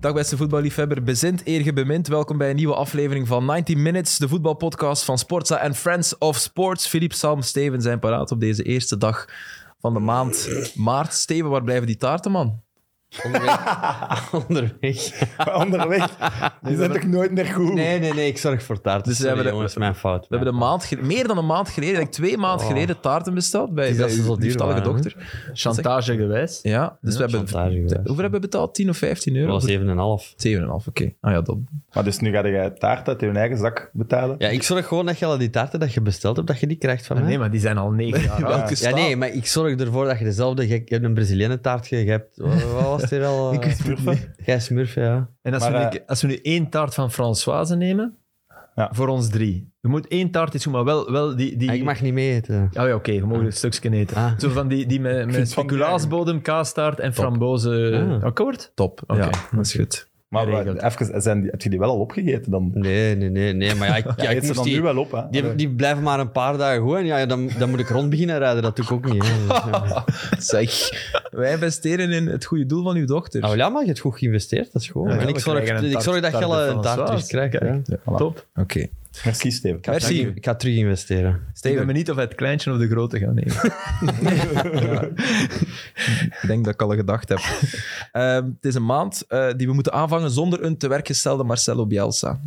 Dag beste voetballiefhebber, bezint eer ge bemint. Welkom bij een nieuwe aflevering van 90 Minutes, de voetbalpodcast van Sportza en Friends of Sports. Philippe, Sam, Steven zijn paraat op deze eerste dag van de maand maart. Steven, waar blijven die taarten, man? Onderweg. Dus Onderweg. Die zijn toch nooit meer goed? Nee, nee, nee, ik zorg voor taart. Dus Dus we hebben Sorry, de- jongens, mijn fout. We hebben een maand ge- meer dan een maand geleden, like twee maanden geleden, taarten besteld bij, Oh. is dat bij ze uw zo duur lieftallige waren, hè? dochter. Chantagegewijs. Ja, dus we hebben... chantage geweest. Hoeveel hebben we betaald? 10 of 15 Dat euro? was 7,5. 7,5, oké. Ah ja, dat... Maar dus nu ga jij taart uit je eigen zak betalen? Ja, ik zorg gewoon dat je al die taarten dat je besteld hebt, dat je die krijgt van mij. Nee, maar die zijn al negen jaar oud. Welke ja, staat? nee, maar Ah, ik zorg ervoor dat je dezelfde... Je, je hebt een Brazilianen taartje, je hebt... Wat was het hier al? eh, Smurfen? Jij smurf, ja. En als, Maar, we nu, als we nu één taart van Françoise nemen, Ja. voor ons drie. Je moet één taart is goed, maar wel, wel die... die... Ik mag niet mee eten. Oh ja, oké, je mag een stukje eten. Ah. Zo van die, die met, met vind van die speculaasbodem, kaastaart en frambozen. Ah. Akkoord? Top, Oké, ja, dat is goed. Maar wat- Geregeld. even, zijn die, heb je die wel al opgegeten dan? Nee, nee, nee, nee. Maar ja, ik, ja, Ja, ik eet ze moest dan die... nu wel op, hè? Die, hebben- die blijven maar een paar dagen goed. En ja, dan, dan moet ik rond beginnen rijden. Dat doe ik ook niet. hè. Dus, ja. Zeg, wij investeren in het goede doel van uw dochter. Nou ja, maar je hebt goed geïnvesteerd. Dat is goed. Ja, en we ik zorg, krijgen een ik zorg dat je taart- al een taart van taart terug Zwaas. krijgt. ja. Kijk, Top. Oké. Merci, Steven. Merci. Ik ga- Ik ga terug investeren. Ik Steven, ben benieuwd of hij het kleintje of de grote gaat nemen. Ik denk dat ik al een gedacht heb. Ehm, het is een maand eh, die we moeten aanvangen zonder een te werk gestelde Marcelo Bielsa.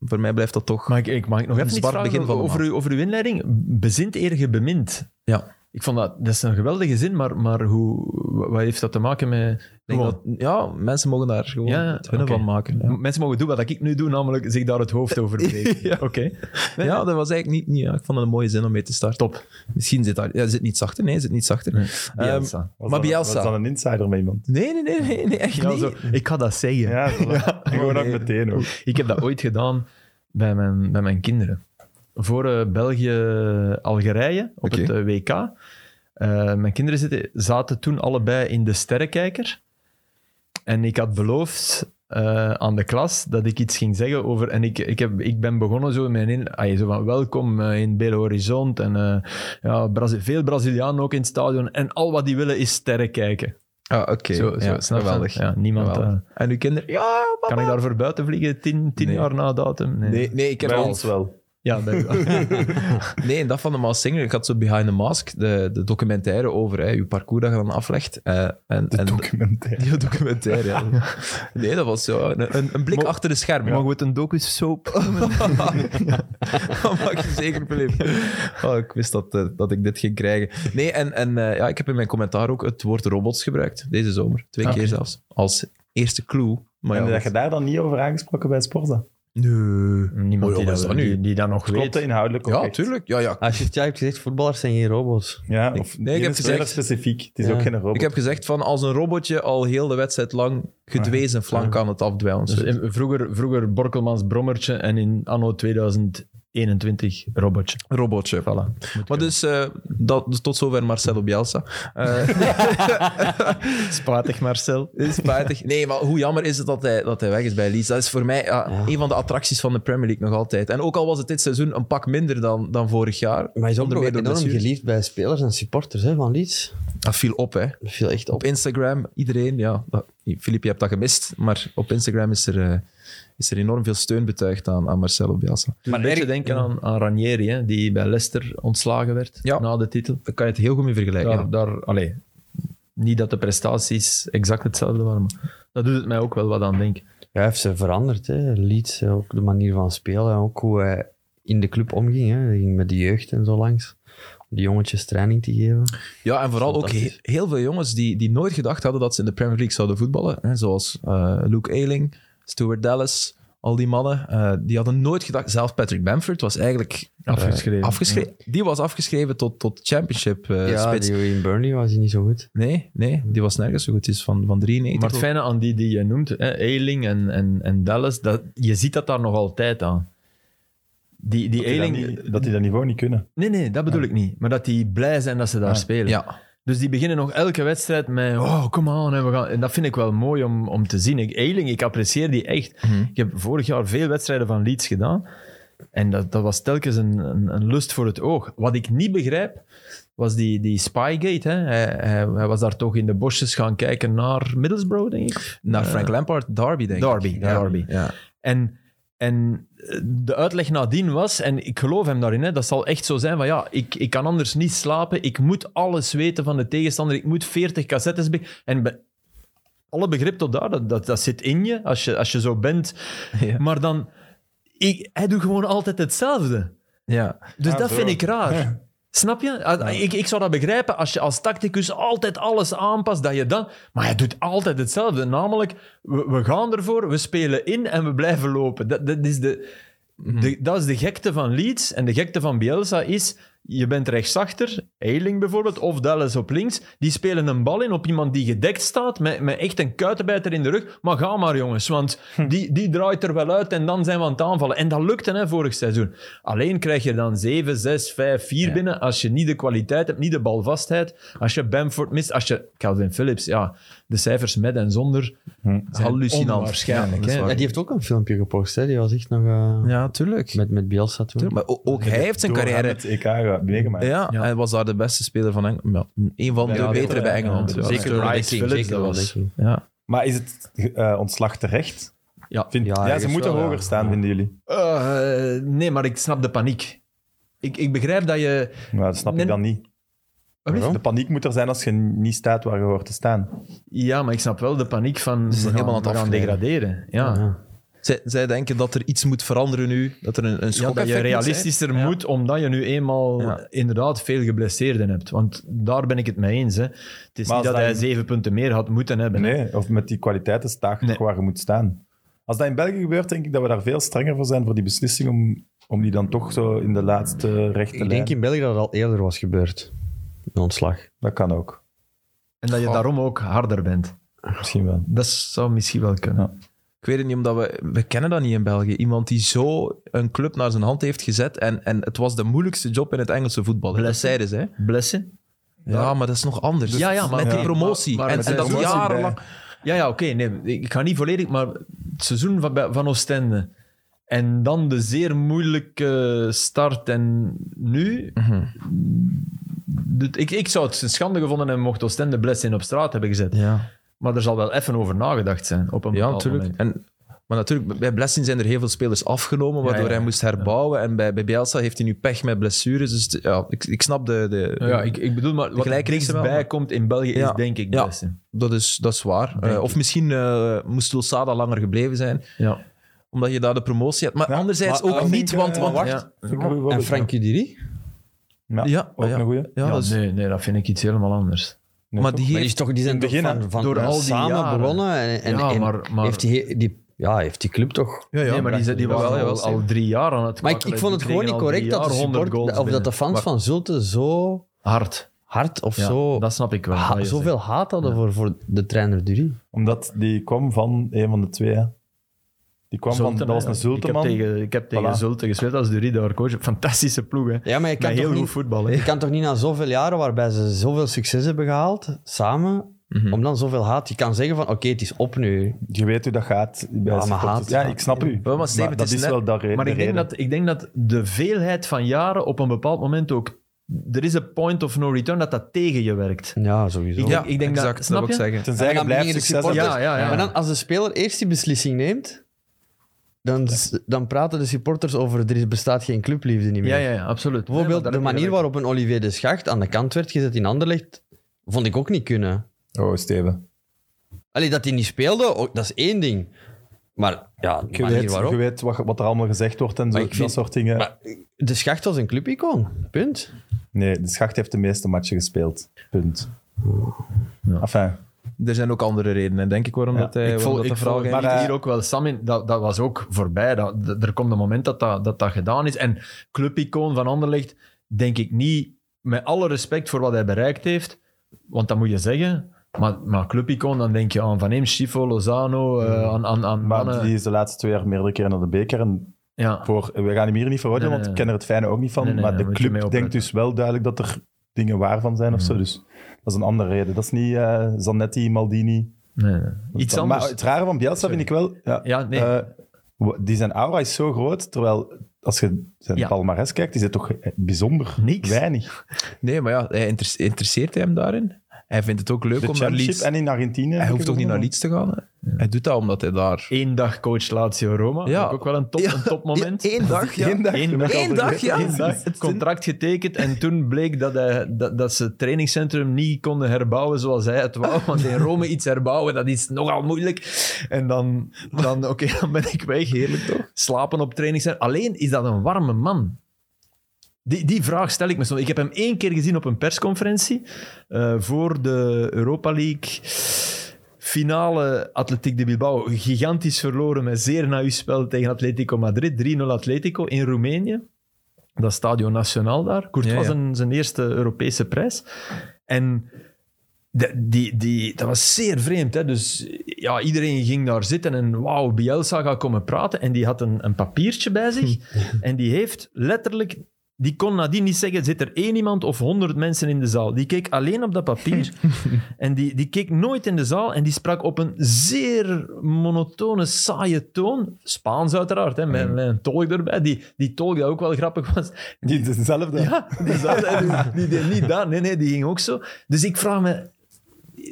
Voor mij blijft dat toch... Mag ik, ik, mag ik nog even Een iets zwart vragen begin van de over, maand. uw- over uw inleiding? Bezint eer je bemint. Ja. Ik vond dat, dat is een geweldige zin, maar, maar hoe, wa- wat heeft dat te maken met... Ik denk Gewoon, dat, ja, mensen mogen daar gewoon Ja, het hunne oké. van maken. m- Ja. Mensen mogen doen wat ik nu doe, namelijk zich daar het hoofd over breken. Oké. Nee, ja, dat was eigenlijk niet... niet ja, ik vond het een mooie zin om mee te starten. Top. Misschien zit daar... Ja, zit niet zachter. Nee, zit niet zachter. Ehm, Bielsa. Was maar dat- Bielsa. Was dan een insider met iemand? nee, nee, nee, nee, nee, echt Ja, niet. zo, ik ga dat zeggen. Ja, Oh, voilà. En gewoon ook nee. meteen ook. Ik heb dat ooit gedaan bij mijn, bij mijn kinderen. Voor eh, België-Algerije op Oké. het eh, WK. Eh, mijn kinderen zitten, zaten toen allebei in de sterrenkijker. En ik had beloofd eh, aan de klas dat ik iets ging zeggen over... En ik, ik, heb, ik ben begonnen zo, met in, ay, zo van welkom eh, in Belo Horizonte. En eh, ja, Brazi- veel Brazilianen ook in het stadion. En al wat die willen is sterren kijken. Ah, oké. Zo, zo, ja, snap je? geweldig. Ja, niemand... Geweldig. eh, En uw kinderen? Ja, papa. kan ik daarvoor buiten vliegen tien, tien Nee. jaar na datum? Nee, nee, ik heb Bij al- ons wel. Ja, bij Nee, en dat van de Maas Singer. Ik had zo Behind the Mask, de, de documentaire over hè, je parcours dat je dan aflegt. Eh, en, De en, documentaire. Ja, documentaire. ja. Nee, dat was zo. Een, een- een blik Mo- achter de schermen. Mogen we het een docu-soap? Dat mag je zeker, Filip. Oh, ik wist dat, eh, dat ik dit ging krijgen. Nee, en, en eh, ja, ik heb in mijn commentaar ook het woord robots gebruikt. Deze zomer. Twee Ah, keer zelfs. Als eerste clue. Maar En ja, dat je daar dan niet over aangesproken bij Sporza? Nee. Niemand Oh, die, ja, dat, is dat nu? die, die dat nog Klopt dat weet. inhoudelijk ook Ja, echt? tuurlijk. Ja, ja. Als je het ja, hebt gezegd, voetballers zijn geen robots. Ja, Ik- of nee, ik die heb is speler gezegd- specifiek. Het is Ja. ook geen robot. Ik heb gezegd van als een robotje al heel de wedstrijd lang gedwezen flank aan het afdwijlen. Dus in- vroeger, vroeger Borkelmans Brommertje en in anno 2021 Robotje. Robotje. Voilà. Maar dus, eh, dat, dus tot zover Marcelo Bielsa. Eh Spatig, Marcel. dit is spijtig. Nee, maar hoe jammer is het dat hij, dat hij weg is bij Leeds? Dat is voor mij ja, een van de attracties van de Premier League nog altijd. En ook al was het dit seizoen een pak minder dan, dan vorig jaar. Maar hij is ook Onder nog meer door enorm blessures. geliefd bij spelers en supporters hè, van Leeds. Dat viel op, hè. Dat viel echt Op op. Instagram, iedereen, ja. dat- Filip, je hebt dat gemist. Maar op Instagram is er, eh, is er enorm veel steun betuigd aan, aan Marcelo Bielsa. Maar een erg- beetje denken aan, aan Ranieri, hè, die bij Leicester ontslagen werd Ja. na de titel. Daar kan je het heel goed mee vergelijken. Daar, ja. daar, allee, niet dat de prestaties exact hetzelfde waren, maar dat doet het mij ook wel wat aan denken. Ja, hij heeft ze veranderd. Hè. Leeds, hè, ook de manier van spelen. en Ook hoe hij in de club omging. Hè. Hij ging met de jeugd en zo langs. Om die jongetjes training te geven. Ja, en vooral ook he- Fantastisch. heel veel jongens die, die nooit gedacht hadden dat ze in de Premier League zouden voetballen. Hè, zoals eh, Luke Ayling, Stuart Dallas, al die mannen. eh, die hadden nooit gedacht. Zelfs Patrick Bamford was eigenlijk eh, Afgeschreven, afgeschreven. Die was afgeschreven tot, tot championship eh, ja, spits. die, in Burnley was hij niet zo goed. Nee, nee, die was nergens zo goed. Die is van, van 93. Maar het fijne aan die die je noemt, hè, Eiling en, en, en Dallas, dat, je ziet dat daar nog altijd aan. Die, die dat die, dat, Eiling... niet, dat die dat niveau niet kunnen. Nee, nee, dat bedoel ik niet. Maar dat die blij zijn dat ze daar Ah, spelen. ja, Dus die beginnen nog elke wedstrijd met... Oh, come on. En, we gaan... en dat vind ik wel mooi om, om te zien. Ik, Eiling, ik apprecieer die echt. Ik heb vorig jaar veel wedstrijden van Leeds gedaan. En dat, dat was telkens een, een, een lust voor het oog. Wat ik niet begrijp, was die, die Spygate. Hè? Hij, hij, hij was daar toch in de bosjes gaan kijken naar Middlesbrough, denk ik. Naar Frank Lampard, Derby, denk Derby, ik. Derby. Ja. En, en eh, de uitleg nadien was, en ik geloof hem daarin, hè, dat zal echt zo zijn van ja, ik, ik kan anders niet slapen, ik moet alles weten van de tegenstander, ik moet 40 cassettes... be- en be- alle begrip tot daar, dat, dat, dat zit in je als, je, als je zo bent. Ja. Maar dan, ik, hij doet gewoon altijd hetzelfde. ja. Dus Ah, dat zo. vind ik raar. Snap je? Ah, Ik, ik zou dat begrijpen als je als tacticus altijd alles aanpast, dat je dan... Maar je doet altijd hetzelfde. Namelijk, we, we gaan ervoor, we spelen in en we blijven lopen. Dat, dat, is de, de, dat is de gekte van Leeds. En de gekte van Bielsa is, je bent rechtsachter, Eiling bijvoorbeeld, of Dallas op links, die spelen een bal in op iemand die gedekt staat, met, met echt een kuitenbijter in de rug. Maar ga maar, jongens, want die, die draait er wel uit en dan zijn we aan het aanvallen. En dat lukte hè, vorig seizoen. Alleen krijg je dan 7, 6, 5, 4 binnen als je niet de kwaliteit hebt, niet de balvastheid. Als je Bamford mist, als je Calvin Phillips, ja, de cijfers met en zonder zijn Hallucinant. onwaarschijnlijk. Ja, dat is hè. waar. Ja, die heeft ook een filmpje gepost, hè. Die was echt nog eh, ja, tuurlijk. met, met Bielsa toen. Maar o- ook hij heeft zijn Door hem carrière... Het EK gaat meegemaakt. Ja, Ja. hij was daar de beste speler van Engeland. Ja, een van de Ja, betere bij ja, Engeland. ja. Ja, Zeker natuurlijk. Rice Phillips, dat was- denk ik. Ja. Maar is het eh, ontslag terecht? Ja. Vind- Ja, ja, ze ergens moeten wel, ja. hoger staan, Ja. vinden jullie. Eh, nee, maar ik snap de paniek. Ik, ik begrijp dat je... Maar dat snap Nee. ik dan niet. De paniek moet er zijn als je niet staat waar je hoort te staan. Ja, maar ik snap wel de paniek van Ze we zijn gaan, helemaal aan het we gaan afglijden. degraderen. Ja. Ja. Zij, zij denken dat er iets moet veranderen nu. Dat er een, een Ja, dat schokeffect je moet zijn. realistischer moet, Ja. omdat je nu eenmaal Ja. inderdaad veel geblesseerden hebt. Want daar ben ik het mee eens. Hè. Het is Maar niet als dat hij dat- zeven punten meer had moeten hebben. hè. Nee, of met die kwaliteiten staat toch Nee. waar je moet staan. Als dat in België gebeurt, denk ik dat we daar veel strenger voor zijn voor die beslissing om, om die dan toch zo in de laatste rechte Ik lijn. denk in België dat het al eerder was gebeurd. Een ontslag. Dat kan ook. En dat je Goh. daarom ook harder bent. Misschien wel. Dat zou misschien wel kunnen. Ik weet het niet, omdat we... We kennen dat niet in België. Iemand die zo een club naar zijn hand heeft gezet. En, en het was de moeilijkste job in het Engelse voetbal. hè. Dat Blessen. zeiden ze. hè. Blessen? Ja, maar dat is nog anders. Ja, ja, maar met die ja. promotie. Maar- maar en, met en de dat promotie jarenlang... Ja, ja, oké. nee, ik ga niet volledig, maar het seizoen van, bij- van Oostende. En dan de zeer moeilijke start en nu. Dit- Ik, ik zou het een schande gevonden hebben mocht Oostende Blessing op straat hebben gezet. Ja, Maar er zal wel even over nagedacht zijn op een ja bepaald natuurlijk. moment. En, maar natuurlijk, bij Blessing zijn er heel veel spelers afgenomen, waardoor ja, hij ja. moest herbouwen. En bij, bij Bielsa heeft hij nu pech met blessures. Dus het- ja, ik, ik snap de... de Ja, ik, ik bedoel, maar wat er Tegelijkertijd wel, dichtstbij maar- komt in België Ja, is denk ik ja. Blessing. Dat is, dat is waar. Denk Eh, of misschien eh, moest Losada langer gebleven zijn, Ja. omdat je daar de promotie had. Maar Ja, anderzijds maar ook ik niet, denk, want... eh, want wacht. Ja. Vind ik een goeie En voorbeeld. Frank Udiri? Ja, Ja, ook ja. een goeie. ja, Ja, dat is- nee, nee, dat vind ik iets helemaal anders. Nee, maar toch? die Maar heeft... die, is toch, die zijn in het toch begin, van, van door al die samen jaren. begonnen. En, en, Ja, en maar- maar- Heeft, die, die, ja, heeft die club toch... Ja, ja, nee, maar die, die, Jawel, waren jawel, al, zeker. al drie jaar aan het Maar ik, kwakkelen. ik vond het Die gewoon niet kregen al correct drie dat de, jaar 100 support, goals of dat de binnen. fans Maar van Zulte zo Hard. hard of Ja, zo... dat snap ik wel. ha- dat je zoveel haat hadden voor, voor de trainer Duri. Omdat die kwam van een van de twee. hè. Die kwam van, Zulten, dat was hè, een ja. Zulteman. Ik heb tegen, ik heb tegen Voilà. Zulte gespeeld als de Riedauer coach. Fantastische ploeg, hè. Ja, maar je Met kan, heel toch goed niet, voetbal, hè. je kan toch niet na zoveel jaren waarbij ze zoveel succes hebben gehaald, samen, Mhm. om dan zoveel haat... Je kan zeggen van, oké, het is op nu. Je weet hoe dat gaat. bij maar supporters. haat- ja, ik snap u. Wel, maar Steven, het dat is is, net- wel dat reden. Maar ik denk, dat, ik denk dat de veelheid van jaren op een bepaald moment ook... Er is een point of no return dat dat tegen je werkt. Ja, sowieso. Ik Ja, denk- ik denk dat- exact, dat, snap wil ik je? zeggen. Tenzij En Ah, je dan blijft beginnen de succes supporters- hebben. Ja, ja, ja. Maar dan, als de speler eerst die beslissing neemt, dan, s- dan praten de supporters over er is- bestaat geen clubliefde niet meer. Ja, ja, ja absoluut. Bijvoorbeeld Nee, de maar daar heb je manier gelijk. waarop een Olivier de Schacht aan de kant werd gezet in Anderlecht, vond ik ook niet kunnen. Oh, Steven. Allee, dat hij niet speelde, ook, dat is één ding. Maar ja, de Je manier weet, waarop... je weet wat, wat er allemaal gezegd wordt en zo, Maar ik dat vind- soort dingen. Maar de Schacht was een clubicoon. Punt. Nee, de Schacht heeft de meeste matchen gespeeld. Punt. Enfin, Er zijn ook andere redenen, denk ik, waarom Ja, dat hij... Ik, waarom vol, dat ik de vraag volg eigenlijk- hier- eh, hier ook wel Sam in. Dat, dat was ook voorbij. Dat, dat- er komt een moment dat dat, dat dat gedaan is. En clubicoon van Anderlecht, denk ik niet... Met alle respect voor wat hij bereikt heeft, want dat moet je zeggen... Maar, maar clubicoon, dan denk je aan Van Heem, Schifo, Lozano, eh, aan, aan, aan maar mannen... die is de laatste twee jaar meerdere keren naar de beker. En ja. voor, we gaan hem hier niet veroordelen, Nee, want nee, ik ken er het fijne ook niet van. Nee, nee, maar daar de moet je mee club opletten. Mhm. denkt dus wel duidelijk dat er dingen waar van zijn of zo. Dus dat is een andere reden. Dat is niet eh, Zanetti, Maldini. Nee, nee. Dat Iets is dan- anders. Maar het rare van Bielsa vind ik wel... Ja, Ja, nee. eh, w- die zijn aura is zo groot, terwijl als je zijn Ja. palmarès kijkt, is het toch eh, bijzonder Niks. weinig. Nee, maar ja, hij inter- interesseert hij hem daarin? Hij vindt het ook leuk De om naar championship Leeds... en in Argentinië. Hij hoeft ook niet naar Leeds te gaan. hè. Hij doet dat omdat hij daar... Eén dag coach Lazio Roma. Ja. Ja. Ook wel een, top, een topmoment. Eén dag, ja. Eén dag. Eén dat dag. heb ik Eén al dag, gezegd. ja. Eén dag. Het- Contract getekend en toen bleek dat, hij, dat, dat ze het trainingscentrum niet konden herbouwen zoals hij het wou. Want in Rome iets herbouwen, dat is nogal moeilijk. En dan, dan oké, dan ben ik weg. Heerlijk toch? Slapen op trainingscentrum. Alleen is dat een warme man. Die, die vraag stel ik me soms. Ik heb hem één keer gezien op een persconferentie eh, voor de Europa League. Finale Atletiek de Bilbao, gigantisch verloren met zeer naïef spel tegen Atletico Madrid. 3-0 Atletico in Roemenië. Dat is Stadio Nacional daar. Courtois Ja, ja. Zijn, zijn eerste Europese prijs. En de- die, die, dat was zeer vreemd. Hè? Dus ja, iedereen ging daar zitten en wauw, Bielsa gaat komen praten. En die had een, een papiertje bij zich. en die heeft letterlijk... Die kon nadien niet zeggen, zit er één iemand of honderd mensen in de zaal. Die keek alleen op dat papier. en die, die keek nooit in de zaal. En die sprak op een zeer monotone, saaie toon. Spaans uiteraard, hè, met, met een tolk erbij. Die, die tolk dat ook wel grappig was. Die dezelfde. Ja, die, zat- die deed niet dat. Nee, nee, die ging ook zo. Dus ik vraag me...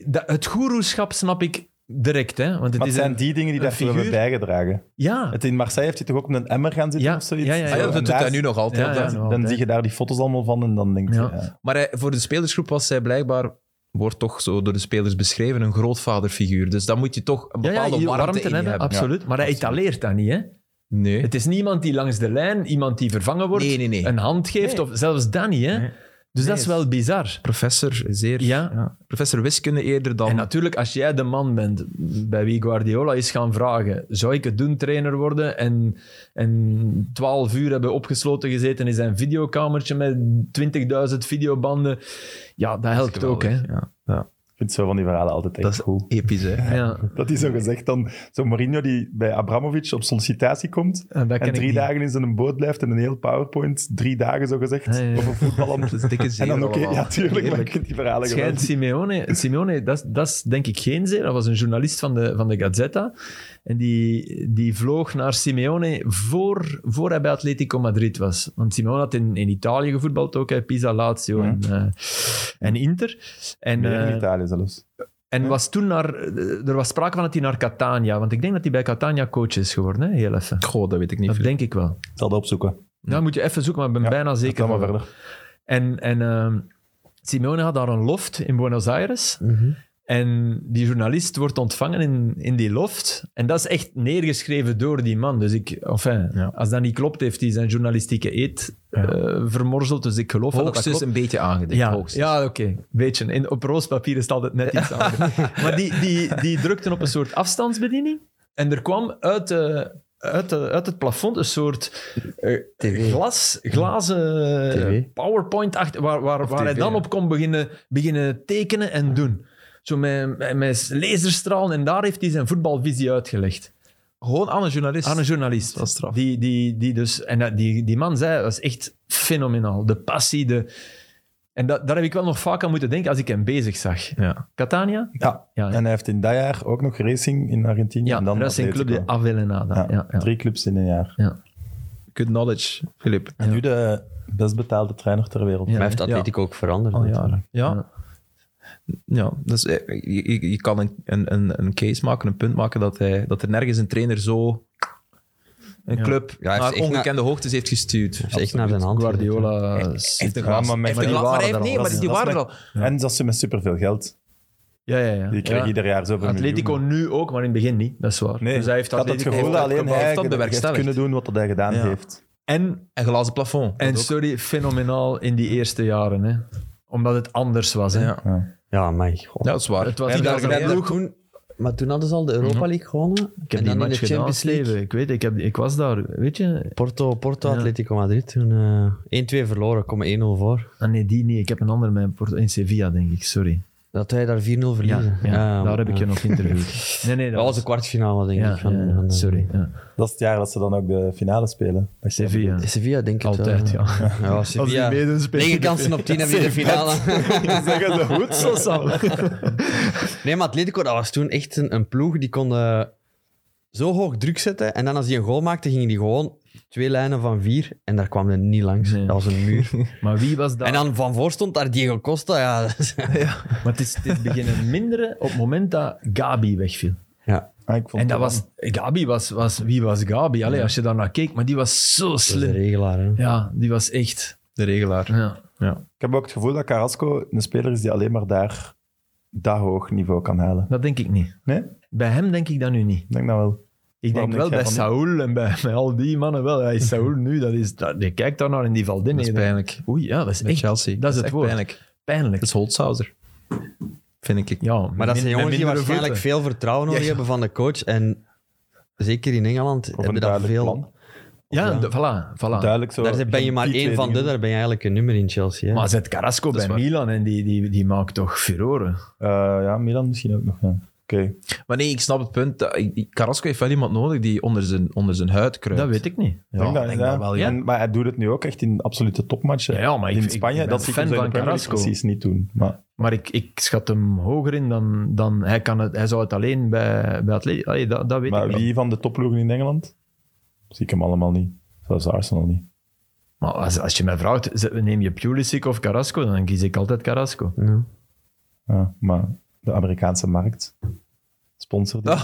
Dat, het goeroeschap snap ik direct, hè. Want het Maar is het zijn een- die dingen die een daarvoor hebben figuur. bijgedragen. Ja, Het in Marseille heeft hij toch ook op een emmer gaan zitten Ja, of zoiets? ja, ja, ja. Ah ja, Zo, dat En doet daar hij is- nu nog altijd. Ja, ja, hè. nog. Dan altijd. zie je daar die foto's allemaal van en dan denk je... Ja. ja. Maar hij- voor de spelersgroep was hij blijkbaar, wordt toch zo door de spelers beschreven, een grootvaderfiguur. Dus dan moet je toch een ja, ja bepaalde je warmte, warmte, in je hebben, hebben. absoluut. maar hij absoluut. etaleert dat niet, hè. Nee. Het is niemand die langs de lijn, iemand die vervangen wordt, Nee, nee, nee. een hand geeft, Nee. of zelfs dat niet, hè. Nee. Dus Nee, dat is het- wel bizar. Professor, zeer... Ja. Professor wiskunde eerder En dan... natuurlijk, als jij de man bent bij wie Guardiola is gaan vragen, zou ik het doen, trainer worden en, en 12 uur hebben opgesloten gezeten in zijn videokamertje met 20.000 videobanden. Ja, dat helpt ook, hè. Ja. Ik vind zo van die verhalen altijd echt Dat is cool. Episch, hè. Ja, Dat is zo gezegd dan. Zo Mourinho die bij Abramovic op sollicitatie komt. en Eh, En dat ken ik drie niet. dagen in zijn boot blijft en een heel powerpoint. Drie dagen zo gezegd. Ja, ja, ja. Over voetbal. Dat is dikke En zeer dan oké, allemaal. ja tuurlijk, maar ik Heerlijk. vind die verhalen Het schijnt geweldig. Simeone, Simeone dat, is- dat is denk ik geen zeer. Dat was een journalist van de, van de Gazzetta. En die, die vloog naar Simeone voor, voor hij bij Atletico Madrid was. Want Simeone had in, in Italië gevoetbald ook, hè, Pisa, Lazio en, eh, en Inter. En, Meer in eh, Italië zelfs. en was toen naar, er was sprake van dat hij naar Catania, want ik denk dat hij bij Catania coach is geworden, hè, heel even. Goh, dat weet ik Dat niet. denk ik wel. Ik zal dat opzoeken. Nou, moet je even zoeken, maar ik Ja, ben bijna Ik zeker. kan maar van wel. verder. En, en ehm, Simeone had daar een loft in Buenos Aires. Mhm. En die journalist wordt ontvangen in, in die loft. En dat is echt neergeschreven door die man. Dus ik, enfin, Ja. als dat niet klopt, heeft hij zijn journalistieke eet eh, vermorzeld. Dus ik geloof wel dat Hoogstens dat klopt. een beetje aangedikt. Ja, hoogstens. ja oké. Beetje. In, op roospapier is het altijd net iets anders. maar die, die, die drukten op een soort afstandsbediening. En er kwam uit, de, uit, de, uit het plafond een soort eh, glas, glazen TV. powerpoint achter, waar, waar, waar TV, hij dan ja. op kon beginnen, beginnen tekenen en doen. Zo met, met- met laserstralen. En daar heeft hij zijn voetbalvisie uitgelegd. Gewoon aan een journalist. Aan een journalist. Dat is straf. Die, die, die, dus, en dat- die, die man zei, was echt fenomenaal. De passie, de... En dat, daar heb ik wel nog vaak aan moeten denken als ik hem bezig zag. Ja. Catania? Ja. Ja, En hij heeft in dat jaar ook nog racing in Argentinië. ja en dan dat is een club Atletico. de Avellaneda. Ja, Ja, ja, Drie clubs in een jaar. Good knowledge, Filip. En nu de best betaalde trainer ter wereld. Ja. Maar heeft Atletico ook veranderd? Al natuurlijk. jaren. Ja. Ja, dus eh, je, je- je kan een, een, een- een case maken, een punt maken dat, hij, dat er nergens een trainer zo een Ja. club hij heeft naar echt na- ongekende hoogtes heeft gestuurd. Dat is echt naar zijn hand. gelegd, Guardiola. Heeft een Ja, glas. maar met- heeft maar een die glas- maar waren hij- er nee, al. maar Dat die is- dat waren is er al. En dat ze met superveel geld. Ja, ja, ja. Die kregen Ja. ieder jaar zoveel Atletico miljoenen. nu ook, maar in het begin niet. Dat is waar. Nee, dus hij heeft ik had het Atletico... gevoel dat alleen heeft hij dat heeft bewerkstelligd. kunnen doen wat dat hij gedaan Ja. heeft. En, En glazen plafond. en Dat ook. sorry, fenomenaal in die eerste jaren. Hè. Omdat het anders was. Hè. Ja. Ja, maar god. Ja, dat is waar. Het was En niet daar dat ze geleden- dat Toen, maar toen hadden ze al de Europa League gewonnen. Ik heb en die dan in match de gedaan, Champions League. Steven. Ik weet, ik, heb, ik was daar. Weet je, Porto, Porto Ja. Atletico Madrid toen eh 1-2 verloren, komen 1-0 voor. Ah, nee, die niet. Ik heb een ander mijn Porto in Sevilla, denk ik. Sorry. Dat wij daar 4-0 verliezen. Ja, ja, Ja, daar heb ik ja. je nog interviewd. Nee, nee, Dat was de kwartfinale, denk Ja, ik. Van, ja, ja, van de- sorry. Ja. Dat is het jaar dat ze dan ook de finale spelen. Dat je- Sevilla. Sevilla, denk ik Altijd, wel. ja. ja. Sevilla. Negen kansen op 10 hebben we de finale. Zeggen ze goed? Zo Sam. Nee, maar Atletico, dat was toen echt een, een ploeg die konden zo hoog druk zetten. En dan als hij een goal maakte, gingen die gewoon twee lijnen van vier. En daar kwam hij niet langs. Nee. Dat was een muur. Maar wie was dat? En dan van voor stond daar Diego Costa. Ja, Maar het is, het is beginnen minderen op het moment dat Gabi wegviel. ja. Ah, ik vond En dat wel- was... Gabi was... was wie was Gabi? Allee, als je daar naar keek. Maar die was zo dat is de slim. regelaar. Hè. Ja, die was echt... De regelaar. Ja. Ik heb ook het gevoel dat Carrasco een speler is die alleen maar daar dat hoog niveau kan halen. Dat denk ik niet. Nee? Ik Bij hem denk ik dat nu niet. denk dat wel. Ik Waarom denk denk wel jij bij van Saul en bij, bij al die mannen wel. Hij is Saul nu, dat is, dat, je kijkt daar naar en die valt in. Dat is En je denkt, pijnlijk. Oei, ja, dat is Met echt Chelsea. Dat is het echt woord. pijnlijk. pijnlijk. Dat is Holtzhauser. Vind ik. ja, Maar dat zijn jongens die waarschijnlijk veel vertrouwen nodig Ja. hebben van de coach. En zeker in Engeland Of hebben een daar duidelijk veel... plan. Ja, Ja. de- voilà. voilà. Duidelijk zo. Daar zijn- ben je maar die één twee van de, dingen. daar ben je eigenlijk een nummer in Chelsea. Hè? Maar zet Carrasco Dat is bij waar. Milan en die, die, die maakt toch furoren. Eh, ja, Milan misschien ook nog. Ja. Oké. Maar nee, ik snap het punt. dat- ik- ik- Carrasco heeft wel iemand nodig die onder zijn, onder zijn huid kruipt. Dat weet ik niet. Ik Ja, denk dat- denk ja. dat wel, ja. En- maar hij doet het nu ook echt in absolute topmatchen. Ja, ja, maar ik- in ik- Spanje, ik ben dat zie ik fan hem zo in de van Premier League Carrasco. precies niet doen. Maar Maar ik, ik schat hem hoger in dan... dan hij, kan het, hij zou het alleen bij, bij Atletico... Allee, dat, dat weet maar ik wel. wie van de topploegen in Engeland? Zie ik hem allemaal niet. Zelfs Arsenal niet. Maar als, als je mij vraagt, zet- neem je Pulisic of Carrasco? Dan kies ik altijd Carrasco. Ja. Ja, maar de Amerikaanse markt. Sponsor die. Oh,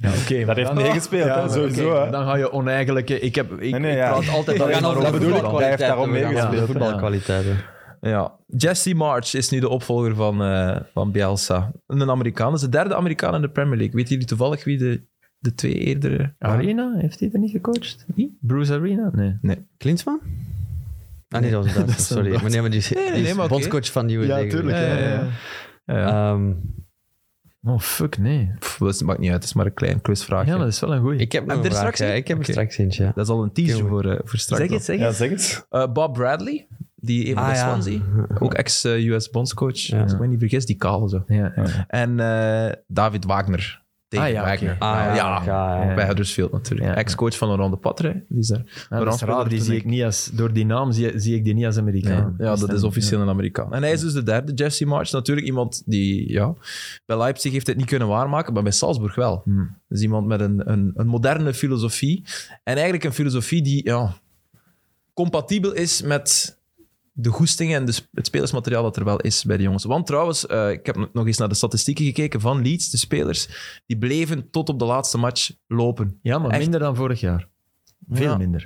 Ja, Ah, oké. Daar heeft dan- meegespeeld, hè, maar sowieso, oké, hè. Dan ga je oneigenlijke... Ik, heb, ik, Nee, nee, ik ja. praat altijd We alleen gaan maar over dat de over bedoel ik, voetbal. want hij heeft voetbalkwaliteit doen, daarom we gaan over de meegespeeld, hè. voetbalkwaliteiten. Ja. Jesse March is nu de opvolger van, eh, van Bielsa. Een Amerikaan. Dat is de derde Amerikaan in de Premier League. Weet jullie toevallig wie de, de twee Ah, eerdere... Ah, Arena, heeft hij er niet gecoacht? Bruce Arena? Nee. Klinsman? Ah nee, dat was een Duitser, sorry. Maar nee, maar die is, nee, die is nee, maar oké. bondscoach van de USA. ja, ja, ja. Ja, ja. Ehm, Oh, fuck, nee. Pff, dat maakt niet uit. Het is maar een klein quizvraagje. Ah, Ja, dat is wel een goeie. ik heb nog Heb een je er vraag, straks ja, een? ik heb er Oké. straks eentje. ja. Dat is al een teaser Oké, voor, eh, voor straks. al. zeg Ja, zeg het. Eh, Bob Bradley, die even Ah, bij ja. Swansea. Ook ex-US bondscoach, als ik me niet vergis. Die kale zo. Ja. En eh, David Wagner. David Ah, ja, oké. Wagner. Ah, ja, ja, ja, ja. bij Huddersfield natuurlijk. Ja. Ex-coach van Laurent de Patre. Die is daar. Ja, dat is raar, die zie ik niet als, door die naam zie, zie ik die niet als Amerikaan. Ja, dat is officieel een Amerikaan. En hij is dus de derde, Jesse March. Natuurlijk iemand die, ja, bij Leipzig heeft het niet kunnen waarmaken, maar bij Salzburg wel. Hmm. Dus iemand met een, een, een moderne filosofie. En eigenlijk een filosofie die, ja, compatibel is met de goesting en de, sp- het spelersmateriaal dat er wel is bij de jongens. Want trouwens, eh, ik heb nog eens naar de statistieken gekeken van Leeds, de spelers. Die bleven tot op de laatste match lopen. Ja, maar Echt. minder dan vorig jaar. Veel Ja. minder.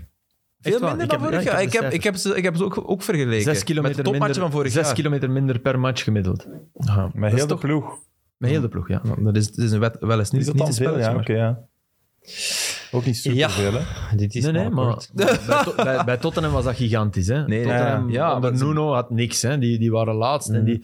Veel Echt waar, minder ik dan heb- vorig ja, jaar. ik Ik heb de heb, ik heb, ze, ik heb ze ook, ook vergeleken. Zes Met de kilometer, topmatchen minder, van vorig zes jaar. kilometer minder per match gemiddeld. Met is heel de toch- ploeg. Met heel de ploeg, ja. Ja, dat is, dat is een wet, wel eens niet, Is dat niet dan een veel? spelletje, Ja, maar- oké, ja. Ook niet superveel, hè? Dit is nee, nee, maar maar kort. maar bij, To- bij, bij Tottenham was dat gigantisch. Hè? Nee, Tottenham ja, ja, onder dat is- Nuno had niks. Hè? Die, die waren laatst en die,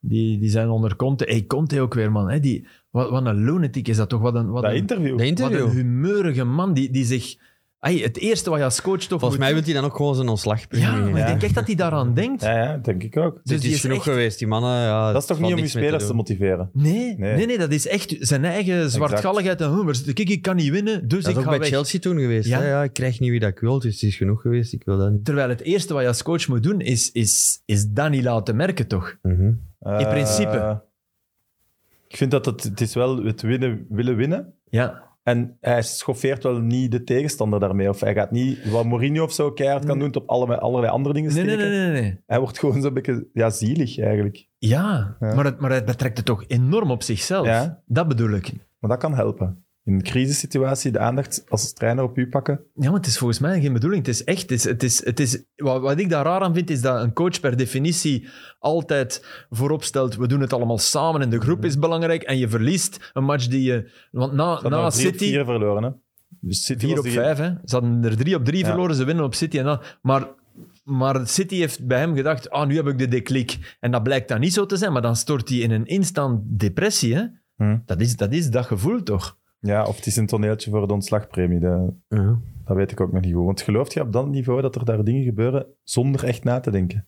die, die zijn onder Conte. Hey, Conte ook weer, man. Hè? Die, wat, wat een lunatic is dat toch? Wat een, wat Dat een, De interview. wat een interview. humeurige man die, die zich... Hey, het eerste wat je als coach toch Volgens moet mij wil hij dan ook gewoon zijn ontslag. Ja, maar ik Ja. denk echt dat hij daaraan denkt. Ja, ja, denk ik ook. dus Dit die is is genoeg echt- geweest, die mannen. Ja, Dat is toch valt niet om je niks mee spelers te doen. motiveren? Nee, nee. Nee. nee, dat is echt zijn eigen zwartgalligheid. En, "Huh, waar zit ik? Ik kan niet winnen, dus Dat is ik ga ook bij weg." Chelsea toen geweest. Ja. hè. Ja, ik krijg niet wie dat ik wil, dus het is genoeg geweest. Ik wil dat niet. Terwijl het eerste wat je als coach moet doen, is, is, is dat niet laten merken, toch? Mhm. Eh, In principe. Ik vind dat het, het is wel het winnen, willen winnen. Ja. En hij schoffeert wel niet de tegenstander daarmee. Of hij gaat niet wat Mourinho of zo keihard kan doen, het op alle, allerlei andere dingen Nee, steken. nee, nee, nee. nee. Hij wordt gewoon zo'n beetje ja, zielig eigenlijk. Ja, Ja. Maar, het, maar het betrekt het toch enorm op zichzelf. Ja. Dat bedoel ik. Maar dat kan helpen. In een crisissituatie de aandacht als trainer op u pakken. Ja, maar het is volgens mij geen bedoeling. Het is echt... Het is, het is, het is, wat, wat ik daar raar aan vind, is dat een coach per definitie altijd voorop stelt we doen het allemaal samen en de Mhm. groep is belangrijk en je verliest een match die je... Want Dan na, na drie of Nou, City... vier verloren, hè? Dus City Vier was op die- vijf, hè. Ze hadden er drie op drie Ja. verloren, ze winnen op City. En dan, maar, maar City heeft bij hem gedacht, ah, nu heb ik de deklik. En dat blijkt dan niet zo te zijn, maar dan stort hij in een instant depressie, hè. Hm. Dat is, dat is dat gevoel, toch? Ja, of het is een toneeltje voor de ontslagpremie. Dat, Ja. dat weet ik ook nog niet goed. Want gelooft je op dat niveau dat er daar dingen gebeuren zonder echt na te denken?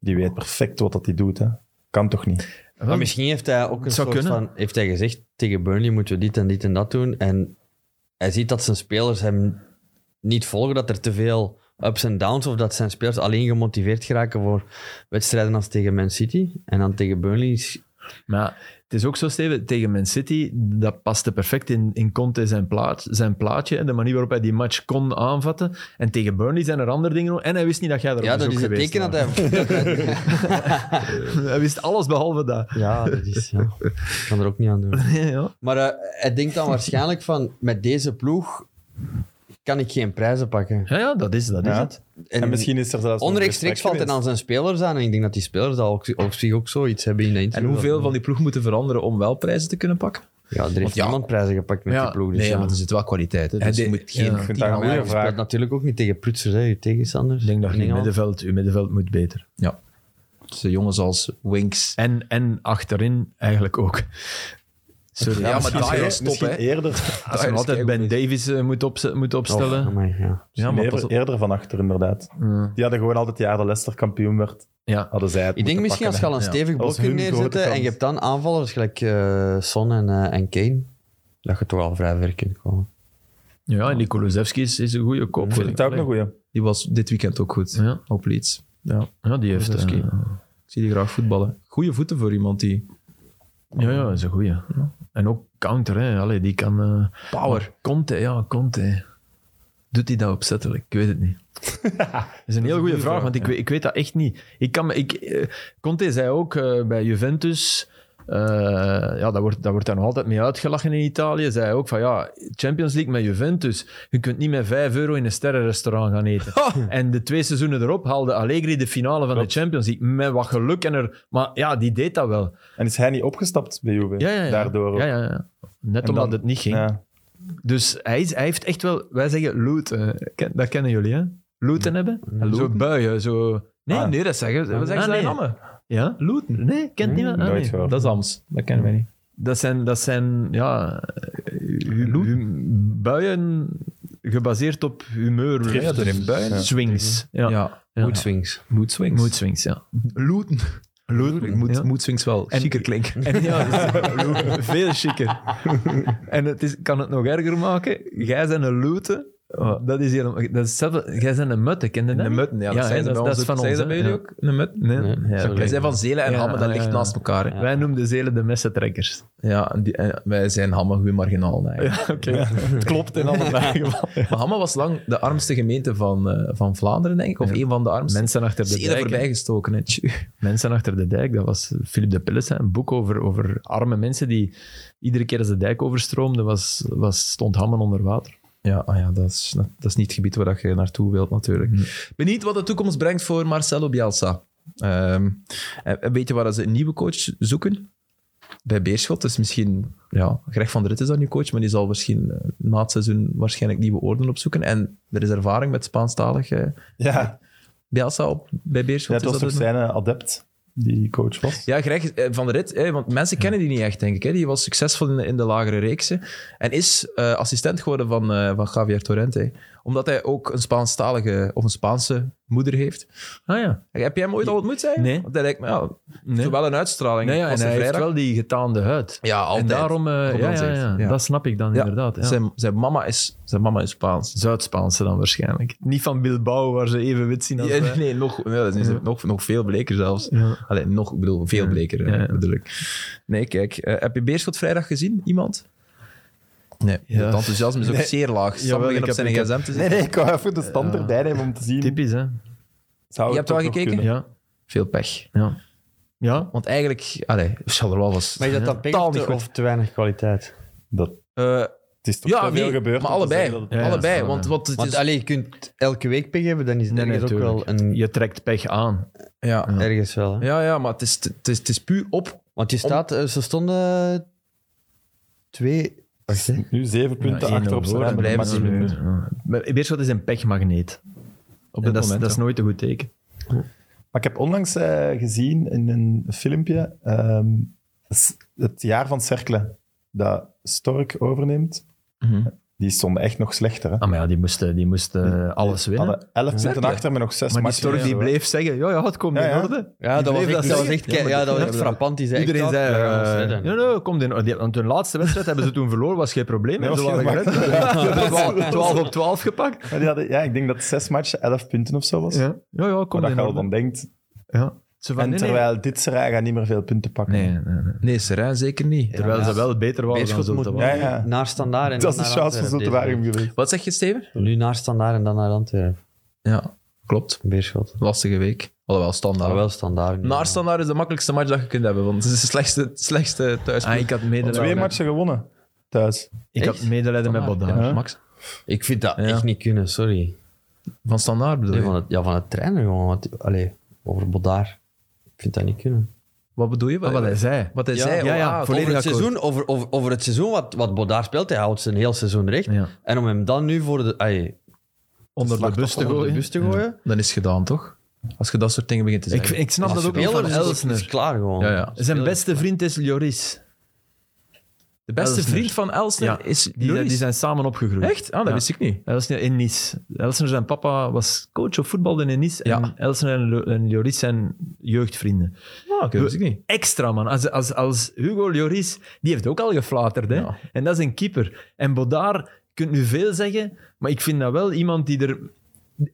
Die weet perfect wat dat hij doet, hè? Kan toch niet? Maar misschien heeft hij ook een Het zou soort kunnen. van... Heeft hij gezegd, tegen Burnley moeten we dit en dit en dat doen. En hij ziet dat zijn spelers hem niet volgen, dat er te veel ups en downs, of dat zijn spelers alleen gemotiveerd geraken voor wedstrijden als tegen Man City. En dan tegen Burnley is- Maar het is ook zo, Steven, tegen Man City, dat paste perfect in, in Conte zijn, plaat, zijn plaatje en de manier waarop hij die match kon aanvatten. En tegen Burnley zijn er andere dingen. En hij wist niet dat jij er Ja, op dat bezoek is het geweest teken dat was. hij... dat hij- Hij wist alles behalve dat. Ja, dat is... Ja. Ik kan er ook niet aan doen. ja. Maar eh, Hij denkt dan waarschijnlijk van, met deze ploeg kan ik geen prijzen pakken. Ja, ja, dat is, dat is Ja. het. En, misschien is er zelfs nog een Onrechtstreeks gesprek valt het geweest. aan zijn spelers aan. En ik denk dat die spelers dat ook, op zich ook zoiets hebben in de En interview. hoeveel van die ploeg moeten veranderen om wel prijzen te kunnen pakken? Ja, er heeft ja. niemand prijzen gepakt met Ja, die ploeg. Dus Nee, ja. want er zit wel kwaliteit. Hè, Hij dus je deed- moet geen... Ik vind Ja, maar ja, daar een goede je speelt vraag. natuurlijk ook niet tegen prutsers, hè, je tegenstanders. Ik denk dat je In Engeland. middenveld, je middenveld moet beter. Ja. Dus, eh, jongens als Winks. En, en achterin eigenlijk ook. Sorry, Ja, als maar je- daar Misschien- is top, misschien hè. eerder, als je daar is altijd keigoed Ben bezig. Davies eh, moet, opze- moet Of, opstellen. amai, ja. ja, maar pas eerder, op. eerder van achter, inderdaad. Ja. Die hadden gewoon altijd het jaar dat Leicester kampioen werd, Ja. hadden zij het Ik denk moeten misschien als je pakken, al een ja. stevig Dat blok was kunt hun grote neerzetten kans. en je hebt dan aanvallers gelijk eh, Son en, eh, en Kane, dat je toch al vrij ver kunt komen. ja, en die Kulusevski is, is een goede koop. hè. Ik vind het ook een goeie. Die was dit weekend ook goed. Ja. Op Leeds. Ja. Ja, die heeft... Kulusevski. eh, Ik zie die graag voetballen. Goeie voeten voor iemand die... ja, ja, dat is een goeie. En ook counter, hè. Allee, die kan... eh, Power. Conte, ja, Conte. Doet hij dat opzettelijk? Ik weet het niet. dat is een heel goede vraag, want ik, weet- ik weet dat echt niet. Ik kan, me- ik, eh, Conte zei ook eh, bij Juventus... eh, ja, dat wordt, dat wordt daar nog altijd mee uitgelachen in Italië. Zei hij ook van ja, Champions League met Juventus. Je kunt niet met 5 euro in een sterrenrestaurant gaan eten. En de twee seizoenen erop haalde Allegri de finale van de Champions League. Met wat geluk en er. Maar ja, die deed dat wel. En is hij niet opgestapt bij Juve? Ja, ja, ja. Daardoor ook. Ja, ja, ja. Net En omdat dan- het niet ging. Ja. Dus hij, is, hij heeft echt wel... Wij zeggen looten. Ken- Dat kennen jullie, hè? Looten hebben? Zo buien, zo... Nee, Ah. nee, dat zeggen ze. We zeggen Ah, ze dat in nee. Ammen. Ja? Looten. Nee, kent niemand? Ah, Nooit nee. gehoord. Dat is Ams. Dat kennen wij niet. Dat zijn, dat zijn ja, eh, hu- hu- buien gebaseerd op humeur. Drift. eh, Drift, ja. Swings. Ja. Ja. Ja. Mood swings. Mood swings. Mood swings, ja. Looten. Looten. Mood, ja. mood swings wel. En- Chiquer klinken. En ja, dat is veel chiquer. En het is, kan het nog erger maken. Jij zijn een loote. Oh, dat is helemaal... Dat is hetzelfde. Jij zijn een mutte, ken je dat Een niet? mutten, ja. Ja, Dat zijn hè, ze bij dat ons is ook. van Zijn ons, ze bij hè? jullie Ja. ook? Een mutten? Nee. Nee, Ja, zo wij leuk. zijn van Zelen en Ja, Hammen, dat ja, ligt ja. naast elkaar. hè. Wij noemden Zelen de messentrekkers. Ja, en die, en wij zijn Hammen goede marginaal. eigenlijk. Oké, het klopt in alle geval. Maar Hammen was lang de armste gemeente van, eh, van Vlaanderen, denk ik. Of een van de armste. Mensen achter de Zelen dijk. hè. voorbijgestoken. hè. Tju. Mensen achter de dijk, dat was Philip de Pillessen, een boek over, over arme mensen die iedere keer als de dijk overstroomde, was, was, stond Hammen onder water. Ja, ah ja dat, is, dat is niet het gebied waar dat je naartoe wilt, natuurlijk. Benieuwd wat de toekomst brengt voor Marcelo Bielsa. Ehm, en- en weet je waar ze een nieuwe coach zoeken? Bij Beerschot. Dus misschien, ja, Greg van der Rit is dan nu coach, maar die zal misschien eh, na het seizoen waarschijnlijk nieuwe oorden opzoeken. En er is ervaring met Spaanstalig eh, Ja. Bielsa op, bij Ja, Beerschot. het is was dat toch het? zijn eh, adept die coach was? Ja, Greg eh, van der Rit, eh, want mensen kennen die niet echt, denk ik. Hè. Die was succesvol in de, in de lagere reeksen en is eh, assistent geworden van, eh, van Javier Torrente. Omdat hij ook een Spaanstalige of een Spaanse moeder heeft. Ah ja. Heb jij hem ooit al ontmoet, zei je? Nee. Want hij lijkt me, ja, Nee. wel een uitstraling. Nee, ja, Was en er hij heeft vrijdag? wel die getaande huid. Ja, altijd. En daarom, eh, Rob ja, Hans ja, heeft, ja, ja. dat snap ik dan Ja, inderdaad. Ja. Zijn, zijn, mama is, zijn mama is Spaans. Zuid-Spaanse dan waarschijnlijk. Niet van Bilbao, waar ze even wit zien als Ja, wij. nee, nog, nee, dat is niet- nog, nog veel bleker zelfs. Ja. Allee, nog, ik bedoel, veel Ja. bleker Ja, eh, ja. bedoel ik. Nee, kijk, eh, heb je Beerschot vrijdag gezien? Iemand? Nee, Ja. het enthousiasme is ook zeer laag. Sam Jawel, begint ik op heb- zijn ik heb- gsm te Nee, zitten. nee, ik wou even de stand erbij nemen om te zien. Typisch, hè? Zou Je hebt het wel toch nog gekeken? kunnen? Ja. Veel pech. Ja. Ja. Want eigenlijk, allee, zal er wel was. Maar is dat dan pech Totaal of niet te- goed. of te weinig kwaliteit? Dat, Eh, het is toch ja, te veel nee, gebeurd. maar om te allebei. zeggen dat het- Ja, ja, allebei, ja. want wat het Want is... alleen je kunt elke week pech hebben, dan is het Nee, nee, ergens ook wel tuurlijk. een... Je trekt pech aan. ja. Ergens wel, hè. Ja, ja, maar het is, het is, het is puur op... Want je staat, eh, ze stonden twee. Wacht, hè. Nu zeven punten Ja, achter op 1-0 zijn voor en rij met een blijven match ze minder. nu. Ja. Maar Beerschot is een pechmagneet. Op dit dat, is, moment, dat is ja. nooit een goed teken. Maar ik heb onlangs eh, gezien in een filmpje ehm, s- het jaar van Cercle dat Stork overneemt. Mhm. Die stonden echt nog slechter. Hè? Ah, maar ja, die moesten, die moesten eh, alles winnen. Hadden elf punten Cercle. achter met nog zes maar die matchen. Stork die Ja, bleef zeggen, ja, ja het komt Ja, in ja. orde. Ja, dat was Die bleef echt, dat dat was zeggen. echt, kei- ja, dat was echt frappant. Die zei echt Iedereen dat, zei, ja, dat was eh, redden. nee, nee, komt in orde. Want hun laatste wedstrijd hebben ze toen verloren, was geen probleem. Nee, hebben was ze geen waren gered. Twaalf- 12 op 12 gepakt. Maar die hadden, ja, ik denk dat zes matchen elf punten of zo was. Ja, ja, ja komt maar in dat je al orde. dan denkt, Ja. Zo van, En nee, nee. terwijl dit Serra gaat niet meer veel punten pakken. Nee, nee, nee. Nee, Serijn zeker niet. Terwijl ja. ze wel beter waren Beerschot dan moet- Zulte. Ja, waren. ja. Naar standaard en Dat is dan de naar chance van Antwerpen Zulte Waregem deze geweest. Wat zeg je, Steven? week. Nu naar standaard en dan naar Antwerpen. Ja, klopt. Beerschot. Lastige week. Alhoewel, standaard. Nou, wel standaard. nu. Ah, Naar standaard is de makkelijkste match dat je kunt hebben, want het is de slechtste, slechtste thuisploeg. Ah, ik had medelijden, Twee matchen gewonnen thuis. ik had Echt? medelijden met Standaard, Bodaar. ja, Max. Ik vind dat Ja. echt niet kunnen, sorry. Van standaard bedoel Nee, je? van het, ja, van het trainen gewoon. want- allee, over Bodaar. Ik vind dat niet kunnen. Wat bedoel je? Ah, wat hij zei. Wat hij Ja. zei? Ja, ja, Oh, ah, volledig over, het akkoord. seizoen, over, over, over het seizoen wat, wat Bodaar speelt, hij houdt zijn heel seizoen recht. Ja. En om hem dan nu voor de, allee, Onder de bus te onder de gooien. bus te gooien. Dan is het gedaan, toch? Als je dat soort dingen begint te Ik, zeggen. ik snap Als dat ook niet speler van is het- is Elsner. klaar gewoon. Ja, ja. Zijn beste vriend is Lloris. De beste Elsner. vriend van Elsner Ja. is Die, Lloris. die zijn samen opgegroeid. Echt? Ah, dat Ja. wist ik niet. Elsner in Nice. Elsner zijn papa was coach of voetbalde in Nice. Ja. En Elsner en, Lo- en Lloris zijn jeugdvrienden. Ah, oké, dat wist ik niet. Extra, man. Als, als, als Hugo Lloris, die heeft ook al geflaterd. Hè? Ja. En dat is een keeper. En Bodaar, kunt nu veel zeggen, maar ik vind dat wel iemand die er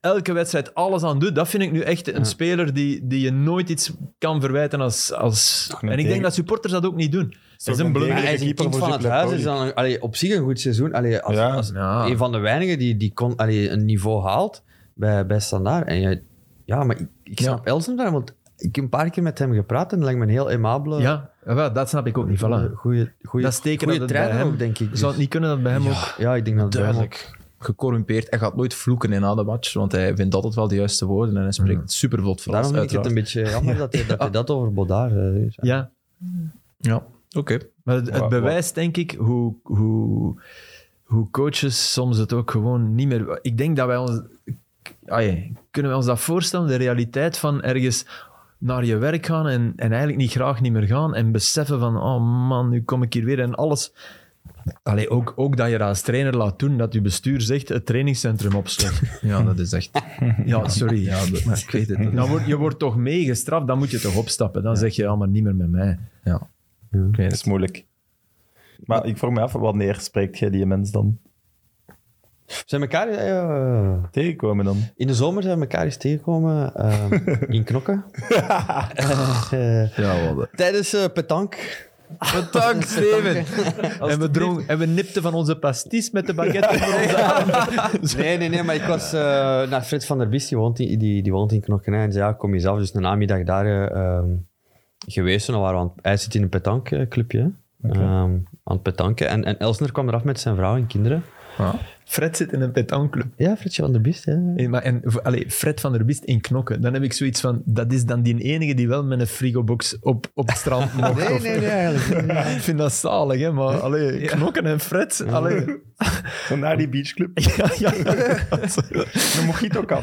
elke wedstrijd alles aan doet. Dat vind ik nu echt een speler die, die je nooit iets kan verwijten als... als... een En ik denk tegen- dat supporters dat ook niet doen. Dat een is een Ja, belangrijk... hij is een keeper kind voor van het Zuid-Lek huis. Poli. Is dan, allee, op zich een goed seizoen. Allee, als, Ja. als Ja. een van de weinigen die, die kon, allee, een niveau haalt bij, bij Standaard. En je, ja, maar ik, ik snap Elsen daar, want ik heb een paar keer met hem gepraat en dat lijkt me een heel aimabele, Ja, wel, dat snap ik ook niet. Voilà. goede, goede, Dat is teken goede dat het trainer bij hem- ook, denk ik. Dus- Zou het niet kunnen dat bij hem ook... ja, ik denk dat het bij hem ook- Duidelijk. Gecorrumpeerd. Hij gaat nooit vloeken in na de match, want hij vindt altijd wel de juiste woorden en hij spreekt Mm. super vlot Frans, Daarom vind ik het uiteraard. een beetje jammer dat hij dat, hij dat over Bodaar eh, is. Ja, Ja, oké. Maar het, het Wa- wa- bewijst, denk ik, hoe, hoe, hoe coaches soms het ook gewoon niet meer... Ik denk dat wij ons... Ah, ja, kunnen wij ons dat voorstellen? De realiteit van ergens naar je werk gaan en, en eigenlijk niet graag niet meer gaan en beseffen van, oh man, nu kom ik hier weer en alles... Allee, ook, ook dat je dat als trainer laat doen, dat je bestuur zegt het trainingscentrum opsluit. Ja, dat is echt... Ja, sorry. Ja, dat- maar ik weet het. dat is- Dan word, je wordt toch meegestraft, dan moet je toch opstappen. Dan zeg je, ja, maar niet meer met mij. Ja. Dat is moeilijk. Maar ik vroeg me af, wanneer spreekt jij die mens dan? Zijn elkaar eh, Tegenkomen dan? in de zomer zijn we elkaar eens tegengekomen eh, in Knokken. Eh, eh, Ja, wat... tijdens eh petank. Bedankt, Steven. En we, drong, en we nipten van onze pasties met de baguette. onder onze Nee, nee, nee, maar ik was eh, naar Fred van der Bies, die woont in, die, die woont in Knokken. En zei, ja, kom je zelf. Dus een namiddag daar eh, ehm, geweest. En dan waren we aan, het- hij zit in een petankclubje. hè. Oké. Ehm, aan het petanken. En, en Elsner kwam eraf met zijn vrouw en kinderen. Fred zit in een petankclub. Ja, Fredje van der Bies. hè. En, maar, en, v- allee, Fred van der Biest in knokken. Dan heb ik zoiets van, dat is dan die enige die wel met een frigobox op, op het strand mocht. Nee, of- nee, nee, eigenlijk niet. Ik vind dat zalig, hè, maar allee, knokken en Fred. Allee. Dan naar die beachclub. Ja, ja, ja. Een mojito kan.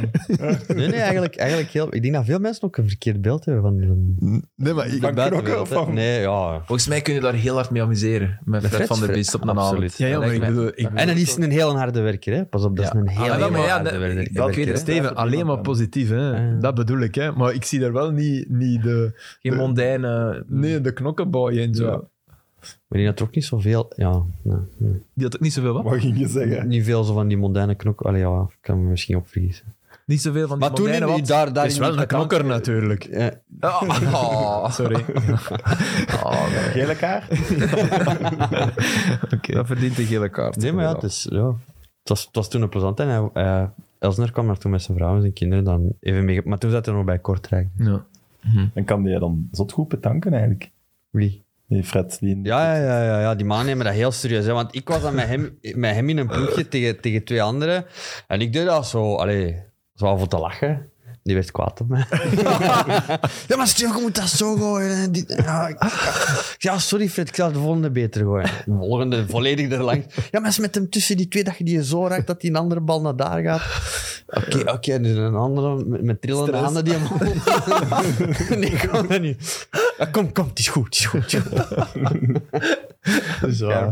Nee, nee, eigenlijk, eigenlijk heel... Ik denk dat veel mensen ook een verkeerd beeld hebben van... van Nee, maar ik- de Knokken buitenwereld, of hè. van- Nee, ja. Volgens mij kun je daar heel hard mee amuseren. Met Fred, Fred? van der Beest op een avond. Absoluut. ja, ja, maar ik bedoel... Ik En dan is een heel harde werker, hè. Pas op, dat Ja. is een Ah, heel, maar dat- heel maar ja, harde dat- werker. dat weet ik. Steven, alleen maar positief, hè. Ja. Dat bedoel ik, hè. Maar ik zie daar wel niet, niet de... Geen mondaine... Nee, de knokkenboy en zo. Ja. Maar die had er ook niet zoveel... Ja, nee, nee. Die had ook niet zoveel, wat? Wat ging je zeggen? Niet veel zo van die mondaine knok. Allee, ja, ik kan me misschien opvergissen. Niet zoveel van die Maar toen in, mondaine wat? daar, daar Dat is in wel die een petank- knokker natuurlijk. Eh, Ah, ah, Sorry. ah, nee. Gele kaart? Dat verdient een gele kaart. nee, maar ja, het, inderdaad. is, ja. het, was, het was toen een plezant. En hij, eh, Elsner kwam daar toen met zijn vrouw en zijn kinderen dan even mee. Maar toen zat hij nog bij Kortrijk. Ja. Dan kan die dan zot goed betanken eigenlijk. Wie? Die Fred. Die Ja, ja, ja, ja, ja, die mannen nemen dat heel serieus. Hè, want ik was dan met hem, met hem in een ploegje tegen, tegen twee anderen. En ik deed dat zo, allee, zo af om te lachen. Die werd kwaad op mij. ja, maar Steve, je moet dat zo gooien. en dit- ja, ik- ik- ja, sorry Fred, ik zal de volgende beter gooien. De volgende volledig erlangs. Ja, maar is met hem tussen die twee dat je die zo raakt dat die een andere bal naar daar gaat. Oké, oké, dus een andere met, met trillende Stress. handen die hem... nee, ik kon dat niet. Ja, kom, kom, het is goed, het is goed. Het is goed. Dus, Ja. ja.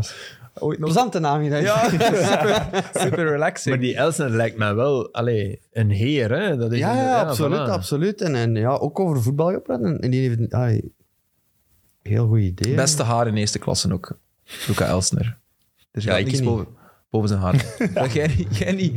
Ooit nog... Plezante namiddag. Ja, super, super relaxing. Maar die Elsner lijkt mij wel allee, een heer. Hè? Dat is Ja, inderdaad- ja, absoluut, voilà. absoluut. En, en ja, ook over voetbal gepraat. En, en die heeft een ai, heel goed idee. Beste haar in eerste klasse ook. Luca Elsner. Er gaat ik niks niet. boven, boven zijn haar. dat jij, niet- jij niet.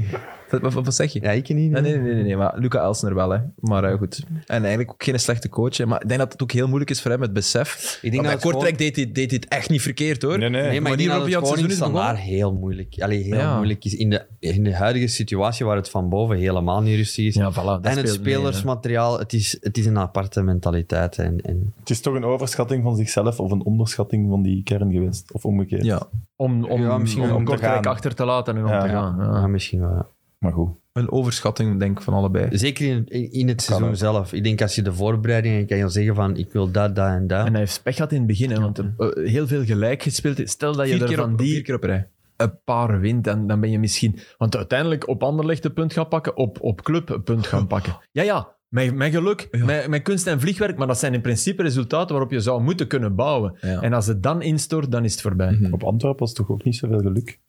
Wat, wat- wat zeg je? Ja, ik niet. Nee, nee, nee, nee, nee, maar Luca Elsner wel, hè. Maar eh, goed. En eigenlijk ook geen slechte coach, hè. Maar ik denk dat het ook heel moeilijk is voor hem, het besef. Ik Ik denk denk dat dat het Kortrijk deed, dit- deed dit echt niet verkeerd, hoor. Nee, nee. Nee, maar ik manier denk dat waarop het je aan het gewoon in seizoen is begonnen? standaard heel moeilijk, allee, heel Ja. moeilijk is. In de, in de huidige situatie waar het van boven helemaal niet rustig is. Ja, voilà. dat en het speelt mee, hè. spelersmateriaal, het, is, het is een aparte mentaliteit. En, en Het is toch een overschatting van zichzelf of een onderschatting van die kern geweest. Of omgekeerd. Ja, Om, om, Ja, misschien om, om te Kortrijk gaan. achter te laten en om Ja. te gaan. ja. ja, misschien wel. Maar goed. een overschatting, denk ik, van allebei. Zeker in, in het seizoen ook. zelf. Ik denk als je de voorbereidingen kan je zeggen van ik wil dat, dat en dat. En hij heeft pech gehad in het begin, hè, want eh, heel veel gelijk gespeeld. is. Stel dat je Vier er keer, van op, die vier keer op rij. een paar wint, dan, dan ben je misschien... Want uiteindelijk op Anderlecht een punt gaan pakken, op, op club een punt gaan pakken. Ja, ja, mijn, mijn geluk, mijn, mijn kunst en vliegwerk, maar dat zijn in principe resultaten waarop je zou moeten kunnen bouwen. Ja. En als het dan instort, dan is het voorbij. Mhm. Op Antwerpen was toch ook niet zoveel geluk.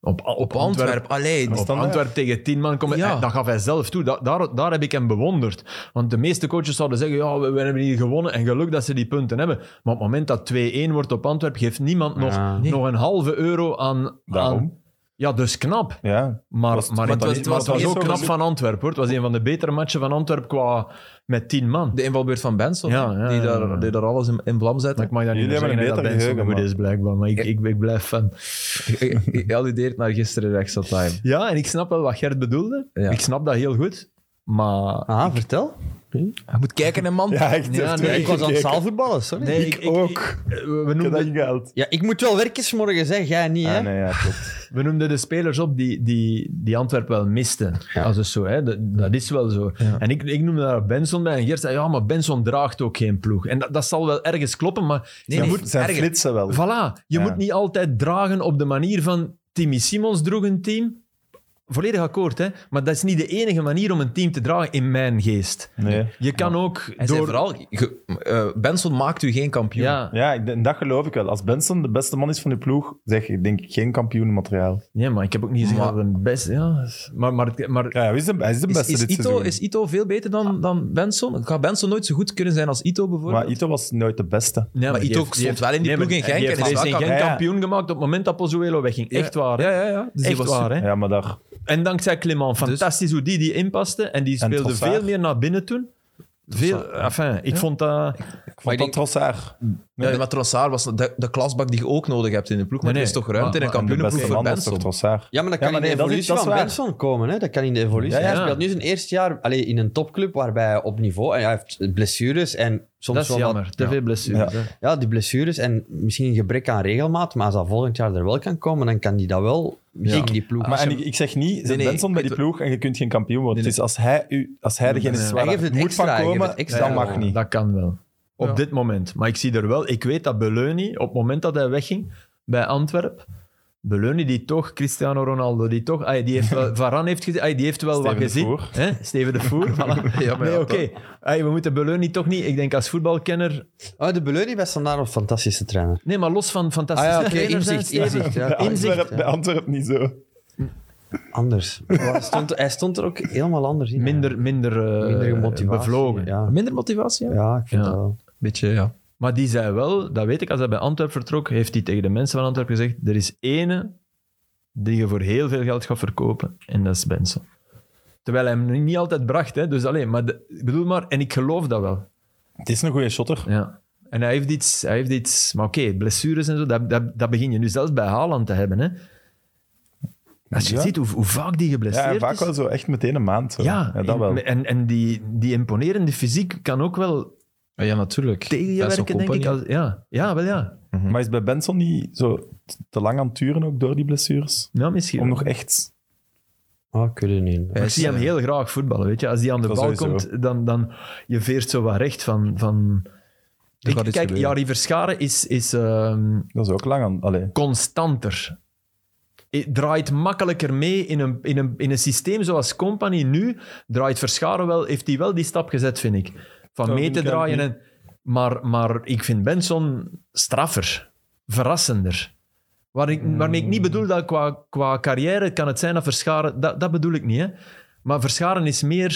Op, op, Op Antwerpen, allee. Maar Op Standaard. Antwerpen tegen tien man komen, Ja. eh, dat gaf hij zelf toe. Da- daar, daar heb ik hem bewonderd. Want de meeste coaches zouden zeggen, ja, we, we hebben hier gewonnen en geluk dat ze die punten hebben. Maar op het moment dat 2-1 wordt op Antwerpen, geeft niemand Ja. nog, Nee. nog een halve euro aan... Daarom. aan- ja, dus knap. Ja. Maar, Was het- maar, maar het, het was- het was, maar was het was eerst ook ook knap eens- van Antwerpen. hoor. Het was een van de betere matchen van Antwerpen qua met tien man. De invalbeurt van Benson, Ja, ja, die, ja, daar, ja. die daar alles in, in vlam Maar zette. ik mag dat niet Jullie meer hebben een zeggen, beter hè, dat Benson geheugen, goed man. is blijkbaar. Maar ik, ik, ik blijf fan. Je alludeert naar gisteren rechts dat time. Ja, en ik snap wel wat Gert bedoelde. Ja. Ik snap dat heel goed. Maar Ah, vertel. Je moet kijken, hè, man. Ja, echt. Ja, echt nee, ik was aan het gekeken. zaalvoetballen, sorry. Nee, Ik ook. we, Ik heb dat noemden, ingehaald. Ja, ik moet wel werken 's morgens, hè. jij niet. Hè? Ah, nee, ja, klopt. we noemden de spelers op die, die, die Antwerpen wel misten. Ja. Als het zo, hè? Dat, dat is wel zo. Ja. En ik, ik noemde daar Benson bij en Gert zei, ja, maar Benson draagt ook geen ploeg. En dat, dat zal wel ergens kloppen, maar Nee, je nee. moet Zijn erger. flitsen wel. Voilà, je Ja. moet niet altijd dragen op de manier van Timmy Simons droeg een team. Volledig akkoord, hè? maar dat is niet de enige manier om een team te dragen in mijn geest. Nee. Je kan ook Hij zei door... vooral, ge- eh, Benson maakt u geen kampioen. ja. Ja, ik- en dat geloof ik wel. Als Benson de beste man is van de ploeg, zeg ik denk ik geen kampioenmateriaal. ja, maar ik heb ook niet gezegd Maar- dat het een best... Ja. Maar, maar, maar Ja, hij is de, hij is de Is, beste is, dit Ito, seizoen. is Ito veel beter dan, dan Benson? Gaat Benson nooit zo goed kunnen zijn als Ito bijvoorbeeld? maar Ito was nooit de beste. Nee, Maar die Ito heeft- die stond heeft- wel in die nee, ploeg in maar Genk die en heeft is deze wel in kap- Genk Ja, ja. kampioen gemaakt op het moment dat Pozuelo wegging. Echt waar, hè? Ja, ja, ja. Dus die Echt was waar, hè? Ja, maar daar... En dankzij Clement. Fantastisch hoe die die inpaste. Dus- En die En speelde Trossard. veel meer naar binnen toen. Veel, enfin, ik vond Ik dat... Maar vond ik dat denk- Trossard. Ja, maar Trossard was de, de klasbak die je ook nodig hebt in de ploeg. Maar Nee, er is nee. toch ruimte in Maar- een En de kampioenenploeg beste voor man was toch Benson? Trossaar? Ja, maar dat Ja, kan maar in de nee, dat evolutie is- dat is van waar. Benson komen. Hè? Dat kan in de evolutie. Ja, ja. Hij speelt nu zijn eerste jaar allee, in een topclub waarbij hij op niveau... En hij heeft blessures en soms Dat is wel jammer. Wat, Te ja. veel blessures. hè. Ja, die blessures en misschien een gebrek aan regelmaat. Maar als hij volgend jaar er wel kan komen, dan kan hij dat wel. Misschien die ploeg. Maar en ik, ik zeg niet, zet nee, Benson bij die het- ploeg en je kunt geen kampioen worden. Nee, Het is als hij, u, als hij degene is nee. waar Hij geeft het het moet van extra, hij komen, geeft het extra. dat mag Ja, niet. Dat kan wel. Op Ja. dit moment. Maar ik zie er wel... Ik weet dat Beleuni, op het moment dat hij wegging bij Antwerpen... Beleuni die toch, Cristiano Ronaldo die toch... ah, die heeft wel, Varane heeft, geze- ah, die heeft wel Steven wat de gezien. Voer. hè? Steven de Voer. voilà. Ja, maar nee, ja, oké. Hey, we moeten Beleuni toch niet... Ik denk als voetbalkenner... Oh, de Beleunie bij Standaard was een fantastische trainer. Nee, maar los van fantastische Ah oké, trainers, hè, inzicht, Steven. inzicht. Ja. Bij Inzicht, Antwerp- Bij ja. Antwerpen niet zo. Anders. Hij stond, hij stond er ook helemaal anders in. Minder, minder, eh, Minder gemotiveerd. bevlogen. Ja. Minder motivatie, ja? ja, ik vind Ja. dat wel. Beetje, ja. Maar die zei wel, dat weet ik, als hij bij Antwerp vertrok, heeft hij tegen de mensen van Antwerp gezegd, er is ene die je voor heel veel geld gaat verkopen, en dat is Benson. Terwijl hij hem niet altijd bracht, hè. Dus alleen, maar de- ik bedoel maar, en ik geloof dat wel. Het is een goede shotter. Ja. En hij heeft iets, hij heeft iets maar oké, blessures en zo, dat, dat, dat begin je nu zelfs bij Haaland te hebben, hè. Als je Ja. ziet hoe, hoe vaak die geblesseerd Ja, en vaak is. wel zo echt meteen een maand. zo. Ja, dat wel. en, en die, die imponerende fysiek kan ook wel Ja, ja, natuurlijk. tegen je Dat is werken, ook denk ik. Company. Als, ja. ja, wel ja. Maar is bij Benson niet zo te lang aan het duren ook door die blessures? ja Nou, misschien. Om wel. nog echt... Ah, ik weet het niet. Maar ik zie hem heel graag voetballen, weet je. Als die aan de Dat bal sowieso. komt, dan, dan je veert zo wat recht van... van... Er Ik- gaat iets kijk, gebeuren. Jari Verscharen is, is ehm, Dat is ook lang aan... Allee. constanter. I- Draait makkelijker mee in een, in, een, in een systeem zoals Company nu. Draait Verscharen wel, heeft hij wel die stap gezet, vind ik. Van Zo mee vind te ik hem draaien. niet. En, maar, maar ik vind Benson straffer, verrassender. Waar ik, waarmee ik niet bedoel dat qua, qua carrière kan het zijn dat Verscharen... Dat, dat bedoel ik niet, hè. Maar Verscharen is meer...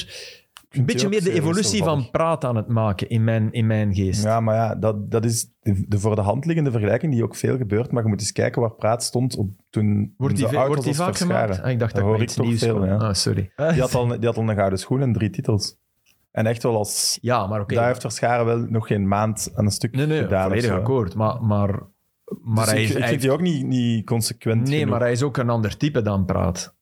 een beetje ook meer de zeer evolutie wisselvallig. van praat aan het maken in mijn, in mijn geest. Ja, maar ja, dat, dat is de, de voor de hand liggende vergelijking die ook veel gebeurt. Maar je moet eens kijken waar Praat stond op, toen Wordt die, zo ve- oud wordt was die vaak als Verscharen. gemaakt? Ah, ik dacht Dat dat ik hoor met ik iets toch nieuws veel, kwam. ja. Ah, sorry. Die had, al, die had al een gouden schoen en drie titels. En echt wel als... Ja, maar oké. Daar heeft Verscharen wel nog geen maand aan een stuk Nee, nee, gedaan. of volledig zo. akkoord. Maar, maar, maar Dus hij ik, is... ik hij vind die ook niet, niet consequent Nee, genoeg. maar hij is ook een ander type dan Praat.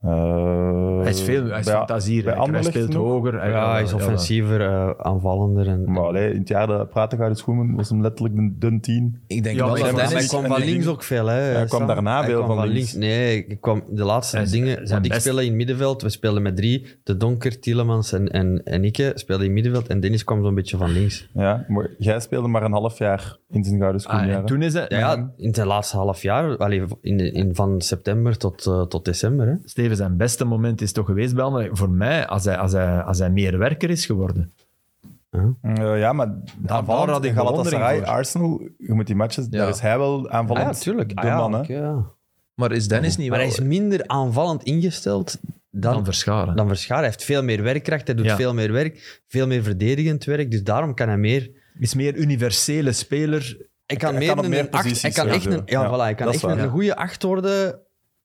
Eh, Hij is veel hij is bij- fantasierijk. bij Hij Anderlecht speelt nog? hoger. Hij, Ja, hij is offensiever, eh, aanvallender. En, Maar allee, in het jaar dat Praat de gouden schoen was hem letterlijk de dun tien. Ik denk Ja, wel maar dat Dennis... Ja, ik- maar hij Dennis- kwam en van die links ging- ook veel, hè? Sam? kwam daarna veel kwam van links. Nee, ik kwam de laatste Hij is- dingen. zijn Want ik best- speelde in middenveld. We speelden met drie. De Donker, Tielemans en, en, en ik speelden in middenveld. En Dennis kwam zo'n beetje van links. Ja, maar jij speelde maar een half jaar in zijn gouden schoen. Ah, en jaren. toen is hij... Ja, Mm-hmm. ja in het laatste half jaar. allee, in, de- in, van september tot, eh, tot december. Hè. Steven, zijn beste moment is toch geweest bij Anderlecht? Voor mij, als hij, als hij, als hij meer werker is geworden. Eh, ja, maar aanvallend Nou, daar had ik in Galatasaray, bewondering voor. Arsenal, je moet die matches, Ja. daar is hij wel aanvallend de Ah, ja, man. hè. oké, ja. Maar is Dennis niet Maar wel... hij is minder aanvallend ingesteld dan, Dan verscharen. dan Verscharen. Hij heeft veel meer werkkracht. Hij doet Ja. veel meer werk. Veel meer verdedigend werk. Dus daarom kan hij meer... Is meer universele speler. Hij kan, Hij meer kan op een meer acht- hij posities kan echt spelen. een, ja, Ja, voilà, hij kan dat echt is waar, een ja. goede acht worden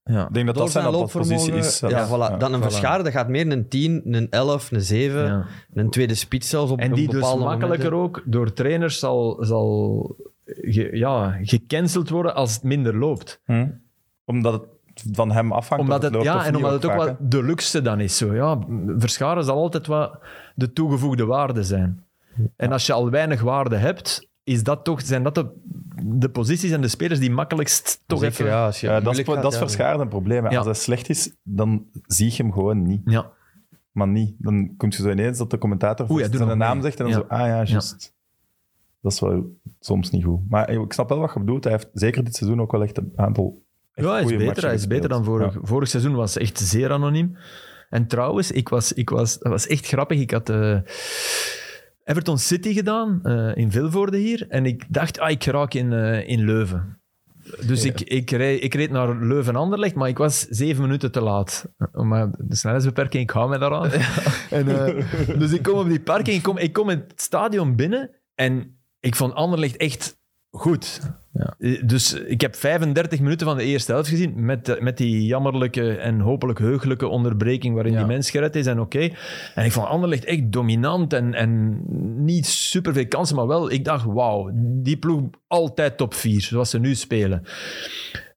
Ja. Ik denk dat door dat zijn zijn looppositie loopvermogen. is. ja, zelfs. voilà. dan een voilà. verscharen, dat gaat meer een 10, een 11, een 7, Ja. een tweede spits zelfs op En een die dus bepaalde makkelijker momenten. ook door trainers zal, zal ge- ja, gecanceld worden als het minder loopt. Hm? Omdat het van hem afhangt Omdat of het, loopt ja, of en niet, omdat het ook vaak, wat de luxe dan is. Zo, ja, verscharen zal altijd wat de toegevoegde waarde zijn. En als je al weinig waarde hebt, is dat toch, zijn dat de, de posities en de spelers die makkelijkst toch Zeker, even... ja, als je hè. Eh, dat is, moeilijk dat gaat, is ja. Verscharen een probleem. hè. Ja. Als hij slecht is, dan zie je hem gewoon niet. Ja. Maar niet. Dan komt je zo ineens dat de commentator Oei, hij doet zijn nog naam mee. zegt en dan Ja. zo, ah ja, juist. Dat is wel soms niet goed. Maar ik snap wel wat je bedoelt. Hij heeft zeker dit seizoen ook wel echt een aantal echt Ja, hij is goeie beter, matchen hij is beter dan gespeeld. vorig, vorig seizoen. was echt zeer anoniem. En trouwens, ik was, ik was, dat was echt grappig. Ik had eh, Everton City gedaan eh, in Vilvoorde hier. En ik dacht, ah, ik raak in, eh, in Leuven. Dus ik, ik, reed, ik reed naar Leuven-Anderlecht, maar ik was zeven minuten te laat. Eh, Maar de snelheidsbeperking, ik hou mij daaraan. En, eh, dus ik kom op die parking, ik kom, ik kom in het stadion binnen en ik vond Anderlecht echt goed. Eh, Dus ik heb 35 minuten van de eerste helft gezien met, de- met die jammerlijke en hopelijk heugelijke onderbreking waarin Ja. die mens gered is en oké. En ik vond Anderlecht echt dominant en, en niet superveel kansen, maar wel, ik dacht, wauw, die ploeg altijd top 4, zoals ze nu spelen.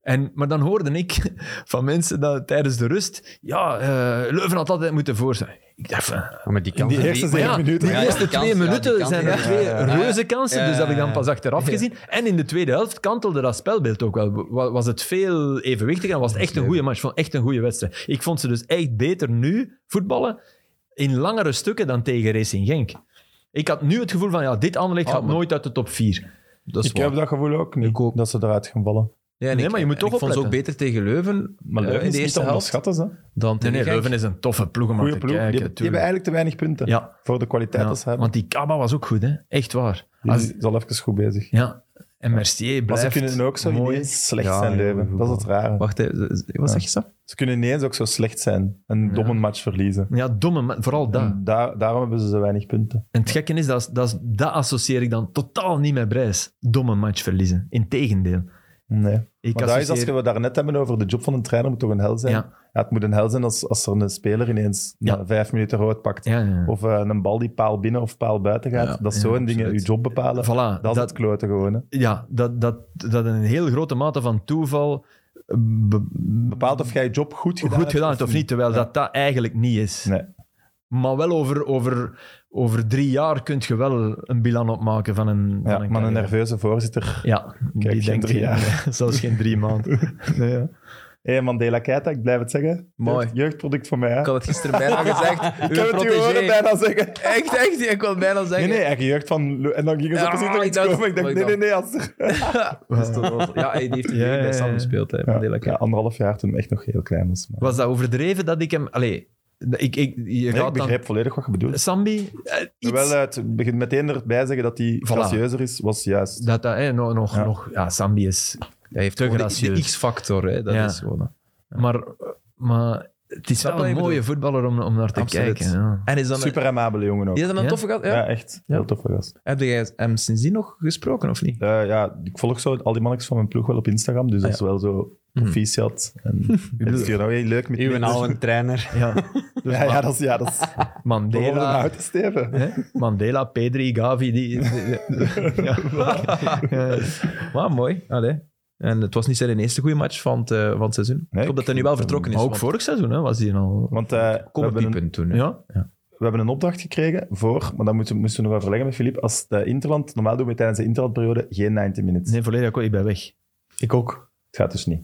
En, maar dan hoorde ik van mensen dat tijdens de rust, ja, eh, Leuven had altijd moeten voor zijn. Ik dacht van, Ja, maar die In kan die eerste zeven ja, minuten. de Ja, eerste die twee kansen, ja, minuten die kansen, zijn er ja. twee Ja, Eh, ja. reuze kansen, Ja, dus dat heb ik ja, dan ja. pas achteraf gezien. En in de tweede helft kantelde dat spelbeeld ook wel. Wa- Was het veel evenwichtiger en was het echt een goede match. Ik vond echt een goede wedstrijd. Ik vond ze dus echt beter nu voetballen in langere stukken dan tegen Racing Genk. Ik had nu het gevoel van, ja, dit Anderlecht Oh, Ah, gaat maar- nooit uit de top 4. Dat is Ik heb dat gevoel ook niet, Ik ook. dat ze eruit gaan vallen. Ja, en Nee, ik- maar je moet en toch Ik vond ze ook opletten. beter tegen Leuven Maar eh, Leuven in is de niet eerste te helft onderschatten, ze. dan Nee, tegen nee, Genk. Leuven is een toffe ploeg om naar Goeie te ploeg. Die, kijken. hebben- die hebben tuurlijk. eigenlijk te weinig punten Ja. voor de kwaliteit Ja, dat ze hebben. Want die Kaba was ook goed, hè. Echt waar. Die Als- is al even goed bezig. ja. En Mercier Maar blijft ze kunnen ook zo mooi. ineens slecht Ja, zijn, heel Leuven. goed Dat is het rare. Wacht, hè, wat zeg je, Sam? Ze kunnen ineens ook zo slecht zijn. Een domme match verliezen. Ja, domme, ma- vooral dat. En daar- daarom hebben ze zo weinig punten. En het gekke is, dat, is- dat, is- dat associeer ik dan totaal niet met Brijs. Domme match verliezen. Integendeel. Nee. Ik maar dat is als associeer... we het daarnet hebben over de job van een trainer, moet toch een hel zijn? Ja. Ja. het moet een hel zijn als, als er een speler ineens Ja. na vijf minuten rood pakt. Ja, ja. Of eh, een bal die paal binnen of paal buiten gaat. Ja, dat ja, zo'n dingen je absoluut. job bepalen. Voilà, dat is dat- het kloten gewoon. Hè. ja, dat, dat, dat een heel grote mate van toeval eh, be- Bepaalt of jij je job goed gedaan goed hebt gedaan hebt of niet, terwijl dat dat eigenlijk niet is. Nee. Maar wel over, over, over drie jaar kun je wel een bilan opmaken van een... Ja, van een maar een carrière. nerveuze voorzitter. Ja, Kijk, geen die denkt drie geen- jaar. nee, zelfs geen drie maanden. Nee, ja. hey, Mandela Keita, ik blijf het zeggen. Mooi. Jeugd- Jeugdproduct voor mij. Hè? Ik had het gisteren bijna gezegd. Ik heb het u horen bijna zeggen. Echt, echt. Ik wil bijna Nee, zeggen. nee, hij jeugd van... Lo- En dan gingen ze Ja, precies nog ik iets dacht- komen. Ik dacht, ik nee, nee, dacht- nee. Als er... Dus dat was- ja, hij die heeft Ja, ja, bij ja, Sam ja. gespeeld. Hè, ja, Mandela Cup. ja, anderhalf jaar toen hij echt nog heel klein was. Maar... Was dat overdreven dat ik hem... Allee, ik, ik, je Nee, ik gaat dan... begrijp volledig wat je bedoelt. Sambi, eh, iets... Wel, het begint meteen erbij zeggen dat hij gracieuzer is, was juist. Dat dat, hè, nog, nog, Ja. nog, ja, Sambi is. Hij heeft Te gewoon de- de, gracieus. X-factor. hè, Dat Ja. is gewoon... Maar, maar Het is Snap wel wat een ik mooie bedoel? voetballer om, om naar te Absoluut. kijken. Ja. En is dan Super amabele jongen ook. Is Ja, dat dan een Ja? toffe gast? Ja. echt. Ja. Heel toffe gast. Heb jij hem sindsdien nog gesproken of niet? Eh, ja, ik volg zo al die mannetjes van mijn ploeg wel op Instagram, Ah, dus dat is wel zo Mhm. proficiat. En het is hier nou heel leuk met Uw niks. oude trainer. Ja. Ja, ja, dat is... Ja, dat is we worden een Mandela, houten steven. hè? Mandela, Pedri, Gavi. Die, ja. Ja. Maar mooi. Allee. En het was niet zijn eerste goede match van het, eh, van het seizoen. Nee, ik hoop dat hij nu wel vertrokken is. Maar ook want- vorig seizoen hè, was hij al... Want eh, we, Kom op hebben die een, punt toen. hè. Ja, we hebben een opdracht gekregen voor, maar dat moeten, moesten we nog wel verleggen met Filip, als de Interland, normaal doen we tijdens de Interlandperiode geen 90 minutes. nee, volledig akkoord. Ik ben weg. Ik ook. Het gaat dus niet.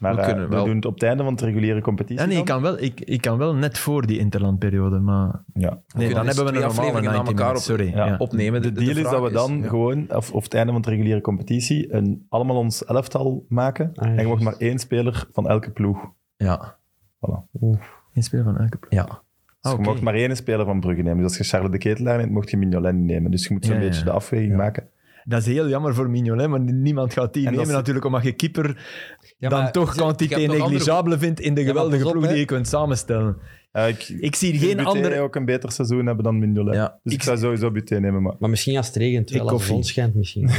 Maar We eh, we, kunnen wel. doen het op het einde van de reguliere competitie. Ja, nee, ik dan. kan, wel, ik, ik kan wel net voor die interlandperiode, maar... Ja. Nee, kunnen dan dus hebben we twee een normale afleveringen 90 na elkaar minutes, sorry. Ja. ja. Opnemen. De deal is vraag dat we dan ja. gewoon, of, of het einde van de reguliere competitie, een, allemaal ons elftal maken. Ah, ja, en je mag juist. maar één speler van elke ploeg. Ja. Voilà. Geen speler van elke ploeg. ja. Dus Ah, je oké. mocht maar één speler van Brugge nemen. Dus als je Charles de Ketelaar neemt, mocht je Mignolet niet nemen. Dus je moet zo'n Ja, ja, beetje ja. de afweging maken. Dat is heel jammer voor Mignolet, maar niemand gaat die En dat nemen is- natuurlijk, omdat je keeper dan maar toch je hebt quantité nog andere- negligabele vindt in de maar geweldige pas op, ploeg hè. die je kunt samenstellen. Eh, ik, Ik zie vind geen Buté andere... ook een beter seizoen hebben dan Mignolet. Ja. Dus ik, Ik- zou sowieso Buté nemen. Maar Maar misschien als het regent, Ik wel als de zon koffie. schijnt misschien.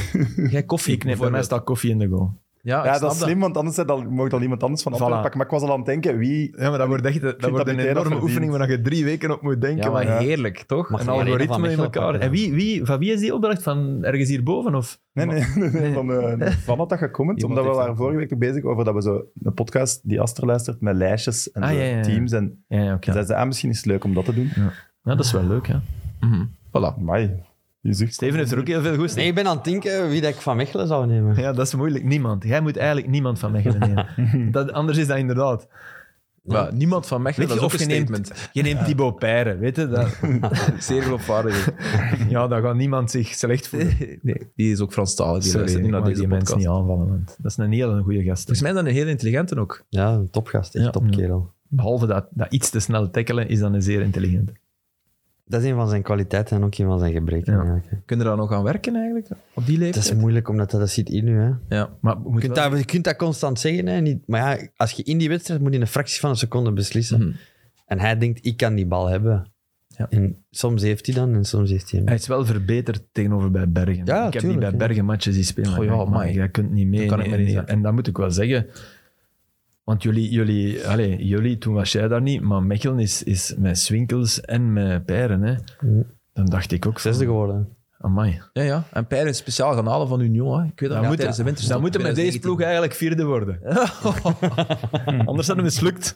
Jij koffie. Ik neem, bij mij bijvoorbeeld. staat koffie in de goal. Ja, ja, ik dat is snap slim, want anders had al, mocht al iemand anders van Antwerpen pakken. Maar ik was al aan het denken, wie... Ja, maar dat wordt echt dat dat wordt een Buté dat enorme verdient. oefening waar je drie weken op moet denken. Ja, maar want heerlijk, toch? Mag Een je alleen maar van algoritme in Mechelen elkaar. pakken, En wie, wie, van wie is die opdracht? Van ergens hierboven? Of? Nee, nee, nee, nee, Van, eh, van had dat gekomen? Iemand Omdat we heeft waren dat- vorige week nog bezig over dat we zo een podcast die Aster luistert met lijstjes en Ah, zo ja, ja, ja. teams. En Ja, ja, oké. zij zei, ah, misschien is het leuk om dat te doen. Ja, dat is wel leuk, ja. Mhm. Voilà. Amai, je zucht. Steven heeft er ook heel veel goed Nee, ik ben aan het denken wie dat ik van Mechelen zou nemen. Ja, dat is moeilijk. Niemand. Jij moet eigenlijk niemand van Mechelen nemen. Dat, anders is dat inderdaad. Maar niemand van Mechelen, Weet dat je, is ook of een je statement. neemt, je neemt Thibaut Peire, weet je? Dat, Zeer geloofwaardig. ja, dan gaat niemand zich slecht voelen. nee, die is ook Franstalig. Die Sorry, luistert niet ik mag naar die deze podcast. Dus mensen niet aanvallen. Want dat is een hele goede gast. Dus Volgens mij is dat een heel intelligente ook. Ja, een topgast, echt Ja. topkerel. Behalve dat, dat iets te snel tackelen, is dan een zeer intelligente. Dat is een van zijn kwaliteiten en ook een van zijn gebreken. Ja. eigenlijk, hè. Kunnen daar nog aan werken eigenlijk? Op die Het is leeftijd? moeilijk, omdat dat, dat zit in nu. Hè. Je, Ja. Maar we moeten kunt wel- dat, je kunt dat constant zeggen, hè. Niet, maar ja, als je in die wedstrijd moet je in een fractie van een seconde beslissen. Mhm. En hij denkt, ik kan die bal hebben. Ja. En soms heeft hij dan en soms heeft hij hem Hij niet. is wel verbeterd tegenover bij Bergen. Ja, ik heb die tuurlijk, bij ja. Bergen matches die spelen. Goh, ja, Maar amai. Jij kunt niet mee. Dat kan ik nee, me niet nee. zeggen. En dat moet ik wel zeggen. Want jullie, jullie, allez, jullie toen was jij daar niet, maar Mechelen is, is met Swinkels en met Peiren. Hè. Mm. Mhm. Dan dacht ik ook, Zesde van, geworden. amai. ja, ja. En Peiren is speciaal gaan halen van Union. Hè. Ik weet dat Dan ja, moet- tijdens de winter. dan moeten met deze ploeg eigenlijk vierde worden. Anders hadden we mislukt.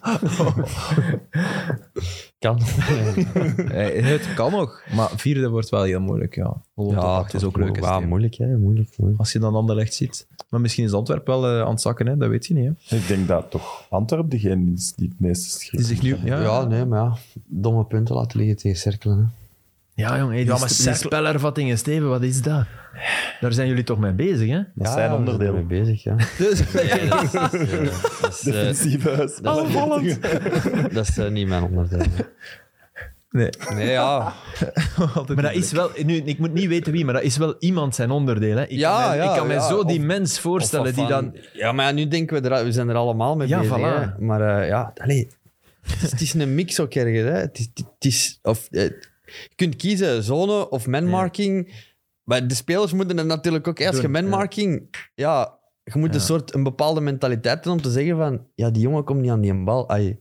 Kan. Eh, het kan nog, maar vierde wordt wel heel moeilijk. Ja, Holland op acht is ook leuk. hè, Ja, Steven. moeilijk, hè. Moeilijk, moeilijk. Als je dan Anderlecht ziet. Maar misschien is Antwerpen wel eh, aan het zakken, hè? dat weet je niet. Hè? Ik denk dat toch Antwerp degene is die het meeste Die schrikt. zich nu, ja, Ja, nee, maar ja. Domme punten laten liggen tegen cirkelen. Hè. Ja, jongen, hey, die, Ja, ja, maar maar cirkel- spelervattingen, Steven, wat is dat? Daar zijn jullie toch mee bezig, hè? Dat Ja, zijn ja, we onderdeel. Mee bezig, ja. Dus- Ja, dat is, eh, dat is, eh, Defensieve spelervattingen. dat is eh, niet mijn onderdeel. Nee. Nee, ja. Maar dat is wel, nu, ik moet niet weten wie, maar dat is wel iemand zijn onderdeel. Hè. Ik Ja, kan mij, ja, ik kan mij ja. zo die Of- mens voorstellen Of die van- dan. Ja, maar ja, nu denken we er, al- we zijn er allemaal mee Ja, bezig. voilà. hè. Maar eh, ja, allee, het, is, het is een mix ook ergens. Hè. Het is, het is, of, eh, je kunt kiezen zone of manmarking. Maar de spelers moeten het natuurlijk ook... Als je Doen, ja. manmarking... Ja, je moet een soort een bepaalde mentaliteit hebben om te zeggen van... Ja, die jongen komt niet aan die bal. ai.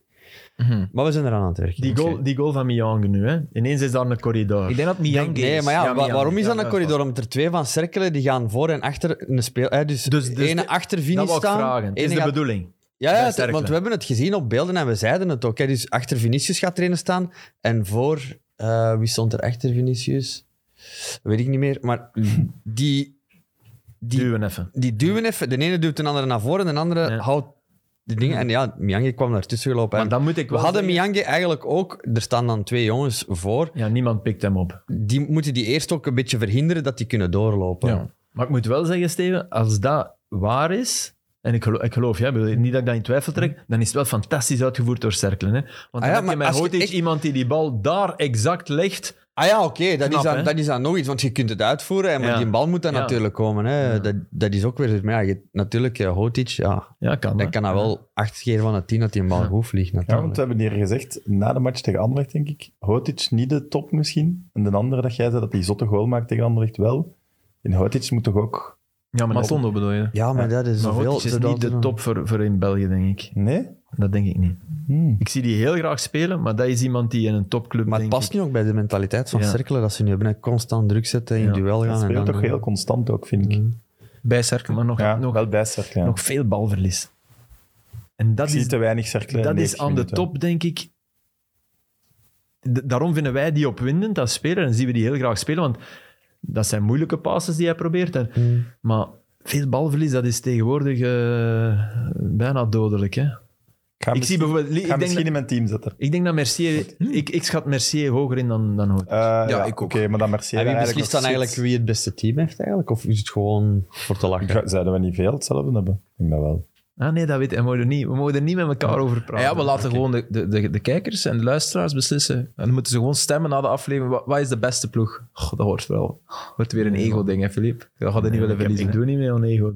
Mhm. Maar we zijn eraan aan het werken. Die goal, die goal van Miyang nu, hè? ineens is daar een corridor. Ik denk dat het Miyagi is. Nee, maar ja, Ja, wa- Mian. waarom is Ja, dat dat een is corridor? Omdat er twee van cirkelen, die gaan voor en achter een speel... Hè, dus, Dus- dus dus ene de- achter dat Vini wou ik staan. vragen. Het ene is de gaat- bedoeling. Ja, ja bij het- Cercle. want we hebben het gezien op beelden en we zeiden het ook. Hè, dus achter Vinicius gaat er een staan en voor... eh, wie stond er achter Vinicius? Weet ik niet meer. Maar die, die, Duwen even. die duwen even. De ene duwt de andere naar voren en de andere Ja. houdt de dingen. En ja, Miange kwam daartussen gelopen. Maar En dan moet ik we wel hadden zeggen- Miange eigenlijk ook... Er staan dan twee jongens voor. Ja, niemand pikt hem op. Die moeten die eerst ook een beetje verhinderen dat die kunnen doorlopen. Ja. Maar ik moet wel zeggen, Steven, als dat waar is. En ik geloof, ik geloof ja, ik bedoel, niet dat ik dat in twijfel trek, dan is het wel fantastisch uitgevoerd door Cerkelen. Hè? Want dan Ah ja, heb maar je met als je Hotic echt- iemand die die bal daar exact legt Ah ja, oké, dat, Knap, is hè? dan- dat is dan nog iets, want je kunt het uitvoeren, en maar Ja. die bal moet dan Ja. natuurlijk komen. Hè. Ja. Dat, dat is ook weer... Maar ja, je- natuurlijk, eh, Hotic, ja, Ja, kan. dan hè. kan dat wel acht keer van de tien dat die een bal goed vliegt, Ja, want natuurlijk. we hebben hier gezegd, na de match tegen Anderlecht, denk ik, Hotic niet de top misschien. En de andere dat jij zei dat hij zotte goal maakt tegen Anderlecht wel. En Hotic moet toch ook... Ja, maar Matondo Matondo bedoel je? Ja, maar dat is Maar zoveel... Hotic is dat- niet de top voor, voor in België, denk ik. Nee? Dat denk ik niet. Hmm. Ik zie die heel graag spelen, maar dat is iemand die in een topclub, Maar het denk past ik... nu ook bij de mentaliteit van Ja. Cerkelen, dat ze nu hebben hè, constant druk zetten, in Ja. duel gaan. Hij en speelt dan, toch eh, heel constant ook, vind ik. Ja. Bij Cerkel. Maar nog, Ja, nog, wel bijsterk, ja. nog veel balverlies. En ik dat zie is, te weinig cirkelen. in dat is 90 aan de minuten. top, denk ik... D- daarom vinden wij die opwindend als speler en zien we die heel graag spelen, want dat zijn moeilijke passes die hij probeert. En, Mm. maar veel balverlies, dat is tegenwoordig eh, bijna dodelijk. Hè? Ik ga Ik zie misschien, bijvoorbeeld... Li- ik ga Ik denk, misschien dat, in mijn team zetten. ik denk dat Mercier... Ik, ik schat Mercier hoger in dan, dan Hoort. Eh, ja, ik ook. Oké, maar dan Mercier En wie eigenlijk beslist nog dan eigenlijk zit. wie het beste team heeft eigenlijk? Of is het gewoon voor te lachen? Ga- Zouden we niet veel hetzelfde hebben? Ik denk dat wel. Ah nee, dat weet hij. We mogen er niet, we mogen er niet met elkaar over praten. Ja, we laten Oké. gewoon de, de, de, de kijkers en de luisteraars beslissen. En dan moeten ze gewoon stemmen na de aflevering. Wa- Wat is de beste ploeg? Goh, dat hoort wel. Wordt weer een ego-ding, hè, Filip? Dat gaat er niet willen ik, heb- verliezen. ik doe niet mee aan ego.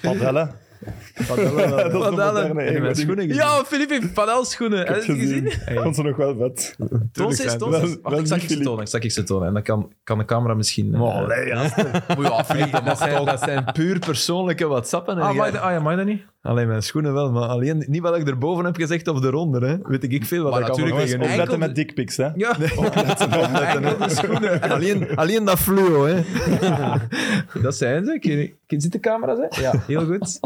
Padelle. Padellen. is Padellen. een moderne En mijn ego-ding. schoenen gezien. Ja, Filip heeft padelschoenen. Ik Heb heb je het gezien? gezien. Ik vond ze nog wel vet. Toon zijn is, ze. toon Wel- is. Wacht, wel ik zak niet ik ze Filip. tonen. Ik zak ik ze tonen. En dan kan, kan de camera misschien... eh, Oh, Moet je afleveren, dat dat, mag zijn, ook. dat zijn puur persoonlijke WhatsAppen. En Ah, mag jij- je dat- ah ja, mag je dat niet? Alleen mijn schoenen wel, maar alleen niet wat ik erboven heb gezegd of eronder. Hè. Weet ik, ik veel wat Maar ik natuurlijk allemaal is- tegen Opletten Enkel- met dickpics, hè. Ja. u- alleen, alleen dat fluo. Hè. Dat zijn ze. Ik weet niet. Zit de camera, hè? Ja, heel goed.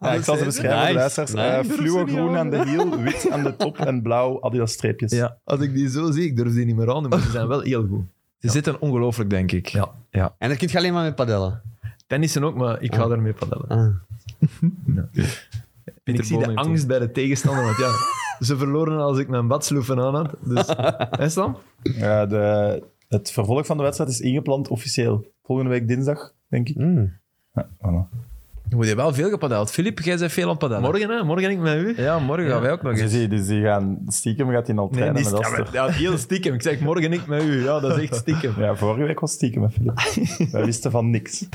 Ja, ik zal ze beschrijven voor de Nice, luisteraars. nice. Eh, durf ze fluo niet groen aan. aan de hiel, wit aan de top en blauw Adidas streepjes. Ja. Als ik die zo zie, ik durf die niet meer aan, maar ze zijn wel heel goed. Ze zitten ongelooflijk, denk ik. Ja. ja. En dat kun je alleen maar met padellen. Tennissen ook, maar ik ga daarmee padellen. Ah. En ik Pieter zie Boon de heeft angst bij de tegenstander, want ja, ze verloren als ik mijn badsloeven aan had. Dus, hè Sam? Ja, Eh, de, het vervolg van de wedstrijd is ingepland officieel. Volgende week dinsdag, denk ik. Oh, Mm. Ja, voilà. Je moet je wel veel gepadeld. Filip, jij bent veel aan het padellen. Morgen, hè? Morgen ik met u. Ja, morgen gaan wij ook nog Dus, je eens. ziet, dus die gaan stiekem gaat hij al Nee, trainen die met ja, Aster. maar- ja, heel stiekem. Ik zeg morgen ik met u. Ja, dat is echt stiekem. Ja, vorige week was stiekem, hè, Filip. Wij wisten van niks.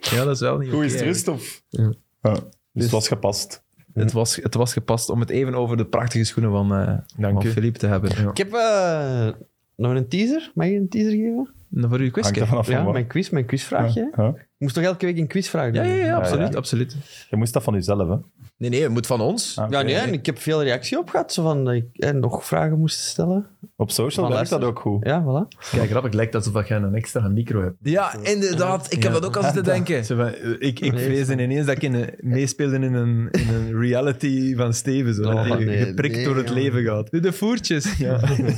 Ja, dat is wel niet Hoe is oké, eigenlijk. het, Christophe? Ja. Dus, het was gepast. Het was, het was gepast om het even over de prachtige schoenen van, eh Dank van u. Filip te hebben. Ja. Ik heb eh, nog een teaser. Mag je een teaser geven? Nou, voor uw Hangt quizje. er vanaf van Ja, wat. mijn quiz, mijn quizvraagje. hè. Ja, ja. Ik moest toch elke week een quizvraag Ja, doen? ja, ja, absoluut, ja. absoluut. Je moest dat van jezelf, hè? Nee, nee, het moet van ons. Ah, oké. Ja, nee, en ik heb veel reactie op gehad, zo van dat ik eh, nog vragen moest stellen. Op social Van werkt dat ook goed. Ja, voilà. Kijk, grappig. Het lijkt alsof jij een extra micro hebt. Ja, inderdaad. Ik heb Ja. dat ook al zitten denken. Zo van, eh, ik, ik vrees ineens dat ik in een, meespeelde in een, in een reality van Steven. Zo, Oh, dat hij nee, geprikt nee, door het ja. leven gaat. De voertjes. Nee, nee, nee.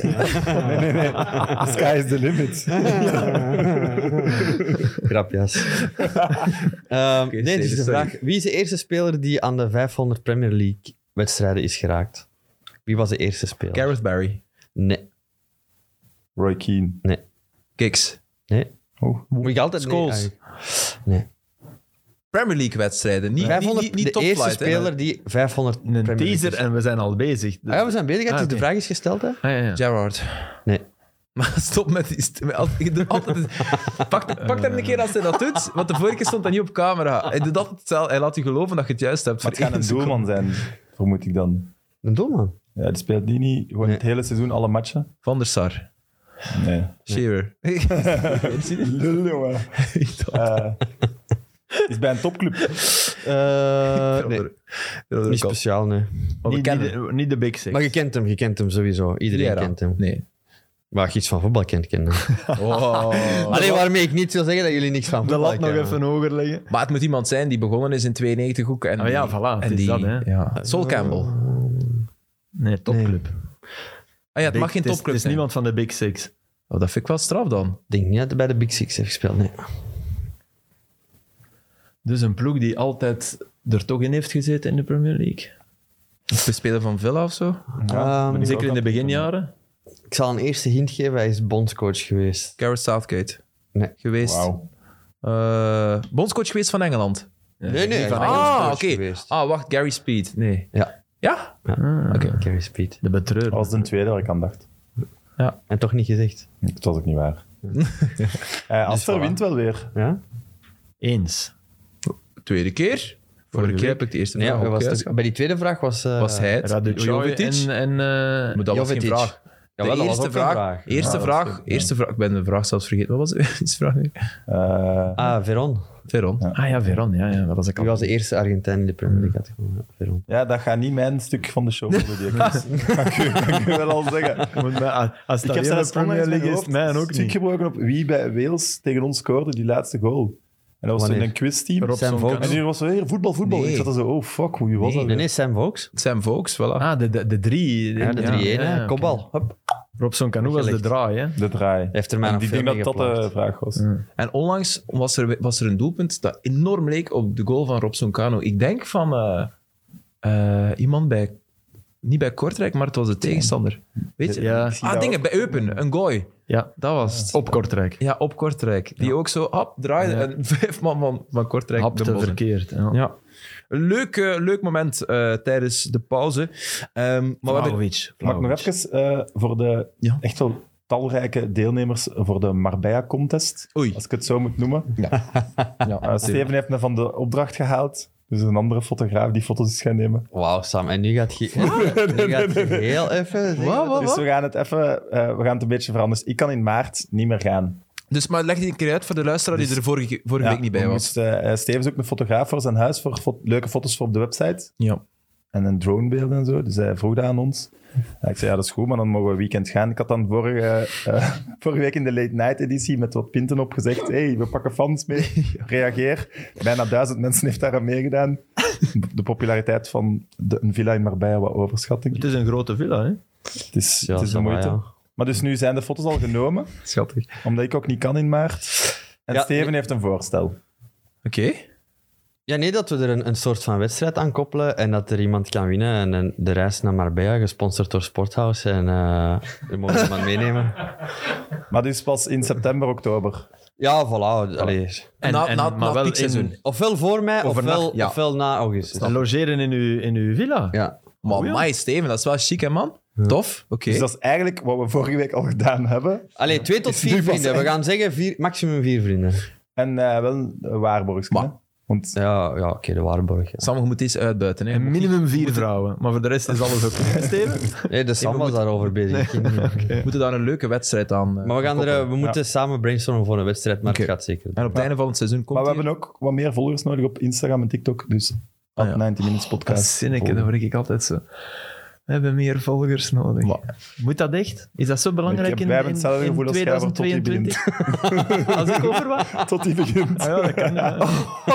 The Ah, sky is the limit. Grapjas. Ehm Oké, nee, dit is Steven, de sorry. vraag. Wie is de eerste speler die aan de 500 Premier League wedstrijden is geraakt? Wie was de eerste speler? Gareth Barry. Nee. Roy Keane. Kiks. Nee. Oh. Moet je altijd... nee, Scholes. eigenlijk. Nee. Premier League wedstrijden. Niet, niet, 500, niet, niet de top eerste flight, hè. speler die 500 Een Premier League teaser en we zijn al bezig. Dus- Ah ja, we zijn bezig. Het Ah, is oké. De vraag is gesteld, hè? Ah, ja, Eh, ja. Gerrard. Nee. Maar stop met die... st- met al- ik doe altijd, pak pak hem een keer als hij dat doet, want de vorige keer stond dat niet op camera. Hij, doet altijd hetzelfde. hij laat je geloven dat je het juist hebt. Maar het gaat een doelman zijn, vermoed ik dan. Een doelman. Ja, die speelt die niet gewoon Nee. het hele seizoen alle matchen? Van der Sar. Nee. Shearer. Lul, jongen. Eh, is bij een topclub. Eh nee, nee. niet speciaal, nee. Maar we Niet, kennen niet de, niet de Big Six. Maar je kent hem, je kent hem sowieso. Iedereen Vieira. kent hem. Nee. Waar je iets van voetbal kent, kent hem. Oh. Allee, waarmee ik niet wil zeggen dat jullie niks van de voetbal lat nog kennen. even hoger leggen. Maar het moet iemand zijn die begonnen is in 92 ook. En Ah, ja, die- voilà, het En is die, dat, hè. Ja. Sol Campbell. Nee, topclub. Ah ja, het Big- mag geen is- topclub Het is zijn. niemand van de Big Six. Oh, dat vind ik wel straf dan. Ik denk niet dat hij bij de Big Six heeft gespeeld, nee. Dus een ploeg die altijd er toch in heeft gezeten in de Premier League. Is de speler van Villa of zo? Ehm, ben ik ook Zeker in de aan- beginjaren. Ik zal een eerste hint geven, hij is bondscoach geweest. Gareth Southgate. Nee. Geweest. Wauw. Eh, bondscoach geweest van Engeland. Nee, nee, hij is Ah, bondscoach oké. geweest. Ah, wacht, Gary Speed. Nee. Ja. Ja? Ah, Oké. Kevin Speed. De betreur. Dat was de tweede waar ik aan dacht. En toch niet gezegd. Dat was ook niet waar. Dus Eh Aster voilà. wint wel weer. Ja? Eens. Tweede keer. Vorige keer heb ik de eerste Nee, vraag was ook, de- hè. bij die tweede vraag was... eh, Was hij het? Radu Jovetic? en... en eh, Maar dat was geen Jovetic. vraag. De Jawel, dat was eerste ook een vraag. vraag. Eerste Ja, dat vraag. was ook, ja. Eerste vraag. Ik ben de vraag zelfs vergeten. Wat was de eerste vraag? nu? Eh, Ah, Veron. Veron. Ah ja, Veron. Ja, ja, dat was ik Die al. was de eerste Argentijn in de Premier League. had ik gewoon, ja, Veron. ja, dat gaat niet mijn stuk van de show worden. die ik- Dat kan ik u- dat kan ik u wel al zeggen. Moet mij- Als Ik dat heb heel zelfs de Premier onlangs mijn League is, hoofd mij ook stuk niet. gebroken op wie bij Wales tegen ons scoorde die laatste goal. En dat was toen Wanneer? een quizteam. Robson Sam kan- Vogel. En hier was zo weer voetbal, voetbal. Nee. Ik zat er zo, oh fuck, hoe was dat? Nee, weer? nee, Sam Vokes. Sam Vokes, voilà. Ah, de, de, de drie. Ja, de 3-1, hè. oké. kopbal. Hup. Robson Canu was de Gelegd. draai, hè. De draai. Heeft er mij En nog Ik veel denk mee dat dat de geplaagd. vraag was. En onlangs was er, was er een doelpunt dat enorm leek op de goal van Robson Cano. Ik denk van eh, eh, iemand bij, niet bij Kortrijk, maar het was de tegenstander. Weet je? Ja. Ah, dingen, bij Eupen, een gooi. Ja, Dat was het. op Kortrijk. Ja, op Kortrijk. Die ook zo hap draaide Ja. en vijf man van, van Kortrijk Hapte dubbelde. verkeerd. Ja. Ja. Een leuk, eh, leuk moment eh, tijdens de pauze. Ehm, maar we hebben- Vlahovic. Mag ik nog Vlahovic. even eh, voor de Ja. echt wel talrijke deelnemers voor de Marbella-contest, Oei. als ik het zo moet noemen. Eh, Steven heeft me van de opdracht gehaald. Dus een andere fotograaf die foto's is gaan Oh, nemen. Wauw, Sam. En nu gaat je, nu gaat je heel even... Wat, wat, Dus wat? we gaan het even, eh, we gaan het een beetje veranderen. Dus ik kan in maart niet meer gaan. Dus maar leg die een keer uit voor de luisteraar Dus- die er vorige, vorige Ja, week niet bij we was. moesten, eh, Steven is ook een fotograaf voor zijn huis, voor fo- leuke foto's voor op de website. Ja. En een dronebeeld en zo. Dus hij vroeg dat aan ons. Ja, ik zei, ja, dat is goed, maar dan mogen we weekend gaan. Ik had dan vorige, eh, vorige week in de late night editie met wat pinten op gezegd, hey, we pakken fans mee, reageer. Bijna duizend mensen heeft daar aan meegedaan. De populariteit van de, een villa in Marbella wat overschatting. Het is een grote villa, hè. Het is, Ja, het is dat een wel, moeite. ja. Maar dus nu zijn de foto's al genomen, Schattig. Oké. omdat ik ook niet kan in maart. En Ja, Steven nee. heeft een voorstel. Ja, nee, dat we er een, een soort van wedstrijd aan koppelen en dat er iemand kan winnen. En, en de reis naar Marbella, gesponsord door Sporthouse. En eh er mogen we iemand meenemen. Maar dus pas in september, oktober. Ja, voilà. Allee. En, na, na, na maar wel het piekseizoen. in- Ofwel voor mij, Overnacht, ofwel, ja. ofwel na augustus. en logeren in uw, in uw villa. Ja. Maar Oh ja. my Steven, dat is wel chic, hè, man? Tof, oké. Dus dat is eigenlijk wat we vorige week al gedaan hebben. Allee, twee tot Is nu vier pas vrienden. We echt. gaan zeggen vier, maximum vier vrienden. En eh, wel een waarborgsken, Maar- hè. Want Ja, ja oké, de Waarborg. ja. Sam, je moet iets uitbuiten. Hè. Je En moet minimum vier vrouwen. Maar voor de rest is alles oké. Steven? Nee, de Sam was daarover bezig. We moeten daar een leuke wedstrijd aan. eh, Maar we, gaan er, eh, koppelen. we moeten samen brainstormen voor een wedstrijd, maar Oké. het gaat zeker. En op het einde van het seizoen komt Maar we die- hebben ook wat meer volgers nodig op Instagram en TikTok. Dus Ah, op ja. 90 Minutes Podcast. Dat is zinneke, dat word ik altijd zo. We hebben meer volgers nodig. Moet dat echt? Is dat zo belangrijk Ik in, heb- wij hebben in, hetzelfde in gevoel als jij, maar tot die 2022? als ik over was? Ah Tot die begint. ja, dat kan. ja.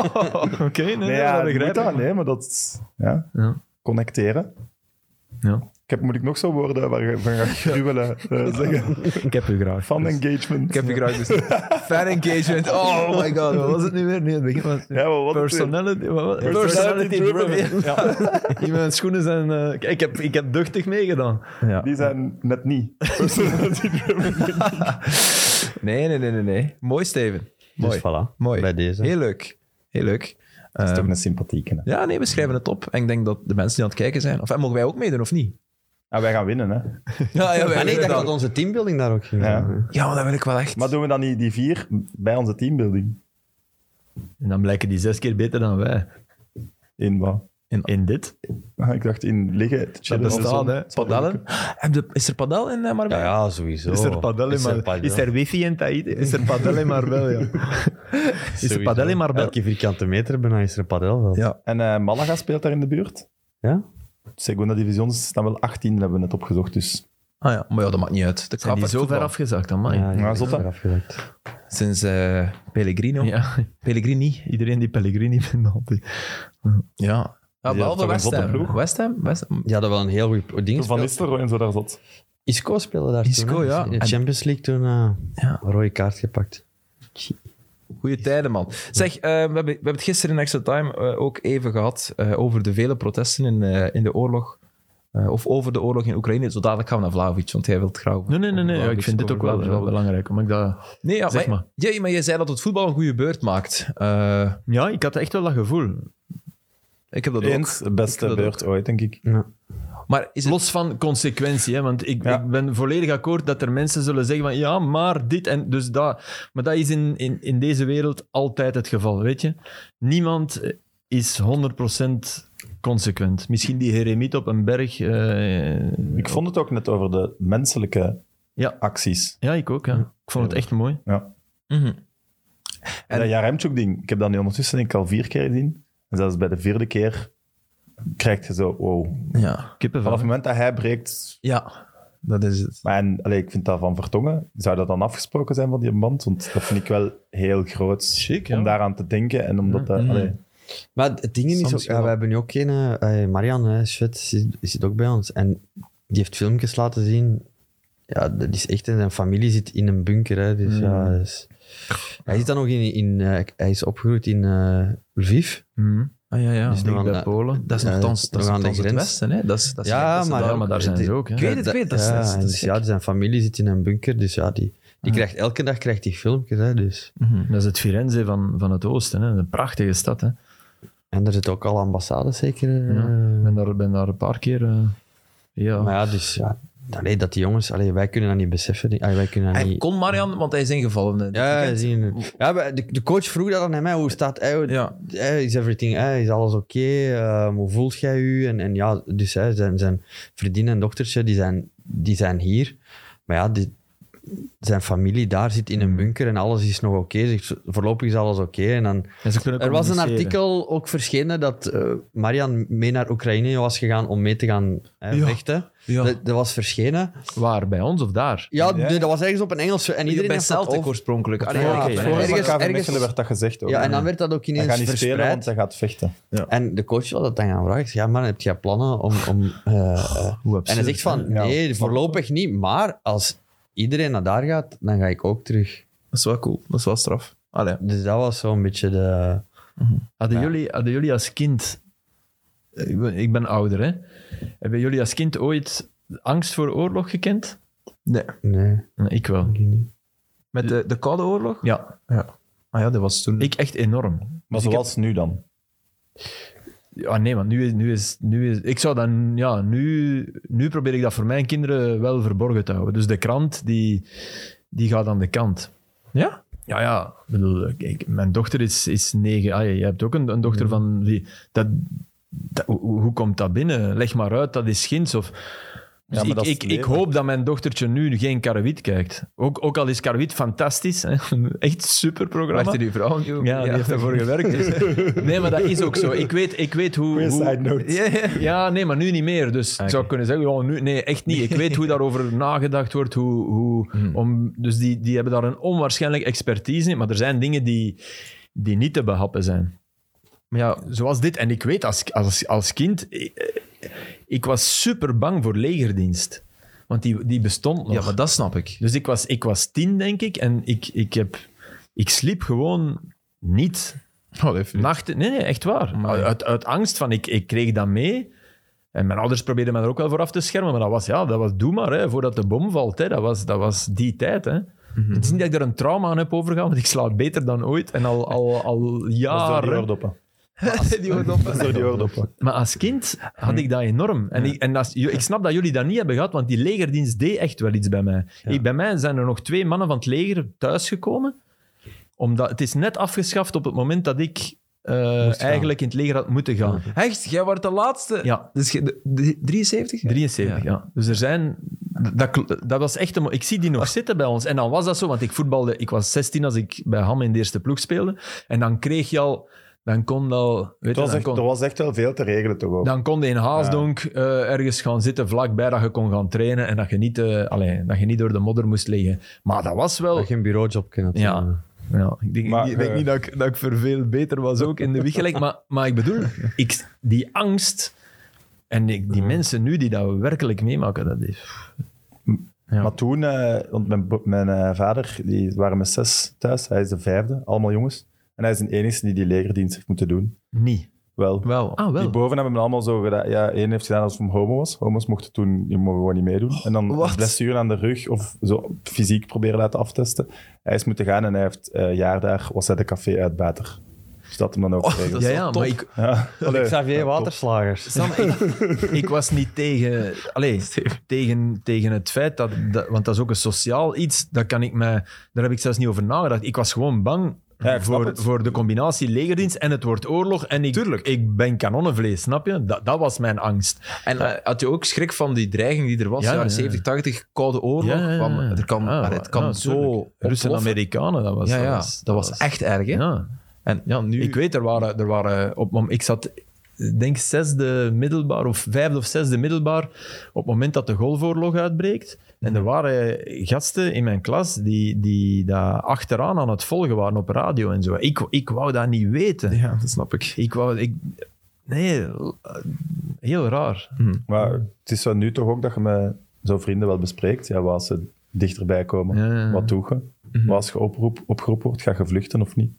Oké, nee, nee, nee, ja, dat dat begrijp moet ik. dat, nee, maar dat is... Ja, Ja. connecteren. Ja. Ik heb, moet ik nog zo woorden waar je van gaat gruwelen eh, zeggen? Ik heb u graag. Fan engagement. Ik heb je graag besteld. Fan engagement. Oh my god. Wat was het nu weer? Nee, het begin was... Ja, maar wat het weer? Personality, wat was het? Personality driven. Ja, In mijn schoenen zijn... eh, ik, heb, ik heb duchtig meegedaan. Ja. die zijn net niet. Personality driven. Nee, nee, nee, nee, nee. Mooi, Steven. Mooi. Dus voilà, Mooi. bij deze. Heel leuk. Heel leuk. Dat is Eh, toch een sympathieke. hè? ja, nee, we schrijven het op. En ik denk dat de mensen die aan het kijken zijn. Of en mogen wij ook meedoen of niet? Ah, wij gaan winnen, hè. Ja, ja, Maar nee, ik dacht dat dat. onze teambuilding daar ook ging. Ja. zijn. Ja, maar dat wil ik wel echt. Maar doen we dan niet die vier bij onze teambuilding? En dan blijken die zes keer beter dan wij. In wat? In dit. Ah, Ik dacht in liggen, te chillen. bestaat, Zo- hè. Padellen? Heb je- Is er padel in eh, Ja, Marbella? ja, sowieso. Oh, Is er padel in Marbella? Is er wifi in Tahiti? Is er padel in Marbella? Is er padel in Marbella? Elke vierkante meter bijna is er padelveld. Ja. En eh, Malaga speelt daar in de buurt. Ja? Segunda Division staan wel 18, hebben we net opgezocht. Dus Ah ja, maar ja, dat maakt niet uit. De Zijn die zo ver afgezakt, amai. Ja, Ja. die Ja, is zot, hè? er afgezakt. Sinds eh, Pellegrino. Pellegrini. Iedereen die Pellegrini vindt altijd. Ja. Ja, behalve toch een West zotte Ham. West ploeg. Ham. West Ham. Die hadden wel een heel goed ding. Van gespeeld. Nistelrooy en zo daar zat. Isco speelde daar Isco, toen. hè. ja. In de En- Champions League toen eh Ja. een rode kaart gepakt. Goeie tijden, man. Zeg, eh, we, hebben, we hebben het gisteren in Extra Time eh, ook even gehad eh, over de vele protesten in, eh, in de oorlog. eh, of over de oorlog in Oekraïne. Zo dadelijk gaan we naar Vlaovic, want jij wilt graag... over- Nee, nee, nee. nee. over Ja, ik vind Vlahovic- dit ook wel over wel Vlahovic. belangrijk. Omdat ik dat... Nee, ja, Zeg maar, maar. Ja, maar je zei dat het voetbal een goede beurt maakt. Eh, Ja, ik had echt wel dat gevoel. ik heb dat ook. Eens, beste Ik wil dat beurt ooit, denk ik. Ja. Maar is het... Los van consequentie, hè, want ik, Ja. ik ben volledig akkoord dat er mensen zullen zeggen van ja, maar dit en dus dat. Maar dat is in, in, in deze wereld altijd het geval, weet je. Niemand eh, is 100% consequent. Misschien die heremiet op een berg. eh, Ik vond het ook net over de menselijke Ja. acties. Ja, ik ook. Ja. Ik vond het echt mooi. Mhm. En- En dat Jaremchuk-ding, ik heb dat nu ondertussen denk ik al vier keer gezien. En zelfs bij de vierde keer krijg je zo, wow. Ja. Kippenvel. Vanaf het moment dat hij breekt... ja, dat is het. Maar en, allee, ik vind dat van Vertongen. Zou dat dan afgesproken zijn van die band? Want dat vind ik wel heel groot Chic, ja. om daaraan te denken. En omdat dat... Mhm. allee, Maar het ding is Soms ook, ja, wel. we hebben nu ook geen... eh, eh, Marian hè, Schut zit, zit ook bij ons. En die heeft filmpjes laten zien. Ja, dat is echt... En zijn familie zit in een bunker. Hè, dus, ja, Hmm. dat is- hij zit dan nog in... in eh, hij is opgegroeid in eh Lviv. Mhm. Ah, ja, ja. Dus nog Dicht bij aan- Polen. Dat is Ja, nogthans, dat is nog aan de nogthans het grens. Westen, hè? Dat is, dat is, Ja, dat is maar daar Ja, maar daar zijn ze ook. Hè. Ik weet het, ik weet het, dat is- ja, dat is- dat is dus gek. ja, zijn familie zit in een bunker. Dus ja, die, die krijgt elke dag krijgt die filmpjes. Hè, dus. Mhm. Dat is het Firenze van, van het oosten. Hè. Een prachtige stad. Hè. En er zitten ook al ambassades zeker. eh, Ja. Ik ben daar, ben daar een paar keer... eh, ja. Maar ja, dus ja, allee, dat die jongens, allee, wij kunnen dat niet beseffen. die- allee, wij kunnen dat Hij niet. kon Marian, want hij is ingevallen. dit Ja, weekend. zien. ja maar de, de coach vroeg dat aan hem, hè, hoe staat hij? Ja. Hij, Is everything, hij, is alles oké? Ehm, hoe voelt jij u? En, en ja, dus hè, zijn, zijn vriendin en dochtertje, die zijn, die zijn hier. Maar ja, die, zijn familie daar zit Mhm. in een bunker en alles is nog oké. Dus Voorlopig is alles oké. En dan En ze kunnen er was een communiceren. artikel ook verschenen dat eh, Marian mee naar Oekraïne was gegaan om mee te gaan hè, Ja. vechten. Ja. Dat, dat was verschenen. Waar? Bij ons of daar? Ja, Ja. nee, dat was ergens op een Engels. En iedereen bij had dat Celtic over- oorspronkelijk. Allee, Ja, ja, oké. ik ben Voor- ergens- Ergens, ergens- werd dat gezegd ook. Ja, en dan werd dat ook hij ineens gaat niet spelen, verspreid. want hij gaat vechten. En de coach wil dat dan gaan vragen. Ik zeg, Ja, man, heb jij plannen om... om eh, eh, Oh, Hoe En hij absurd. zegt van, Ja. nee, voorlopig niet. Maar als iedereen naar daar gaat, dan ga ik ook terug. Dat is wel cool. Dat is wel straf. Allee. Dus dat was zo'n beetje de... Hadden, Ja. jullie, hadden jullie als kind... Ik ben, ik ben ouder, hè. Hebben jullie als kind ooit angst voor oorlog gekend? Nee. Nee, Nee, Ik wel. denk ik niet. Met de, de Koude Oorlog? Ja, Ah ja, dat was toen... ik echt enorm. Maar Dus ik heb- zoals nu dan. Ja, Ah, nee, want nu is, nu is, nu is... Ik zou dan... Ja, nu, nu probeer ik dat voor mijn kinderen wel verborgen te houden. Dus de krant, die, die gaat aan de kant. Ja? Ja, ja. Ik bedoel, ik- mijn dochter is, is negen. Ah, je hebt ook een, een dochter van... Die, dat, dat- hoe, hoe komt dat binnen? Leg maar uit, dat is ginds. Of, Dus maar ik, dat is ik, ik lelijk. hoop dat mijn dochtertje nu geen Karwit kijkt. Ook, ook al is Karwit fantastisch. Hè? Echt super programma. Wacht, die vrouw? Ja, Ja, die heeft ervoor gewerkt. dus- Nee, maar dat is ook zo. Ik weet, ik weet hoe... Goeie hoe side note. Ja, ja. ja, nee, maar nu niet meer. Dus ik zou kunnen zeggen, oh, nu, nee, echt niet. Ik weet hoe daarover nagedacht wordt. Hoe, hoe, om, dus die, die hebben daar een onwaarschijnlijke expertise in. Maar er zijn dingen die, die niet te behappen zijn. Maar ja, zoals dit. En ik weet, als, als, als kind... Ik, ik was super bang voor legerdienst. Want die, die bestond nog. Ja, maar dat snap ik. Dus ik was, ik was tien, denk ik. En ik, ik, heb, ik sliep gewoon niet. Nachten, nee, nee, echt waar. Amai. Uit, uit angst van, ik, ik kreeg dat mee. En mijn ouders probeerden mij er ook wel voor af te schermen. Maar dat was, ja, dat was doe maar, hè, voordat de bom valt. Hè. Dat, was, dat was die tijd, hè. Mhm. Het is niet dat ik er een trauma aan heb overgegaan, want ik slaap beter dan ooit. En al, al, al Dat is door die jaren. oordoppen. die wordt op. Dat is door die oordoppen. Maar als kind had ik dat enorm. En, ik, en als, ik snap dat jullie dat niet hebben gehad, want die legerdienst deed echt wel iets bij mij. Ik, bij mij zijn er nog twee mannen van het leger thuisgekomen. Omdat, het is net afgeschaft op het moment dat ik eh, eigenlijk in het leger had moeten gaan. Echt? Jij wordt de laatste? Ja. Dus je- de- de- 73? 73, ja. Dus er zijn... Dat, kl- dat was echt een, mo- ik zie die nog zitten bij ons. En dan was dat zo, want ik voetbalde... Ik was 16 als ik bij Ham in de eerste ploeg speelde. En dan kreeg je al... Dan kon dat al... Weet je, Het was dan echt, kon- er was echt wel veel te regelen toch ook. Dan kon je in Haasdonk eh, ergens gaan zitten vlakbij dat je kon gaan trainen en dat je niet, eh, allee, dat je niet door de modder moest liggen. Maar dat was wel... Dat je een bureaujob kunt Oh. Ja. doen. Ja, ik denk, Maar, ik denk eh, niet dat ik, dat ik verveel beter was ook in de wieg gelegd. Maar, maar ik bedoel, ik, die angst en ik- Mm. die mensen nu die dat werkelijk meemaken, dat is... Ja. Maar toen, eh, want mijn, bro- mijn eh, vader, die waren met zes thuis. Hij is de vijfde, allemaal jongens. En hij is de enige die die legerdienst heeft moeten doen. Niet. Wel. Wel. Ah, Die wel. boven hebben het allemaal zo gedaan. Ja, één heeft gedaan als het om homo was. Homo's mochten toen die mogen gewoon niet meedoen. En dan wat? blessuren aan de rug of zo fysiek proberen laten aftesten. Hij is moeten gaan en hij heeft eh, een jaar daar, was hij de café uitbater. Dus dat hem dan ook tegen. Oh, dat Ja, is wel ja, maar top. ik, Ja. Allee, Xavier ja, top. Waterslagers. Sam, ik, ik was niet tegen, allee, tegen, tegen het feit dat, dat- Want dat is ook een sociaal iets. Dat kan ik me, daar heb ik zelfs niet over nagedacht. Ik was gewoon bang Ja, ik snap voor, het. voor de combinatie legerdienst en het wordt oorlog. En ik, Tuurlijk. ik ben kanonnenvlees, snap je? Dat, dat was mijn angst. En eh, had je ook schrik van die dreiging die er was, Ja, jaren ja. 70, 80, koude oorlog? Ja, ja, ja. kwam- er kan, Ah, maar het kan ah, zo tuurlijk. Russen en ontploffen. Amerikanen, dat was... Ja, ja, dat was echt erg. Hè? Ja. En ja, nu... Ik weet, er waren, er waren op, mom- ik zat, ik denk zesde middelbaar of vijfde of zesde middelbaar op het moment dat de golfoorlog uitbreekt. En er waren gasten in mijn klas die, die daar achteraan aan het volgen waren op radio en zo. Ik, ik wou dat niet weten. Ja, dat snap ik. Ik wou... Ik, nee, heel raar. Maar het is zo nu toch ook dat je met zo'n vrienden wel bespreekt. Ja, waar ze dichterbij komen, Ja, ja, ja. wat doe je? Maar als je oproep, opgeroepen wordt, ga je vluchten of niet?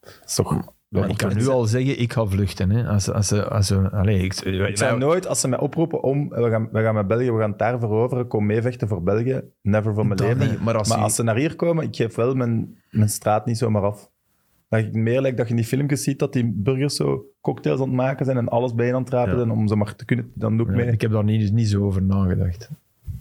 Dat is toch... Maar ik kan nu al zeggen, ik ga vluchten. Hè. Als, als, als, als, allee, ik, Ik zou nooit, als ze mij oproepen om, we gaan, we gaan met België, we gaan het daar veroveren, kom meevechten voor België, never van mijn Dat leven. niet, maar als, je- ze naar hier komen, ik geef wel mijn, mijn straat niet zomaar af. Dat ik meer lijkt dat je in die filmpjes ziet dat die burgers zo cocktails aan het maken zijn en alles bijeen aan het rapen Ja. zijn om ze maar te kunnen, dan doe ik Ja, mee. ik heb daar niet, niet zo over nagedacht.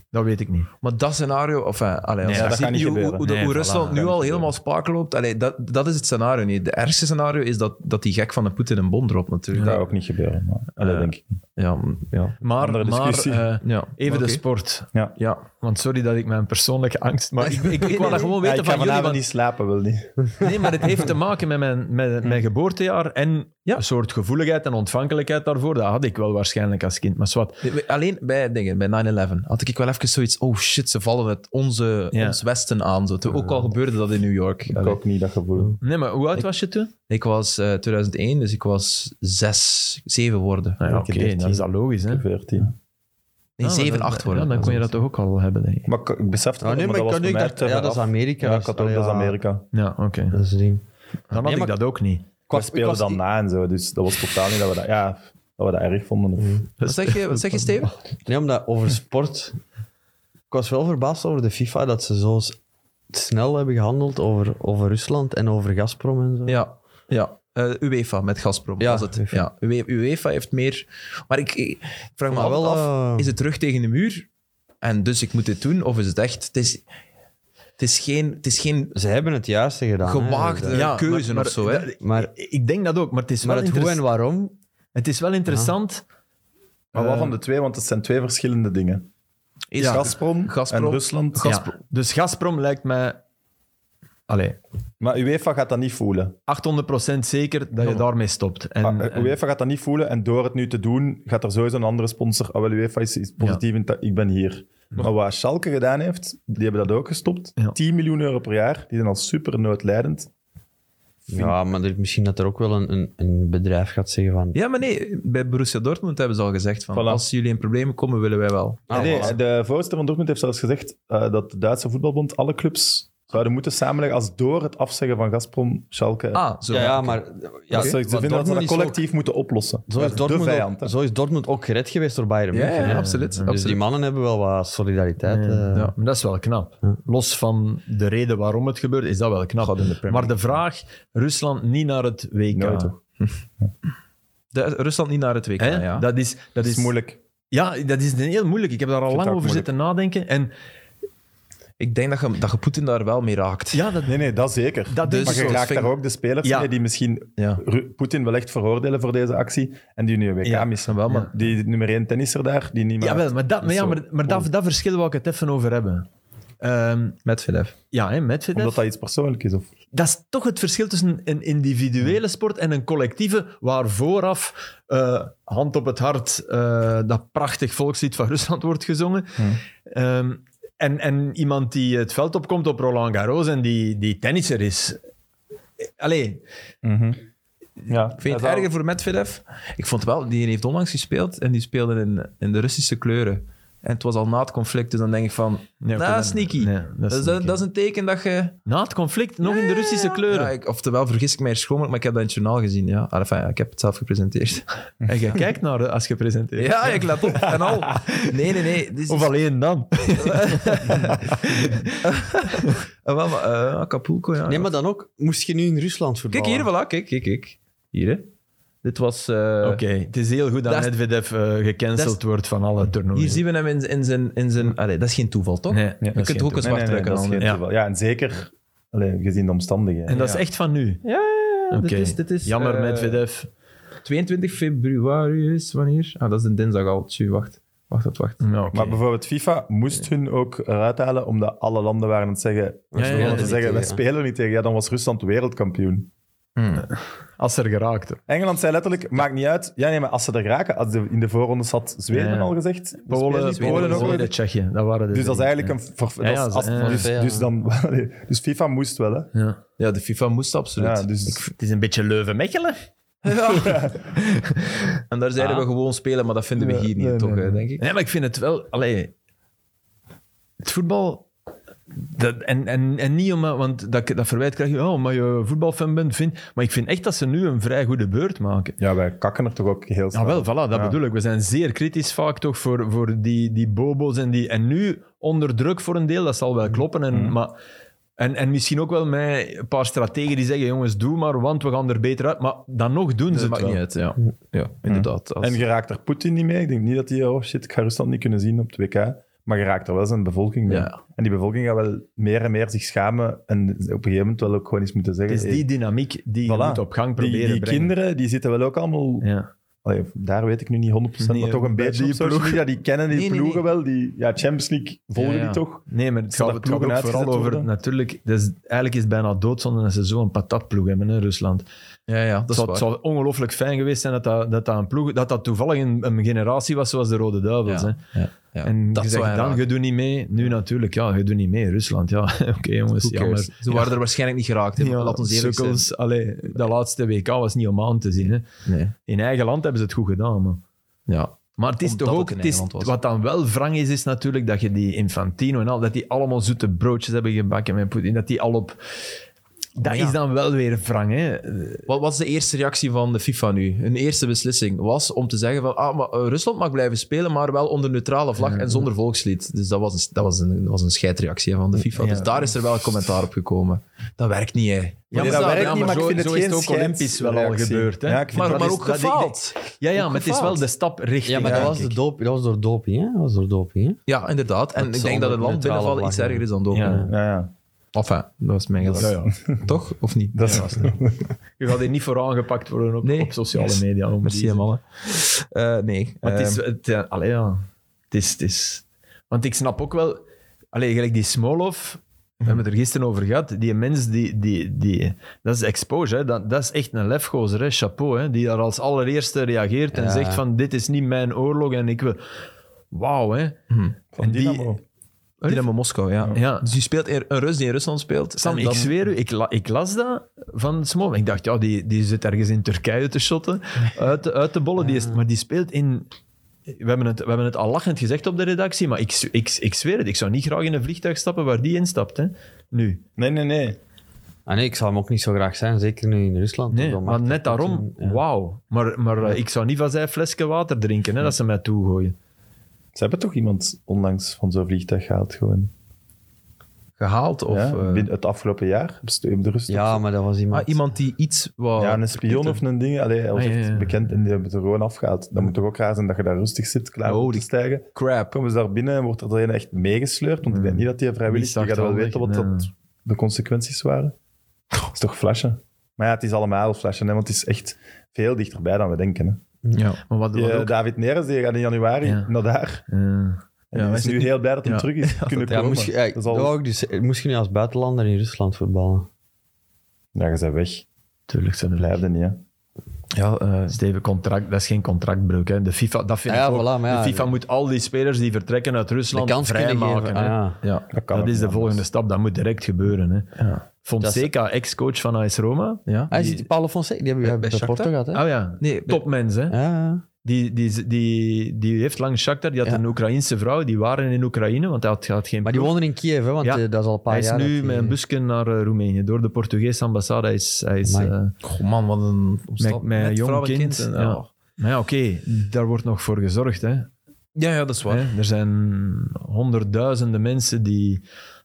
Dat weet ik niet. Maar dat scenario, of eh, allee, als Nee, je dat ziet gaat niet hoe- hoe, gebeuren. hoe, de- Nee, hoe voilà, Rusland dat nu gaat al niet helemaal spaak loopt, allee, dat, dat is het scenario niet. De ergste scenario is dat, dat die gek van een Poetin een bom dropt Dat natuurlijk. zou ook niet gebeuren. Maar, allee, Eh, denk ik. niet. Ja, m- ja. Maar, Andere maar discussie. eh, ja. even Oké. de sport. Ja. Want sorry dat ik mijn persoonlijke angst. Maar ik, ik, ik wou dat gewoon Ja, weten ik ga van jullie. vanavond Want, niet slapen, wil niet. nee, maar het heeft te maken met mijn, met mijn geboortejaar. En een soort gevoeligheid en ontvankelijkheid daarvoor. Dat had ik wel waarschijnlijk als kind. Maar zwart. Alleen bij, dingen, bij 9-11 had ik wel even zoiets. Oh shit, ze vallen het onze, Ja. ons Westen aan. Zo. Toen, ook al gebeurde dat in New York. Ik Allee. ook niet dat gevoel. Nee, maar hoe oud was je toen? Ik was eh, 2001, dus ik was zes, zeven worden. Nou ja, ik Oké, heb dertien. dat is dat logisch. Hè? 14. Nee, Ah, maar zeven, dan- acht worden. ja, dan kon je dat toch ook al hebben, denk ik. Maar ik, ik besefte Ah, dat, nee, maar maar ik dat was kan voor nu mij dat, te ja, ver dat is af. Amerika. Ja, ik had ook, Allee, dat is ja, Amerika. Ja, oké. Dat is het ding. Dan had Nee, ik maar- dat ook niet. We was- ik speelden was- dan na en zo, dus dat was totaal niet dat we dat, ja, dat, we dat erg vonden. Of, Mm. Wat zeg je, wat zeg je Steven? Nee, omdat over sport... Ik was wel verbaasd over de FIFA dat ze zo s- snel hebben gehandeld over, over Rusland en over Gazprom en zo. Ja, ja. Eh, UEFA met Gazprom Ja, was het. UEFA. Ja, Ue- UEFA heeft meer... Maar ik, ik vraag me Maar altijd wel, af, Ah. eh, is het terug tegen de muur? En dus ik moet dit doen? Of is het echt... Het is, het is geen, het is geen Ze hebben het juiste gedaan. hè. gewaagde Ja, keuze maar- of zo. maar- hè? Maar, Ik denk dat ook, maar het is maar wel, het hoe en interess- waarom... het is wel interessant. maar wat Eh, van de twee? Want het zijn twee verschillende dingen. Is ja. Gazprom, Gazprom. en Rusland. Ja, Dus Gazprom lijkt mij... Allee, Maar UEFA gaat dat niet voelen. 800% zeker dat je daarmee stopt. En, Ah, eh, en- UEFA gaat dat niet voelen en door het nu te doen gaat er sowieso een andere sponsor. Ah, wel, UEFA is, is positief in dat ik ben hier. Maar wat Schalke gedaan heeft, die hebben dat ook gestopt. Ja. 10 miljoen euro per jaar, die zijn al super noodlijdend. Ja, maar er, misschien dat er ook wel een, een, een bedrijf gaat zeggen van... Ja, maar nee, bij Borussia Dortmund hebben ze al gezegd van Voilà. als jullie in problemen komen, willen wij wel. Ah, nee, voilà. de voorzitter van Dortmund heeft zelfs gezegd eh, dat de Duitse voetbalbond alle clubs zouden moeten samenleggen als door het afzeggen van Gazprom, Schalke Ah, zo. Ja, ja, oké. maar... Ja, Ja, ze- Dus ze maar vinden dat ze Dortmund dat is collectief moeten oplossen. ook- Zo Dat is, is Dortmund de vijand. hè. ook, zo is Dortmund ook gered geweest door Bayern Ja, München. ja, hè. absoluut. Dus absoluut. die mannen hebben wel wat solidariteit. Ja, eh. ja, maar dat is wel knap. Los van de reden waarom het gebeurt, is dat wel knap. God in de Premier maar de vraag, Rusland niet naar het WK. Nooit, hoor. De- Rusland niet naar het WK, Hè? ja. Dat is, dat Dat is is moeilijk. Ja, dat is heel moeilijk. Ik heb daar al vind lang dat over ook zitten nadenken. En Ik denk dat je, dat je Poetin daar wel mee raakt. ja, dat, Nee, nee, dat zeker. Dat is maar je zo. raakt Vind- daar ook de spelers Ja. mee die misschien Ja. Ru- Poetin wel echt veroordelen voor deze actie en die nu een WK Ja, missen. wel, maar- Ja. Die nummer 1 tennisser daar, die niet meer... jawel, maar, dat, maar, ja, zo. maar, maar dat, dat verschil wil ik het even over hebben. Ehm, Met Vedef. ja, hè, Medvedev. Omdat dat iets persoonlijk is. Of... dat is toch het verschil tussen een individuele sport en een collectieve, waar vooraf eh, hand op het hart eh, dat prachtig volkslied van Rusland wordt gezongen. Hmm. Ehm, en, en iemand die het veld opkomt op Roland Garros en die, die tennisser is. Allee, Mhm. Ja, Ik vind het erger voor Medvedev. Ik vond wel, die heeft onlangs gespeeld en die speelde in, in de Russische kleuren. En het was al na het conflict, dus dan denk ik van... Nee, oké, nah, dan- sneaky. nee, dat, dat is is sneaky. dat is een teken dat je... na het conflict nog in de Russische kleuren. Ja, ik, oftewel, vergis ik mij er schoon, maar ik heb dat in het journaal gezien. Ja. Ah, enfin, ja, ik heb het zelf gepresenteerd. En je kijkt naar de- als je presenteert. Ja, ik let op. En al. Nee, nee, nee. Dit is- Of alleen dan. Ah, wel, maar, eh, Acapulco, ja. Nee, maar dan ook, moest je nu in Rusland voetballen? Kijk hier, voilà. Kijk, kijk, kijk. Hier, hè. Dit was... eh, Oké, het is heel goed dat, dat is- Medvedev eh, gecanceld dat wordt van alle toernooien. Hier zien we hem in, in zijn... In zijn allee, dat is geen toeval, toch? Nee, je kunt ook een Nee, nee, zwart nee, trekken. dat is dan. geen Ja. toeval. Ja, en zeker allee, gezien de omstandigheden. En dat is echt van nu. Ja, ja, ja. Oké. Dit is, dit is, Jammer, eh, Medvedev. 22 februari is wanneer? Ah, dat is een dinsdag al. Tjie, wacht. Wacht, wacht, wacht. Ja, oké. Maar bijvoorbeeld FIFA moest hun ook eruit halen, omdat alle landen waren aan het zeggen, we ja, ja, spelen niet te zeggen, we tegen. spelen niet tegen. Ja, dan was Rusland wereldkampioen. Als er geraakt wordt. Engeland zei letterlijk, maakt niet uit. Ja, nee, maar als ze er raken, als de, in de voorrondes had Zweden Ja. al gezegd. we spelen Polen, niet, Polen, ook Polen, niet. Tsjechië. Dat waren de Dus dat is drie, eigenlijk ja. een... voor- Ja, dat is- ja, ze- als- ja. dus, dus, dan, dus FIFA moest wel, hè. Ja. Ja, de FIFA moest absoluut. Ja, dus, Het is een beetje Leuven-Mechelen. En daar zeiden we gewoon spelen, maar dat vinden we Nee, hier niet, nee, toch, nee, eh, nee. denk ik? Nee, maar ik vind het wel... Allee, het voetbal... Dat, en, en, en niet om... Want dat, dat verwijt krijg je, oh, maar je voetbalfan bent, vind... Maar ik vind echt dat ze nu een vrij goede beurt maken. ja, wij kakken er toch ook heel snel. Ja, Ah, wel, voilà, dat Ja. bedoel ik. We zijn zeer kritisch vaak toch voor, voor die, die bobo's en die... En nu onder druk voor een deel, dat zal Mm. wel kloppen. En, maar, en, en misschien ook wel met een paar strategen die zeggen, jongens, doe maar, want we gaan er beter uit. Maar dan nog doen Dus het ze het maakt wel. niet uit, ja. Ja, inderdaad. Als- En je raakt er Poetin niet mee. Ik denk niet dat hij, oh shit, ik ga Rusland niet kunnen zien op het WK. Maar je raakt er wel zijn bevolking mee. Ja. En die bevolking gaat wel meer en meer zich schamen. En op een gegeven moment wel ook gewoon eens moeten Het zeggen. is hey, die dynamiek die je Voilà. moet op die, gang proberen die brengen. kinderen, die zitten wel ook allemaal... Ja. Allee, daar weet ik nu niet 100%, Nee, maar toch een bij beetje die op social ploeg. media. Die kennen die Nee, nee, ploegen nee. wel. Die, ja, Champions League volgen Ja, ja. die toch. Nee, maar het Zal gaat, dat het gaat ploegen ook vooral uitgezet over... worden? Natuurlijk, dat is, eigenlijk is het bijna doodzonde dat ze zo'n patatploeg hebben in Rusland. Ja, ja, Het dat is zou, het waar. zou ongelooflijk fijn geweest zijn dat dat, dat, dat een ploeg... Dat dat toevallig een, een generatie was zoals de Rode Duivels. Ja, hè. ja, ja. En Dat je zou hij zegt dan, raken. je doet niet mee. Nu natuurlijk, ja, je doet niet mee. Rusland, ja. Oké, jongens, Who jammer. cares? Ze waren er waarschijnlijk niet geraakt, hè, Ja, laat ons eerlijk zijn. sukkels. Allee, dat laatste WK was niet om aan te zien. Hè. Nee. In eigen land hebben ze het goed gedaan, man. Ja. Maar het is Omdat toch het ook, in het is, Engeland was. wat dan wel wrang is, is natuurlijk dat je die Infantino en al, dat die allemaal zoete broodjes hebben gebakken met Poetin, dat die al op... Dat Maar ja. is dan wel weer wrang, hè. Wat was de eerste reactie van de FIFA nu? Hun eerste beslissing was om te zeggen van ah, maar, eh, Rusland mag blijven spelen, maar wel onder neutrale vlag en zonder volkslied. Dus dat was een, dat was een, dat was een scheidreactie hè, van de FIFA. Ja. Dus daar is er wel commentaar op gekomen. Dat werkt niet, hè. Ja, maar nee, dat zo- werkt ja, niet, maar maar, zo- ik vind zo het is geen het ook Olympisch wel al scheidsreactie. gebeeld, hè. Ja, ik vind Maar, dat maar is- ook dat ik gefaald. Ja, ja, Ook maar het is wel gefaald. de stap richting... Ja, maar dat, was de denk ik. doop, dat was door doping, hè? Dat was door doping, hè? Ja, inderdaad. En Het ik zal denk dat het onder land neutrale binnenvallen iets vlag, erger is dan doping. Ja. Ja, ja. Enfin, dat was mijn gedachte. Ja, ja. Toch? Of niet? Dat is- Je gaat hier niet voor aangepakt worden op, Nee. op sociale media. om Merci, die- hè, mannen. Eh, nee. Maar het Ehm, is... Het, eh, allee, ja. Het is, het is... Want ik snap ook wel... Allee, gelijk die Smolov... We Mhm. hebben het er gisteren over gehad. Die mens, die, die, die, dat is exposure. Hè. Dat, dat is echt een lefgozer, hè. chapeau. Hè. Die daar als allereerste reageert en Ja. zegt van... Dit is niet mijn oorlog en ik wil... Wauw, hè. Mhm. Van die- Dynamo. Dynamo Moskou, ja. Ja. Dus je speelt in- een Rus die in Rusland speelt. Sam, en dan- ik zweer u, ik, la- ik las dat van Smolov. Ik dacht, ja, die, die zit ergens in Turkije te shotten, uit, de- uit de bollen. Die is, maar die speelt in... We hebben, het, we hebben het al lachend gezegd op de redactie, maar ik, z- ik, ik zweer het, ik zou niet graag in een vliegtuig stappen waar die instapt. Hè. Nu. Nee, nee, nee. Ah, nee, ik zou hem ook niet zo graag zijn, zeker nu in Rusland. Nee, Dat maar maakt net dat daarom, Poetin, ja. wauw. Maar, maar eh, ik zou niet van zijn flesje water drinken, hè, dat ze mij toegooien. Ze hebben toch iemand onlangs van zo'n vliegtuig gehaald gewoon. gehaald. Of, ja? eh, Binnen Het afgelopen jaar. Hebben ze hebben de rust Ja, maar dat was iemand... ah, iemand die iets Oh, wou... Ja, een spion of een ding. Allee, hij was Ah, ja, echt ja. bekend en die hebben het er gewoon afgehaald. Dan moet toch ook raar zijn dat je daar rustig zit, klaar Oh, om te die- stijgen. crap. Komen ze daar binnen en wordt er een echt meegesleurd? Want ik denk niet dat die vrijwillig... Hmm. Je Die is gaat wel achterhandig, weten wat nee. dat de consequenties waren. Dat is toch flashen? Maar ja, het is allemaal flashen, hè, want het is echt veel dichterbij dan we denken. Hè. Ja. Maar wat, wat Die, eh, ook... David Neres die gaat in januari Ja. naar daar. eh, En Ja, die wij is nu zitten- heel blij dat hij Ja. terug is kunnen Ja, komen. moest je, ja, dat is al... dat wou ik dus, eh, moest je nu als buitenlander in Rusland voetballen? Ja, je bent weg. tuurlijk zijn er... Blijfde niet, hè. Ja, eh, Steven, contract, dat is geen contractbreuk. Hè. De FIFA, dat vind Ah ja, ik ook. voilà, maar ja, de FIFA moet al die spelers die vertrekken uit De Rusland kans kunnen vrijmaken. geven. hè. Ah, ja. ja. Dat, kan ook Dat is niet de anders. volgende stap, dat moet direct gebeuren. Hè. ja. Fonseca, ex-coach van AS Roma. ja. Hij zit Paulo Fonseca, die hebben Bij- we bij bij Porto Shakhtar? gehad, hè? Oh ja, Nee, topmens. Hè. Ja, ja. Die, die, die, die heeft lang Shakhtar, die had Ja. een Oekraïense vrouw, die waren in Oekraïne, want hij had, had geen Maar die ploeg. wonen in Kiev, hè, want Ja. eh, dat is al een paar Hij is jaar. nu dat met die- een busje naar eh, Roemenië, door de Portugese ambassade. Hij is, hij is, Amai. eh, Goh, man, wat een omstand- met een jong vrouw en kind, en- ja. oh. maar ja, oké, daar wordt nog voor gezorgd. Hè. ja, ja, dat is waar. Hè, Er zijn honderdduizenden mensen die.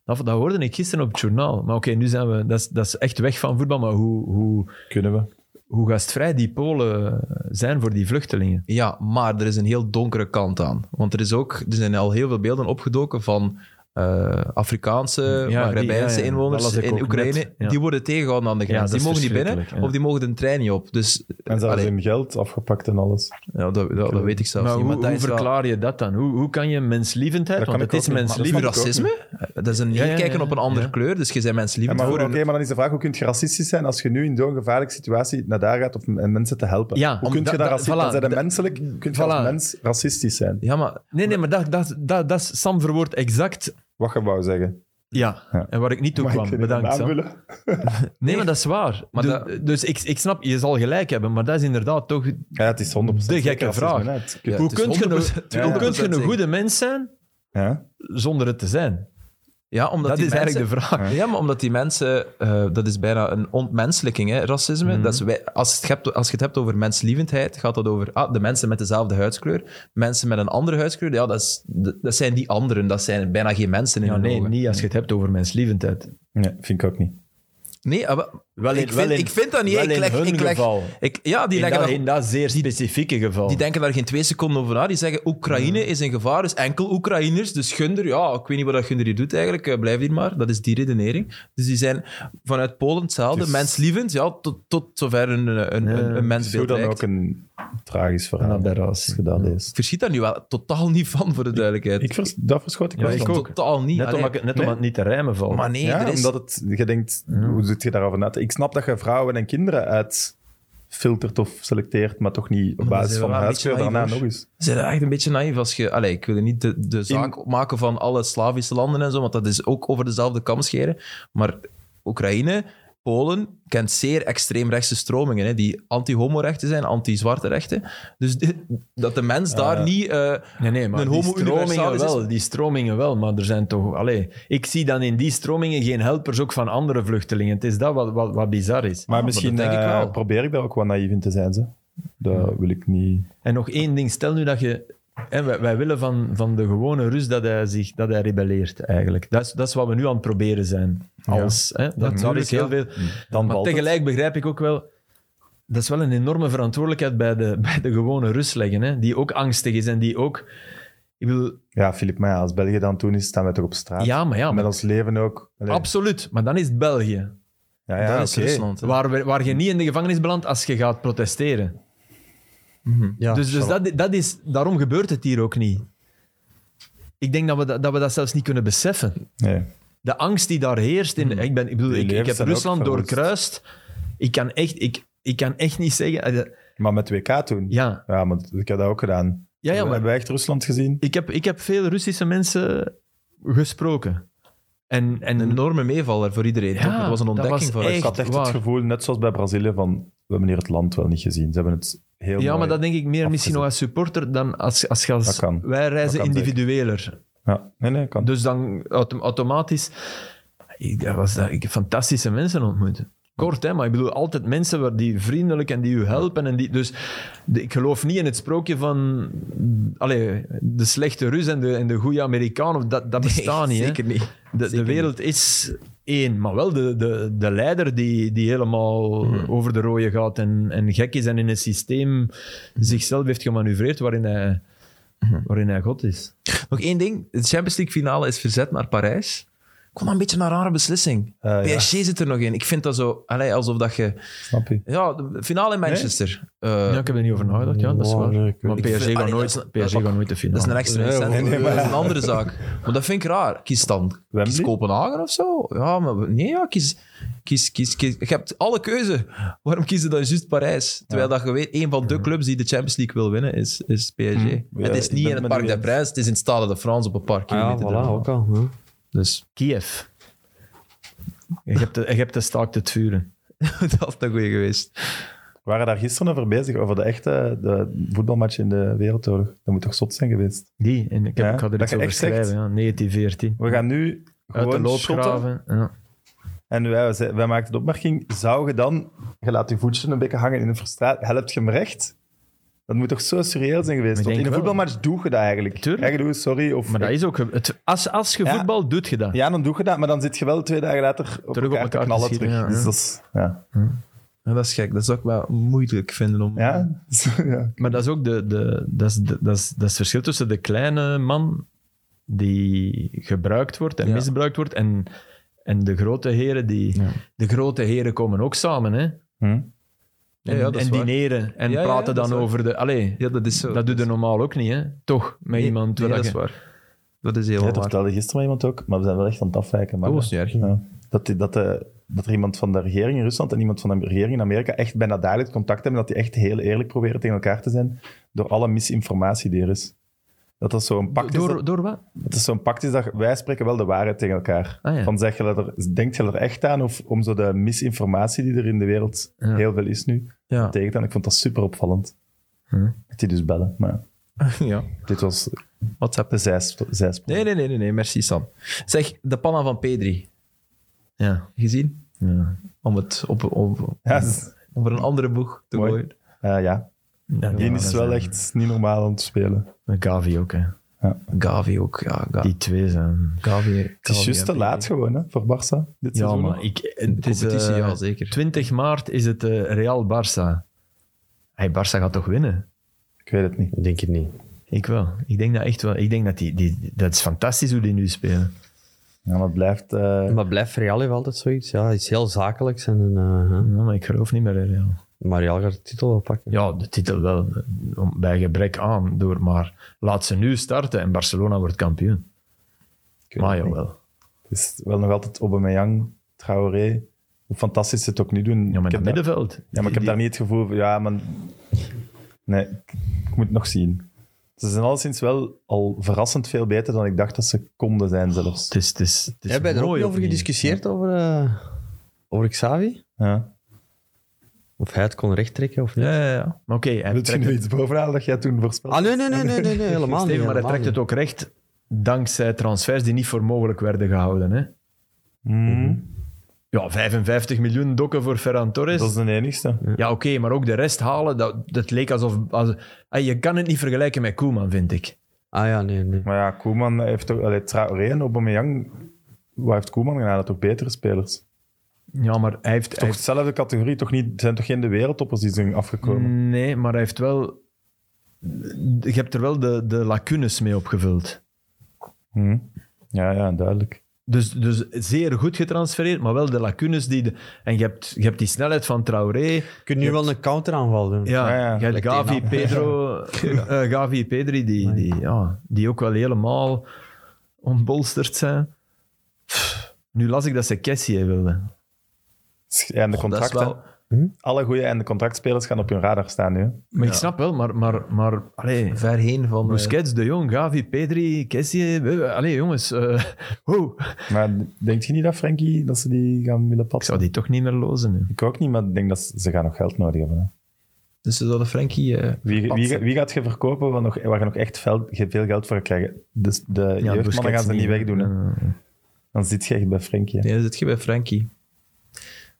Nou, Dat, dat hoorde ik gisteren op het journaal. Maar oké, nu zijn we. Dat is, dat is echt weg van voetbal. Maar hoe, hoe, Kunnen we. hoe gastvrij die Polen zijn voor die vluchtelingen. Ja, maar er is een heel donkere kant aan. Want er, is ook, er zijn al heel veel beelden opgedoken van eh, Afrikaanse, die- Maghrebijnse ja, ja. Dat inwoners las ik in ook Oekraïne. net, ja. Die worden tegengehouden aan de Ja, grens. die dat is mogen niet binnen verschrikkelijk, ja. of die mogen de trein niet op. Dus eh, En zelfs allee, hun geld afgepakt en alles. ja, dat, dat, dat weet ik zelfs Maar niet. Nou, maar hoe, dat hoe is wel- verklaar je dat dan? Hoe, hoe kan je menslievendheid, Dat kan want het ik is ook niet, maar- Liever menslievend... Dat snap ik ook racisme? Eh, Dat is een Ja, ja, neerkijken ja, op een andere ja. kleur, dus je bent Ja, menslievend maar, voor goed, een- oké, maar dan is de vraag, hoe kun je racistisch zijn als je nu in zo'n gevaarlijke situatie naar daar gaat om eh, mensen te helpen? Ja, hoe om kun je dat- dan dat- racistisch voilà, dan zijn? dat- menselijk, kun je voilà. als mens racistisch zijn? Ja, maar Nee, nee, maar dat, dat, dat, dat is- Sam verwoordt exact... Wat je wou zeggen. Ja, Ja. en waar ik niet toe Mag ik kwam. er iemand Bedankt, Sam. aanvullen? Nee, maar dat is waar. Maar dus dat- dus ik, ik snap, je zal gelijk hebben, maar dat is inderdaad toch... Ja, het is 100% De gekke racisme, vraag. hè. Het kun- Ja. hoe het is kun je, een- 100% hoe kun je een zeker. goede mens zijn Ja. zonder het te zijn? ja, omdat Dat die is mensen- eigenlijk de vraag. Ja, maar omdat die mensen, eh, dat is bijna een ontmenselijking, hè, racisme. Mhm. Dat is wij, als, het hebt, als je het hebt over menslievendheid, gaat dat over ah, de mensen met dezelfde huidskleur. Mensen met een andere huidskleur, ja, dat, is, dat dat zijn die anderen, dat zijn bijna geen mensen in Ja, hun nee, ogen. niet als je het hebt over menslievendheid. Nee, vind ik ook niet. Nee, maar, Wel in- ik, vind, wel in- ik vind dat niet. wel ik in leg, hun ik leg, geval. Ik, ja, die, leggen dat, zeer specifieke geval. die denken daar geen twee seconden over na. Die zeggen, Oekraïne is in gevaar, dus enkel Oekraïners. Dus Gunder, ja, ik weet niet wat dat Gunder hier doet eigenlijk. eh, Blijf hier maar. Dat is die redenering. Dus die zijn vanuit Polen hetzelfde. Dus- Menslievend, ja, tot, tot zover een, een, een, een, een Het is hoe mensbeeld dan reikt. ook een tragisch Een verhaal. Als je aberratie. dat leest. Ik verschiet daar nu wel totaal niet van, voor de duidelijkheid. Ik vers, dat verschoot ik Ja, wel ik van. ook. Totaal niet. Net, Allee, omdat, ik- net omdat het niet te rijmen valt. Maar nee, ja, er is... omdat het, je denkt, hoe zit je daarover na? te- Ik snap dat je vrouwen en kinderen uitfiltert of selecteert, maar toch niet op dan basis zijn we van wel een beetje huidskleur. Daarna naïef, nog hoor. eens. Ze zijn echt een beetje naïef als je... Allee, ik wil er niet de, de zaak maken van alle Slavische landen en zo, want dat is ook over dezelfde kam scheren. Maar Oekraïne, Polen, kent zeer extreemrechtse stromingen, hè, die anti-homorechten zijn, anti-zwarte rechten. Dus dit- dat de mens daar niet... eh, Nee, nee, maar Een die homo stromingen universalis is- wel, die stromingen wel, maar er zijn toch... Allee, ik zie dan in die stromingen geen helpers ook van andere vluchtelingen. Het is dat wat, wat, wat bizar is. Maar Ah, maar misschien dat denk ik eh, wel. probeer ik daar ook wat naïef in te zijn. Ze. Dat wil ik niet. En nog één ding, stel nu dat je... En wij, wij willen van, van de gewone Rus dat hij zich dat hij rebelleert, eigenlijk. Dat is, dat is wat we nu aan het proberen zijn. Als, hè? Dat, dat Natuurlijk, is ja. heel veel... Dan Maar valt tegelijk begrijp ik ook wel... Dat is wel een enorme verantwoordelijkheid bij de, bij de gewone Rus leggen, hè? die ook angstig is en die ook... Ik bedoel, het. Ja, Filip, maar ja, als België dan toen is, staan we toch op straat. ja, maar ja, Met maar- ons leven ook. Allee, absoluut. Maar dan is het België. dat ja, ja, is oké. Rusland. hè. Waar, we- waar je niet in de gevangenis belandt als je gaat protesteren. Ja, dus dus dat, dat is, daarom gebeurt het hier ook niet. Ik denk dat we dat, dat we dat zelfs niet kunnen beseffen. Nee. De angst die daar heerst. In, ik, ben, ik, bedoel, Hmm. Die ik, ik levens heb zijn ook Rusland verwoest. doorkruist. Ik kan echt, ik, ik kan echt niet zeggen. eh, de- Maar met WK toen. Ja, Ja, maar ik heb dat ook gedaan. ja, ja maar Hebben we echt Rusland gezien? ik heb, ik heb veel Russische mensen gesproken. En, en Een enorme meevaller voor iedereen. Ja, toch? dat was een dat ontdekking was voor echt- ik had echt waar. het gevoel, net zoals bij Brazilië, van we hebben hier het land wel niet gezien. Ze hebben het heel Ja, mooi. maar dat denk ik meer misschien afgezet. nog als supporter dan als, als, je als- Dat kan. wij reizen Dat kan zeker. individueler. Ja, nee, nee, kan. Dus dan autom- automatisch... Ik, dat was dat, ik heb fantastische mensen ontmoet. Kort, hè, maar ik bedoel altijd mensen waar die vriendelijk en die u helpen. En die, dus de- ik geloof niet in het sprookje van allee, de slechte Rus en de, en de goede Amerikaan. Of dat, dat bestaat niet. hè. Zeker niet. De, de wereld is één, maar wel de, de, de leider die, die helemaal over de rode gaat en, en gek is en in een systeem zichzelf heeft gemanoeuvreerd waarin hij, waarin hij God is. Nog één ding. De Champions League finale is verzet naar Parijs. Ik vond dat een beetje een rare beslissing. Eh, ja. PSG zit er nog in. Ik vind dat zo... Allee, alsof dat je... Snap je? Ja, de finale in Manchester. Eh, ja, ik heb er niet over nagedacht, ja, dat is waar. Ja, ik weet maar niet. Ik PSG vind- gaat allee, nooit, dat is- PSG gaat nooit de finale. dat is een extra Nee, incentive. nee, maar- Dat is een andere zaak. Maar dat vind ik raar. Kies dan. Kies Wembley? Kopenhagen of zo? Ja, maar we- nee, ja, kies, kies, kies, kies. Je hebt alle keuze. Waarom kies je dan juist Parijs? Terwijl dat je weet, een van de clubs die de Champions League wil winnen is, is PSG. En het is niet Hm. ik ben in het met Parc u des eens. Ah, Princes, het is in het Stade de France op een paar Ah, ja, kilometer. voilà, ervan. ook al. Ja. Dus Kiev. Je hebt, de, je hebt de staakt het vuren. dat had een goeie geweest. We waren daar gisteren over bezig, over de echte de voetbalmatch in de Wereldoorlog. Dat moet toch zot zijn geweest? Die, en ik, heb, Ja, ik ga er dat iets je over echt zegt- schrijven, ja, 1914. We gaan nu Uit de gewoon shotten. loopgraven. Ja. En wij, wij wij maakten de opmerking, zou je dan, je laat je voetjes een beetje hangen in een frustratie, helpt je hem recht? Dat moet toch zo serieus zijn geweest? Ik Want denk in een wel. voetbalmatch doe je dat eigenlijk. Tuurlijk. Ja, je doet sorry. Of, Maar dat is ook... ge- Het, als, als je Ja. voetbal doet je dat. Ja, dan doe je dat, maar dan zit je wel twee dagen later op Terug op elkaar, elkaar te knallen te schieten, terug. ja, dus ja. dat is- ja. Ja, dat is gek. Dat zou ik wel moeilijk vinden om... Ja? ja. Maar dat is ook de, de, dat is, de- dat is, dat is het verschil tussen de kleine man die gebruikt wordt en Ja. misbruikt wordt en, en de grote heren die... Ja. De grote heren komen ook samen, hè. Hm? Ja, En, ja, dat is en waar. dineren en Ja, ja, praten dat is dan waar. over de... Allee, Ja, dat is zo. dat doet je normaal ook niet, hè. Toch, met Nee, iemand... nee, waar dat is je- waar. Dat is heel Ja, dat waar. vertelde gisteren maar iemand ook, maar we zijn wel echt aan het afwijken. Maar Dat was niet erg. Ja. Dat, die- dat, eh, dat er iemand van de regering in Rusland en iemand van de regering in Amerika echt bijna dagelijks contact hebben. Dat die echt heel eerlijk proberen tegen elkaar te zijn door alle misinformatie die er is. Dat dat zo'n pact, is Door, dat- door wat? dat is zo'n pact is dat wij spreken wel de waarheid tegen elkaar. Ah, ja. Van zeg je dat er, denkt je dat er echt aan of om zo de misinformatie die er in de wereld Ja. heel veel is nu Ja. tegen te gaan. Ik vond dat super opvallend. Hm. Ik die dus bellen, maar ja. dit was WhatsApp. de zijs- zijspoor. Nee, nee, nee, nee, nee, merci Sam. Zeg, de panna van Pedri. Ja. Gezien? ja. Om het op, op, Ja, dus, over een andere boeg te Mooi. gooien. eh, ja, Ja, Die ja, is dat wel zijn- echt niet normaal aan het spelen. Gavi ook, hè. Gavi ook, ja. Ga- Die twee zijn... Gavi. eh, Het is juist te laat gewoon hè, voor Barça dit Ja, seizoen. maar ik, het is... competitie, eh, ja, zeker. 20 maart is het eh, Real Barça. Hey, Barça gaat toch winnen? Ik weet het niet. Ik Denk het niet. Ik wel. Ik denk dat echt wel. Ik denk dat die, die dat is fantastisch hoe die nu spelen. Ja, maar het blijft... eh, Maar blijft Real heeft altijd zoiets. Ja, iets heel zakelijks. En, een, eh, Ja, hè. maar ik geloof niet meer in Real. maar Real gaat de titel wel pakken. Ja, de titel wel eh, om- bij gebrek aan door, maar laat ze nu starten en Barcelona wordt kampioen. ik weet Maar het niet. jawel. Het is wel nog altijd Aubameyang, Traoré. Hoe fantastisch ze het ook nu doen. Ja, maar ik in heb het daar, middenveld. ja, maar ik heb daar niet het gevoel van... Ja, maar... Nee, ik, ik moet het nog zien. Ze zijn alleszins wel al verrassend veel beter dan ik dacht dat ze konden zijn zelfs. Het is, het is, het is Hebben we er ook mooi niet over opnieuw. gediscussieerd? Over, eh, over Xavi? Ja. Of hij het kon rechttrekken of niet? Ja, ja, ja. Maar oké, hij Wil je trekt nu het, iets bovenaan dat jij toen voorspelde? Ah, nee, nee, nee, nee, nee, nee, helemaal niet. Steven, maar hij helemaal trekt het niet. ook recht dankzij transfers die niet voor mogelijk werden gehouden. Hè? Mhm. Mm-hmm. Ja, 55 miljoen dokken voor Ferran Torres. Dat is de enigste. Ja, oké, maar ook de rest halen, dat, dat leek alsof... Als, ah, je kan het niet vergelijken met Koeman, vind ik. Ah ja, nee, nee. Maar ja, Koeman heeft toch... Allee, Traoré en Aubameyang... Waar heeft Koeman gedaan? Hij had toch betere spelers? Ja, maar hij heeft... Toch hij heeft- dezelfde categorie, toch niet, het zijn toch geen de wereldtoppers die zijn afgekomen? nee, maar hij heeft wel... Je hebt er wel de, de lacunes mee opgevuld. Hmm. Hm. Ja, ja, duidelijk. Dus, dus zeer goed getransfereerd, maar wel de lacunes die... De, en je hebt, je hebt die snelheid van Traoré. Je kunt nu wel een counteraanval doen. Ja, Ja, ja. je hebt Lijkt Gavi, die Pedro, eh, Gavi, Pedri, die, die, ja, die ook wel helemaal ontbolsterd zijn. Pff, Nu las ik dat ze Kessie wilden. En de Dat is contracten. Hm? wel... Alle goede en de contractspelers gaan op hun radar staan nu. hè. Maar Ja. ik snap wel, maar... maar, maar allee, Ver heen van... eh, Busquets, De Jong, Gavi, Pedri, Kessie... eh, eh, Allee, jongens. eh, wow. Maar denk je niet dat, Frankie, dat ze die gaan willen Ik passen? zou die toch niet meer lozen nu. Ik ook niet, maar ik denk dat ze, ze gaan nog geld nodig hebben. hè. Dus ze zouden Frankie... eh, Wie, wie, Patsen. wie gaat je verkopen waar, nog, waar je nog echt veel, veel geld voor krijgen? Dus de jeugdmannen Busquets gaan ze niet wegdoen. hè. Eh, Dan zit je echt bij Frankie. hè. nee, dan zit je bij Frankie.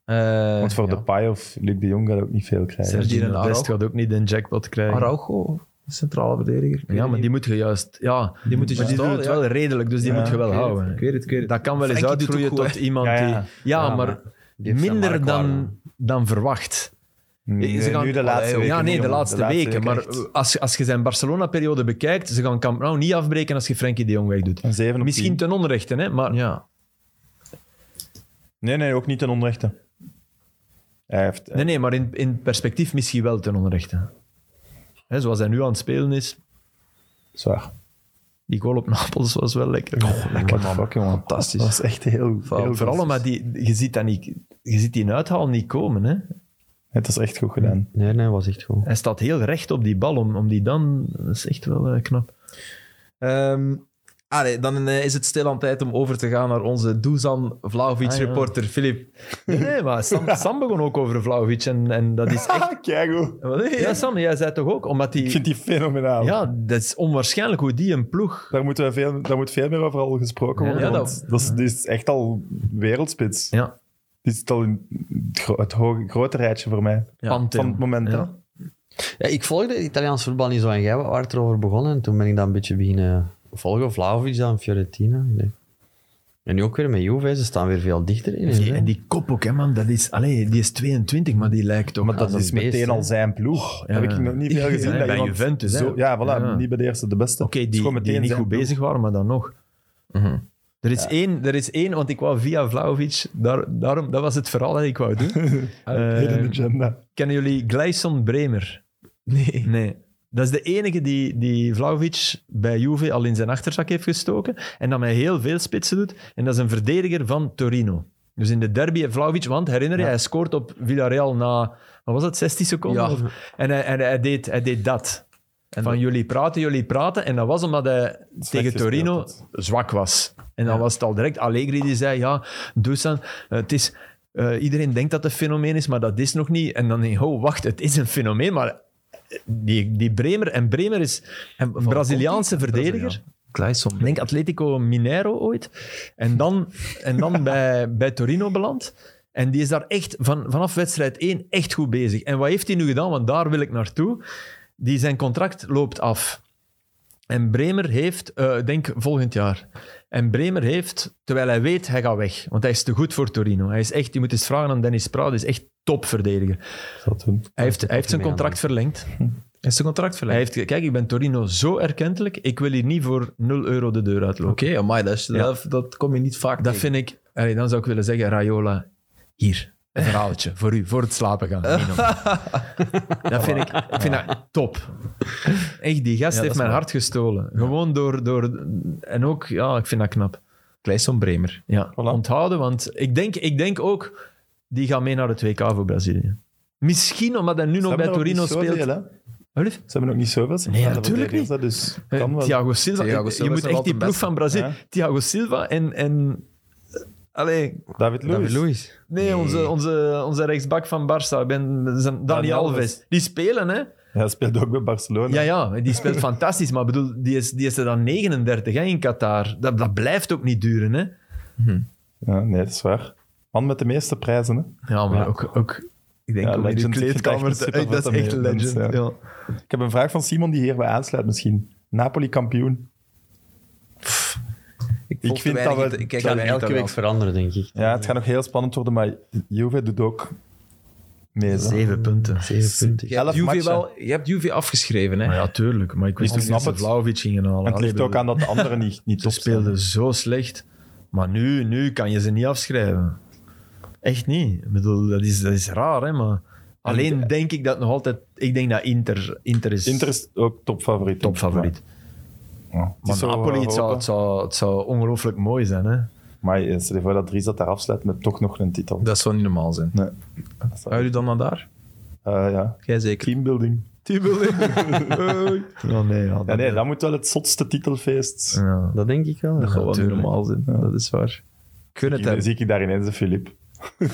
Eh, Want voor ja. de Pai of Luc de Jong gaat ook niet veel krijgen. Sergio Sergio en Best Araujo. gaat ook niet de jackpot krijgen. Araujo, centrale verdediger. Ik weet Ja, het maar niet. die moet je juist... Ja, die moet je maar juist die doen het houden, wel ja. redelijk, dus die Ja, moet je wel Ik weet het, houden. Ik weet het, ik weet het. Dat kan wel eens Frankie doet uitgroeien ook goed, tot iemand Ja, ja. die... Ja, Ja, maar, maar die heeft zijn minder marktwaarde. dan, dan verwacht. Nee, Ze gaan- nu de laatste Ja, weken. ja, nee, niet, de jongen. laatste, weken. Maar echt. als, je- als je zijn Barcelona-periode bekijkt, ze gaan Camp Nou niet afbreken als je Frenkie de Jong wegdoet. Een zeven op Misschien tien. ten onrechte, hè, maar Ja. Nee, nee, ook niet ten onrechte. Hij heeft, Nee, nee, maar in, in perspectief misschien wel ten onrechte. Hè, zoals hij nu aan het spelen is, Zwaar. die goal op Napels was wel lekker. What the fuck, jongen. Fantastisch. Dat was echt heel... Vooral- heel Vooral omdat die, je, ziet dat niet, je ziet die uithaal niet komen. Hè. Het is echt goed gedaan. Nee, nee, was echt goed. Hij staat heel recht op die bal om, om die dan... Dat is echt wel eh, knap. Ehm, allee, dan eh, is het stilaan tijd om over te gaan naar onze Dusan Ah, ja. Vlaovic-reporter, Filip. Nee, nee, maar Sam, Sam begon ook over Vlaovic en, en dat is echt... Kijk Ja, Sam, jij zei toch ook? Omdat Ik die... vind die fenomenaal. Ja, dat is onwaarschijnlijk hoe die een ploeg... Daar, moeten we veel, daar moet veel meer over al gesproken Ja, worden. ja, want dat, is, die is echt al wereldspits. Ja, Die is al in het, gro- het hoge, grote rijtje voor mij. ja. Van het moment. hè. Ja. Ja, ik volgde Italiaans voetbal niet zo en jij was erover begonnen. En toen ben ik dat een beetje beginnen volgen. Vlaovic dan, Fiorentina. Ik denk, En nu ook weer met Juve, ze staan weer veel dichter in. Die- hè. en die kop ook, hè, man. Dat is, allee, die is 22, maar die lijkt toch... Maar dat dat is is een beest, meteen hè. al zijn ploeg. Oh, ja. Heb ik nog niet veel Ja, gezien. bij dat iemand Juventus, hè. Zo, ja, voilà. Ja. Niet bij de eerste, de beste. Oké, Het is die, gewoon meteen die niet zijn goed ploeg. bezig waren, maar dan nog. Mhm. Er is, één, er is één, want ik wou via Vlaovic, daar, daarom, dat was het verhaal dat ik wou doen. Eh, Hidden agenda. kennen jullie Gleison Bremer? Nee. Nee. Dat is de enige die, die Vlaovic bij Juve al in zijn achterzak heeft gestoken en dat met heel veel spitsen doet. En dat is een verdediger van Torino. Dus in de derby heeft Vlaovic, want herinner je, hij scoort op Villarreal na, wat was dat, 16 seconden? Ja. Of- En, hij, en hij, deed, hij deed dat. van jullie praten, jullie praten. En dat was omdat hij tegen gespeeld Torino had. zwak was. En dan Ja. was het al direct Allegri die zei, ja, Dusan, het is... eh, iedereen denkt dat het een fenomeen is, maar dat is nog niet. En dan, denk ik, oh, wacht, het is een fenomeen, maar die, die Bremer... En Bremer is En een van Braziliaanse Conte? verdediger. Braziliaan. Gleison. Ik denk Atletico Mineiro ooit. En dan, en dan bij, bij Torino beland. En die is daar echt van, vanaf wedstrijd 1 echt goed bezig. En wat heeft hij nu gedaan? Want daar wil ik naartoe. Die, zijn contract loopt af. En Bremer heeft, eh, ik denk volgend jaar. En Bremer heeft, terwijl hij weet, hij gaat weg. Want hij is te goed voor Torino. Hij is echt, je moet eens vragen aan Dennis Praat, hij is echt topverdediger. Dat doen. Hij heeft, hij heeft zijn mee aan contract verlengd. Is zijn contract verlengd? Hij heeft, ge- kijk, ik ben Torino zo erkentelijk, ik wil hier niet voor 0 euro de deur uitlopen. Oké, amai, dat, is- Ja. dat, dat kom je niet vaak Dat tegen. vind ik... Allee, dan zou ik willen zeggen, Raiola, hier, Eh. een verhaaltje voor u, voor het slapen gaan. Nino. dat vind ik, ik vind dat top. Echt, die gast Ja, dat heeft is mijn mooi. hart gestolen. Gewoon door, door... En ook, ja, ik vind dat knap. Gleison Bremer. Ja, Voilà. onthouden, want ik denk, ik denk ook, die gaat mee naar het WK voor Brazilië. Misschien omdat hij nu nog Ze bij hebben er ook Torino niet zoveel, speelt. hè. Wat lief? Ze hebben ook niet zoveel. Nee, Ja, natuurlijk niet. dat Dus Eh, kan wel. Thiago Silva. Thiago je- Silva is je moet nog echt die altijd ploeg best. van Brazilië. Ja. Thiago Silva en... en eh, Allee, David Luiz. David Luiz. Nee, Onze, onze, onze rechtsbak van Barça, ik ben, dat is een- Dani Dani Alves. Alves. Die spelen, hè? Ja, hij speelt ook bij Barcelona. Ja, ja, die speelt fantastisch. Maar ik bedoel, die is, die is er dan 39 hè, in Qatar. Dat, dat blijft ook niet duren, hè? Ja, nee, dat is waar. Man met de meeste prijzen, hè. Ja, maar ook, ook ik denk Ja, ook in de legend. kleedkamer. Ik vind te- echt een eh, Dat is echt supervetter legend. mens, Ja. Ik heb een vraag van Simon die hierbij aansluit misschien. Napoli kampioen. volg vind te weinig dat we- in- ik kijk Kan daar elke niet week aan. veranderen, denk ik. Ja, het gaat nog heel spannend worden, maar Juve doet ook mee. hè. Zeven punten. Zeven punten. Je hebt, Elf Juve matchen. wel, je hebt Juve afgeschreven, hè? Maar ja, tuurlijk. Maar ik wist Ik ook niet snap dat het. ze Vlaovic gingen halen. En het ligt Allee, ook aan dat de anderen niet, niet Ze top zijn. speelden zo slecht. Maar nu, nu kan je ze niet afschrijven. Echt niet. Ik bedoel, dat is, dat is raar, hè, maar... Alleen denk ik dat nog altijd... Ik denk dat Inter, Inter is Inter is ook topfavoriet. topfavoriet. Ja. Ja. Het Maar is zo Napoli, het zou, hopen. het, zou, het zou ongelooflijk mooi zijn, hè. Maar eh, stel je voor dat Dries dat daar afsluit met toch nog een titel. Dat zou niet normaal zijn. Nee. Hou jullie dan naar daar? Eh, ja. Jij zeker. Teambuilding. Ja, nee, ja. Ja, dat- nee, dat moet wel het zotste titelfeest. ja. Dat denk ik wel. Dat ja. zou wel niet tuurlijk. normaal zijn. Dat is waar. Kun het Ik- Dan hebben. zie ik daar ineens de Filip. Ik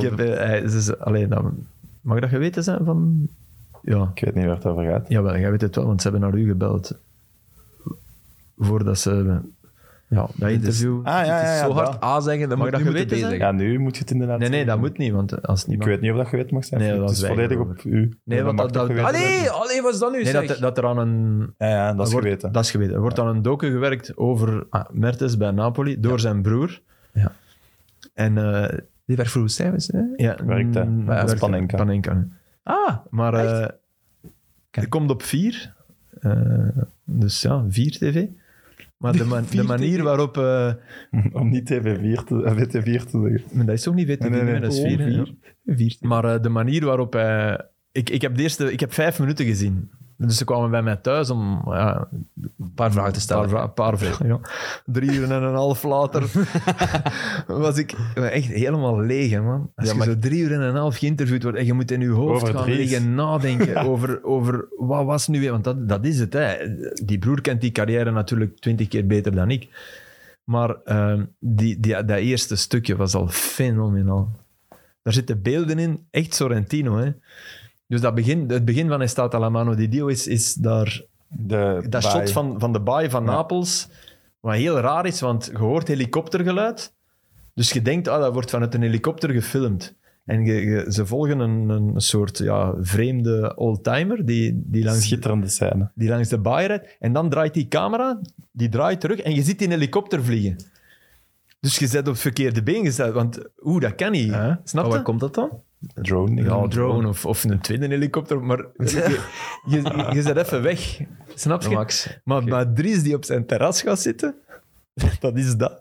heb... eh, hij- ze- ze- allee, dan, mag dat geweten zijn van... Ja. Ik weet niet waar het over gaat. Jawel, jij weet het wel, want ze hebben naar u gebeld. Voordat ze... Ja, dat interview... Ah, ja, Het ja, is ja, zo dat. hard A zeggen, dan Mag moet dat nu moeten geweten B zijn? zeggen. Ja, nu moet je het inderdaad Nee, nee, zeggen. dat moet niet, want als het niet Ik weet niet of dat geweten mag zijn. Nee, het dat is zwijgen volledig we op u. Nee, want mag dat- toch dat- geweten zijn? Allee, allee, wat is dat nu? Nee, zeg? dat, dat er aan een... Ja, ja, dat is er wordt- geweten. Dat is geweten. Er wordt aan een docu gewerkt over ah, Mertens bij Napoli, door zijn broer. Ja. En eh Die werd vroeger Stevens, hè? ja... Werkt, hè. mm, Ja, dat is werkt- Panenka. Ah, Maar Echt? eh Kijk. het komt op vier. Eh, dus ja, vier tv. Maar de, man- de Vier manier TV. waarop... eh, Om niet TV4 te, eh, WT4 te zeggen. maar dat is toch niet weten, Nee, nee, nee. dat is vier. hè? Gewoon Ja. Maar eh, de manier waarop hij... Ik, ik, heb de eerste, ik heb vijf minuten gezien. Dus ze kwamen bij mij thuis om ja, een paar vragen te stellen. Een paar, vra- paar vragen, ja. Drie uur en een half later was ik echt helemaal leeg, hè, man. Als Ja, je maar- zo drie uur en een half geïnterviewd wordt en je moet in je hoofd Over gaan Dries. liggen nadenken over, over wat was nu weer... Want dat, dat is het, hè. Die broer kent die carrière natuurlijk twintig keer beter dan ik. Maar ehm, die, die, dat eerste stukje was al fenomenaal. Daar zitten beelden in, echt Sorrentino, hè. Dus dat begin, het begin van Estata la mano di Dio is, is daar De dat baai. shot van, van de baai van Napels, wat heel raar is, want je hoort helikoptergeluid. Dus je denkt, ah, dat wordt vanuit een helikopter gefilmd. En je- je- ze volgen een, een soort ja, vreemde oldtimer die, die, langs, Schitterende scène. die langs de baai rijdt. En dan draait die camera, die draait terug en je ziet die helikopter vliegen. Dus je zet op het verkeerde been gezet, want oeh, dat kan niet. Hè? Oh, Snap Maar je? waar komt dat dan? Drone. Ja, ja. een drone of, of een tweede helikopter, maar je, je, je zet even weg. Snap je? Max. Maar, maar Dries die op zijn terras gaat zitten, dat is dat.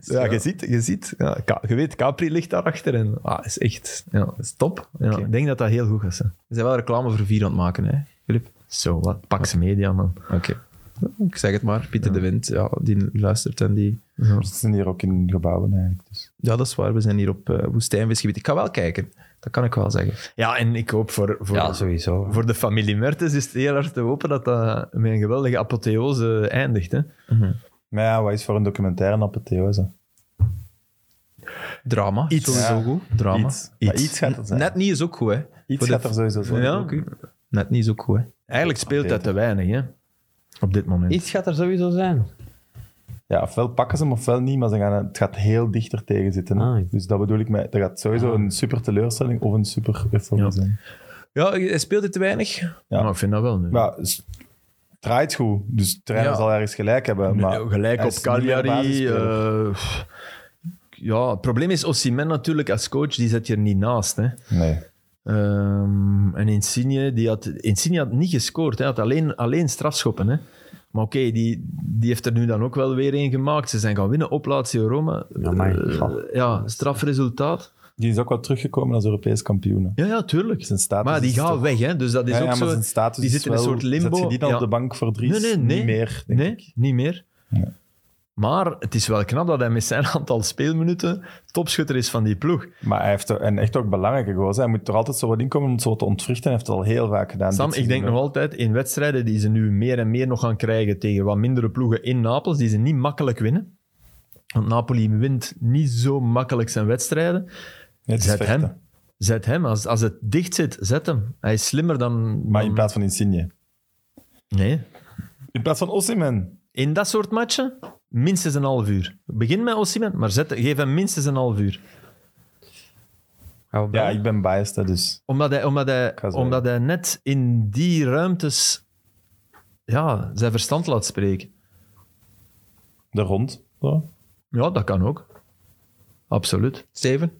Ja, je ziet, je ziet. Ja, Ka- je weet, Capri ligt daarachter en ah, is echt, ja, dat is top. Ja, Oké. Ik denk dat dat heel goed gaat zijn. We zijn wel reclame voor vier aan het maken, hè, Filip? Zo, wat Pax Media, man. Oké. Ik zeg het maar, Pieter de Wind, ja, die luistert en die... We zitten hier ook in gebouwen eigenlijk. Dus. Ja, dat is waar. We zijn hier op eh woestijnvisgebied. Ik ga wel kijken. Dat kan ik wel zeggen. Ja, en ik hoop voor, voor, Ja, sowieso. voor de familie Mertens is het heel hard te hopen dat dat met een geweldige apotheose eindigt. Hè? Maar ja, wat is voor een documentaire een apotheose? Drama. Iets. Sowieso Ja. goed. Drama. Iets. Maar iets gaat er zijn. Net niet is ook goed, hè. iets voor de- gaat er sowieso zijn. Ja. Oké. Net niet is ook goed, hè. Eigenlijk speelt dat te weinig, hè? Op dit moment. Iets gaat er sowieso zijn. Ja, ofwel pakken ze hem ofwel niet, maar ze gaan, het gaat heel dichter tegen zitten. hè. Ah. Dus dat bedoel ik met, dat gaat sowieso een super teleurstelling of een super euforie Ja. zijn. Ja, hij speelt het te weinig. Ja. Maar ik vind dat wel nu. Maar s- het draait goed, dus de trainer Ja. zal ergens gelijk hebben. Maar Ja, gelijk hij op is niet meer Cagliari. basisspeler. eh, pff. ja, het probleem is Osimhen natuurlijk als coach, die zet je er niet naast. Hè. nee. Ehm, en Insigne, die had, Insigne had niet gescoord. Hij had alleen, alleen strafschoppen. Hè. Maar oké, die, die heeft er nu dan ook wel weer één gemaakt. Ze zijn gaan winnen op Lazio Roma. Amai. Eh, ja, strafresultaat. Die is ook wel teruggekomen als Europees kampioen. Ja, ja, tuurlijk. Zijn status maar die is gaat toch- weg, hè. Dus dat is ook zo... zijn status die is zit in een wel- soort limbo. Zet je die dan Ja. op de bank voor drie? Nee, nee, nee. Niet meer, denk Nee, ik. niet meer. Ja. Maar het is wel knap dat hij met zijn aantal speelminuten topschutter is van die ploeg. Maar hij heeft er, en echt ook belangrijke goals. hè. Hij moet er altijd zo wat in komen om het zo te ontwrichten. Hij heeft het al heel vaak gedaan. Sam, dit ik denk seizoen. nog altijd in wedstrijden die ze nu meer en meer nog gaan krijgen tegen wat mindere ploegen in Napels, die ze niet makkelijk winnen. Want Napoli wint niet zo makkelijk zijn wedstrijden. Nee, het is Zet vechten. hem. Zet hem. Als, als het dicht zit, zet hem. Hij is slimmer dan... Maar dan- in plaats van Insigne. Nee. In plaats van Osimhen. In dat soort matchen, minstens een half uur. Begin met Osimhen, maar zet, geef hem minstens een half uur. Gaan we Ja, bellen? ik ben biased, hè, dus. Omdat hij, omdat hij, ga zo omdat hij net in die ruimtes ja, zijn verstand laat spreken. De rond. Zo. Ja, dat kan ook. Absoluut. Steven?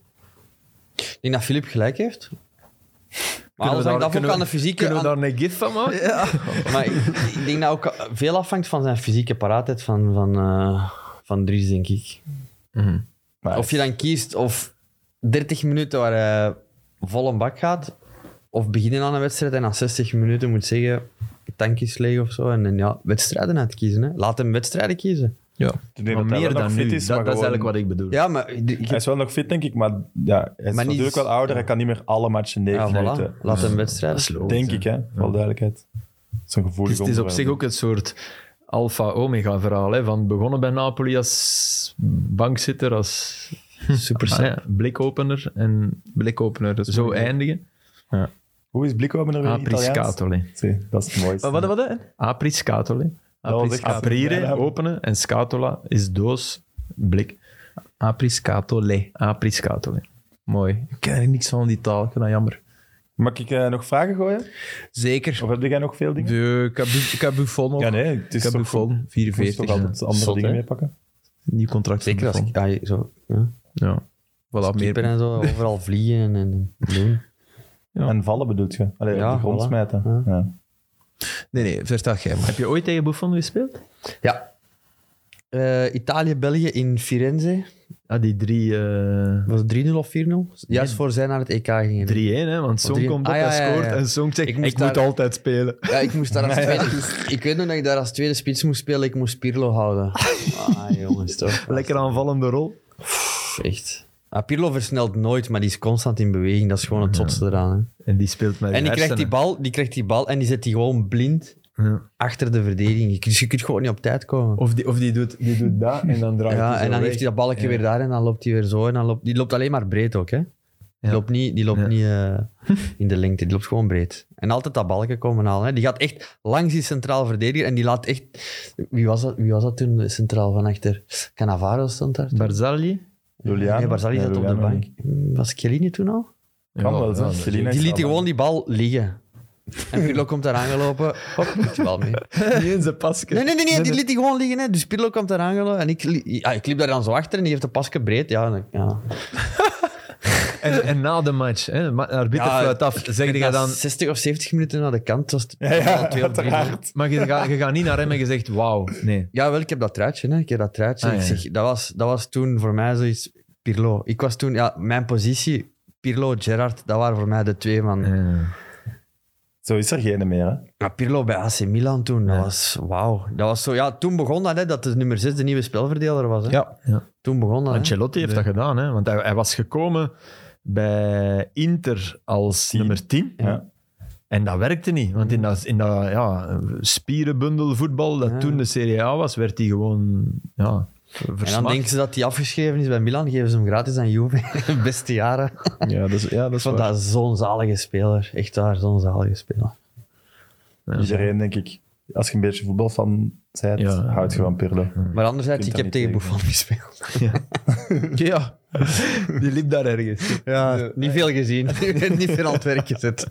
Ik denk dat Filip gelijk heeft. Maar Kunnen alles we daar- hangt af ook kunnen we- aan de fysieke... Kunnen we aan- daar een gif van maken? Maar ik, ik denk dat ook veel afhangt van zijn fysieke paraatheid van, van, eh, van Dries, denk ik. Maar Of je dan kiest of 30 minuten waar hij vol een bak gaat, of beginnen aan een wedstrijd en na 60 minuten moet zeggen, tank is leeg of zo. En, dan ja, wedstrijden uitkiezen. Hè. Laat hem wedstrijden kiezen. Ja. ik denk Maar dat hij meer wel dan nog nu. fit dat, Is, dat maar is gewoon- eigenlijk wat ik bedoel. Ja, maar ik- ik- Hij is wel nog fit, denk ik, maar ja, hij is Maar niet- natuurlijk wel ouder. Hij kan niet meer alle matchen ja, 9 minuten. voilà. laat hem wedstrijden. Denk ik, hè. Wel duidelijkheid. Zo'n gevoelig Dus Het is, het is op onderwerp. zich ook een soort alfa-omega-verhaal. hè, Van begonnen bij Napoli als bankzitter, als Super ah, ja, blikopener en Blikopener. Dus zo eindigen. Hoe is Blikomen er in Apri Italiaans? scatole. Zie, Dat is het mooiste. Wat, wat, wat? Apri scatole. Dat was Apri echt- Aprire, Ja. openen. En scatola is doos, blik. Apriscatole. Apri scatole. Mooi. Ik ken er niks van die taal. Ik vind dat jammer. Mag ik eh, nog vragen gooien? Zeker. Of heb jij nog veel dingen? De, ik heb Bu- ik heb Buffon nog. Ja, nee. Het Ik is heb toch goed. Buffon, Je moest 44. toch altijd andere Zot, dingen hè? meepakken? Nieuw contract van Zeker als Buffon. ik... ah, zo, ja. Ja. Voilà, Keeper meer. en zo, overal vliegen en doen. Ja. En vallen bedoelt je? Allee, Ja, op de grond voilà. smijten. Ja. Nee, nee, vertel jij maar. Heb je ooit tegen Buffon gespeeld? Ja. Eh, Italië-België in Firenze. Ah, die drie, eh, Was het 3-0 of 4-0? Juist voor zij naar het EK gingen. 3-1, hè? Want Song drie- komt op Ah, ja, en ja, scoort. ja. En Song zegt, Ik ik, moest moet daar- altijd spelen. Ja, ik moest daar als tweede... Ik weet nog dat ik daar als tweede spits moest spelen. Ik moest Pirlo houden. Ah, jongens, toch. Lekker aanvallende rol. Pff, Echt. Ah, Pirlo versnelt nooit, maar die is constant in beweging. Dat is gewoon het totste eraan. Hè. En die speelt met En die krijgt die, bal, die krijgt die bal en die zet die gewoon blind achter de verdediging. Dus je kunt gewoon niet op tijd komen. Of, die, of die, doet, die doet dat en dan draait Ja, hij en dan heeft hij dat balkje weer daar en dan loopt hij weer zo. En dan loopt, die loopt alleen maar breed ook, hè? Die loopt niet, die loopt Ja. niet eh, in de lengte, die loopt gewoon breed. En altijd dat balken komen halen. Hè? Die gaat echt langs die centraal verdediger en die laat echt... Wie was dat, wie was dat toen centraal van achter? Cannavaro stond daar? Barzagli? Juliano. nee, Barzali Nee, zat op de Juliano bank. niet. Was Chiellini toen al? Kan wel, hè. Ja, Celine Die is liet wel- gewoon die bal liggen. En Pirlo komt daar aangelopen. Hop, moet je wel mee. Niet eens een pasje. Nee, nee, nee, nee, die liet die gewoon liggen. Hè. Dus Pirlo komt daar aangelopen. En ik, li- ja, ik liep daar dan zo achter en die heeft de pasje breed. Ja, en ik- ja. En, en na de match, hè, de ma- de arbiter Ja, fluit af, zeg je Na dan... 60 of 70 minuten naar de kant. Was het Ja, ja, twee of drie. uiteraard. Maar je gaat, je gaat niet naar hem en je zegt, wauw, nee. Ja, wel, ik heb dat truitje. Hè. Ik heb dat truitje. Ah, Ik ja. zeg, dat, was, dat was toen voor mij zoiets Pirlo. Ik was toen, ja, mijn positie, Pirlo, Gerrard, dat waren voor mij de twee van. Eh, Zo is er geen meer, hè? Maar Pirlo bij AC Milan toen, dat was wauw. Dat was zo, ja, toen begon dat, hè, dat de nummer 6 de nieuwe spelverdeler was. Hè. Ja, ja. Toen begon dat. hè. Ancelotti heeft dat gedaan, hè? want hij, hij was gekomen bij Inter als Tien. nummer 10. Ja. En dat werkte niet, want in dat, in dat ja, spierenbundel voetbal dat Ja. toen de Serie A was, werd hij gewoon ja, En dan versmacht. denken ze dat hij afgeschreven is bij Milan, geven ze hem gratis aan Juve. Beste jaren. Ja, dat is, ja, dat Ik vond dat zo'n zalige speler. Echt waar, zo'n zalige speler. Iedereen, denk ik, als je een beetje voetbalfan bent, Ja. houdt je van Pirlo. Maar anderzijds, ik Kunt heb dat tegen niet Buffon gespeeld. Ja, die liep daar ergens. Ja, niet veel gezien. niet veel aan het werk gezet.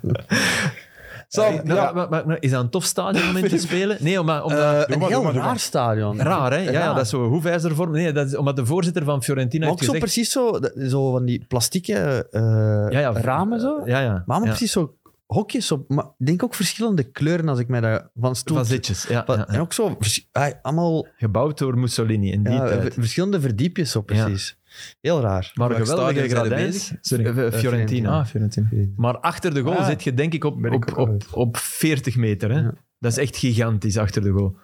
Sam, ja, nou, maar, maar- maar is dat een tof stadion om in te spelen? Nee, maar, omdat, Eh, doe een maar, heel doe maar, doe raar maar. stadion. raar, hè? Ja, ja, raar. dat is zo hoefijzervorm. Nee, dat is omdat de voorzitter van Fiorentina Maar heeft ook zo gezegd... precies zo, dat- zo van die plastieke eh, Ja, ja, ramen zo. Maar Ja, ja. allemaal ja. precies zo hokjes op. Maar ik denk ook verschillende kleuren als ik mij daar van stoel... Facetjes, ja, Van- ja, ja. En ook zo, vers- ah, allemaal Gebouwd door Mussolini in die ja, tijd. ver- verschillende verdiepjes zo precies. Heel raar. Maar Welk geweldige stadion zijn er gradaties. bezig? Sorry. Eh, Fiorentina. Ah, Fiorentina. Maar achter de goal Ah, zit je denk ik op, ben ik ook op, op, uit. op 40 meter. Hè? Ja. Dat is echt gigantisch achter de goal.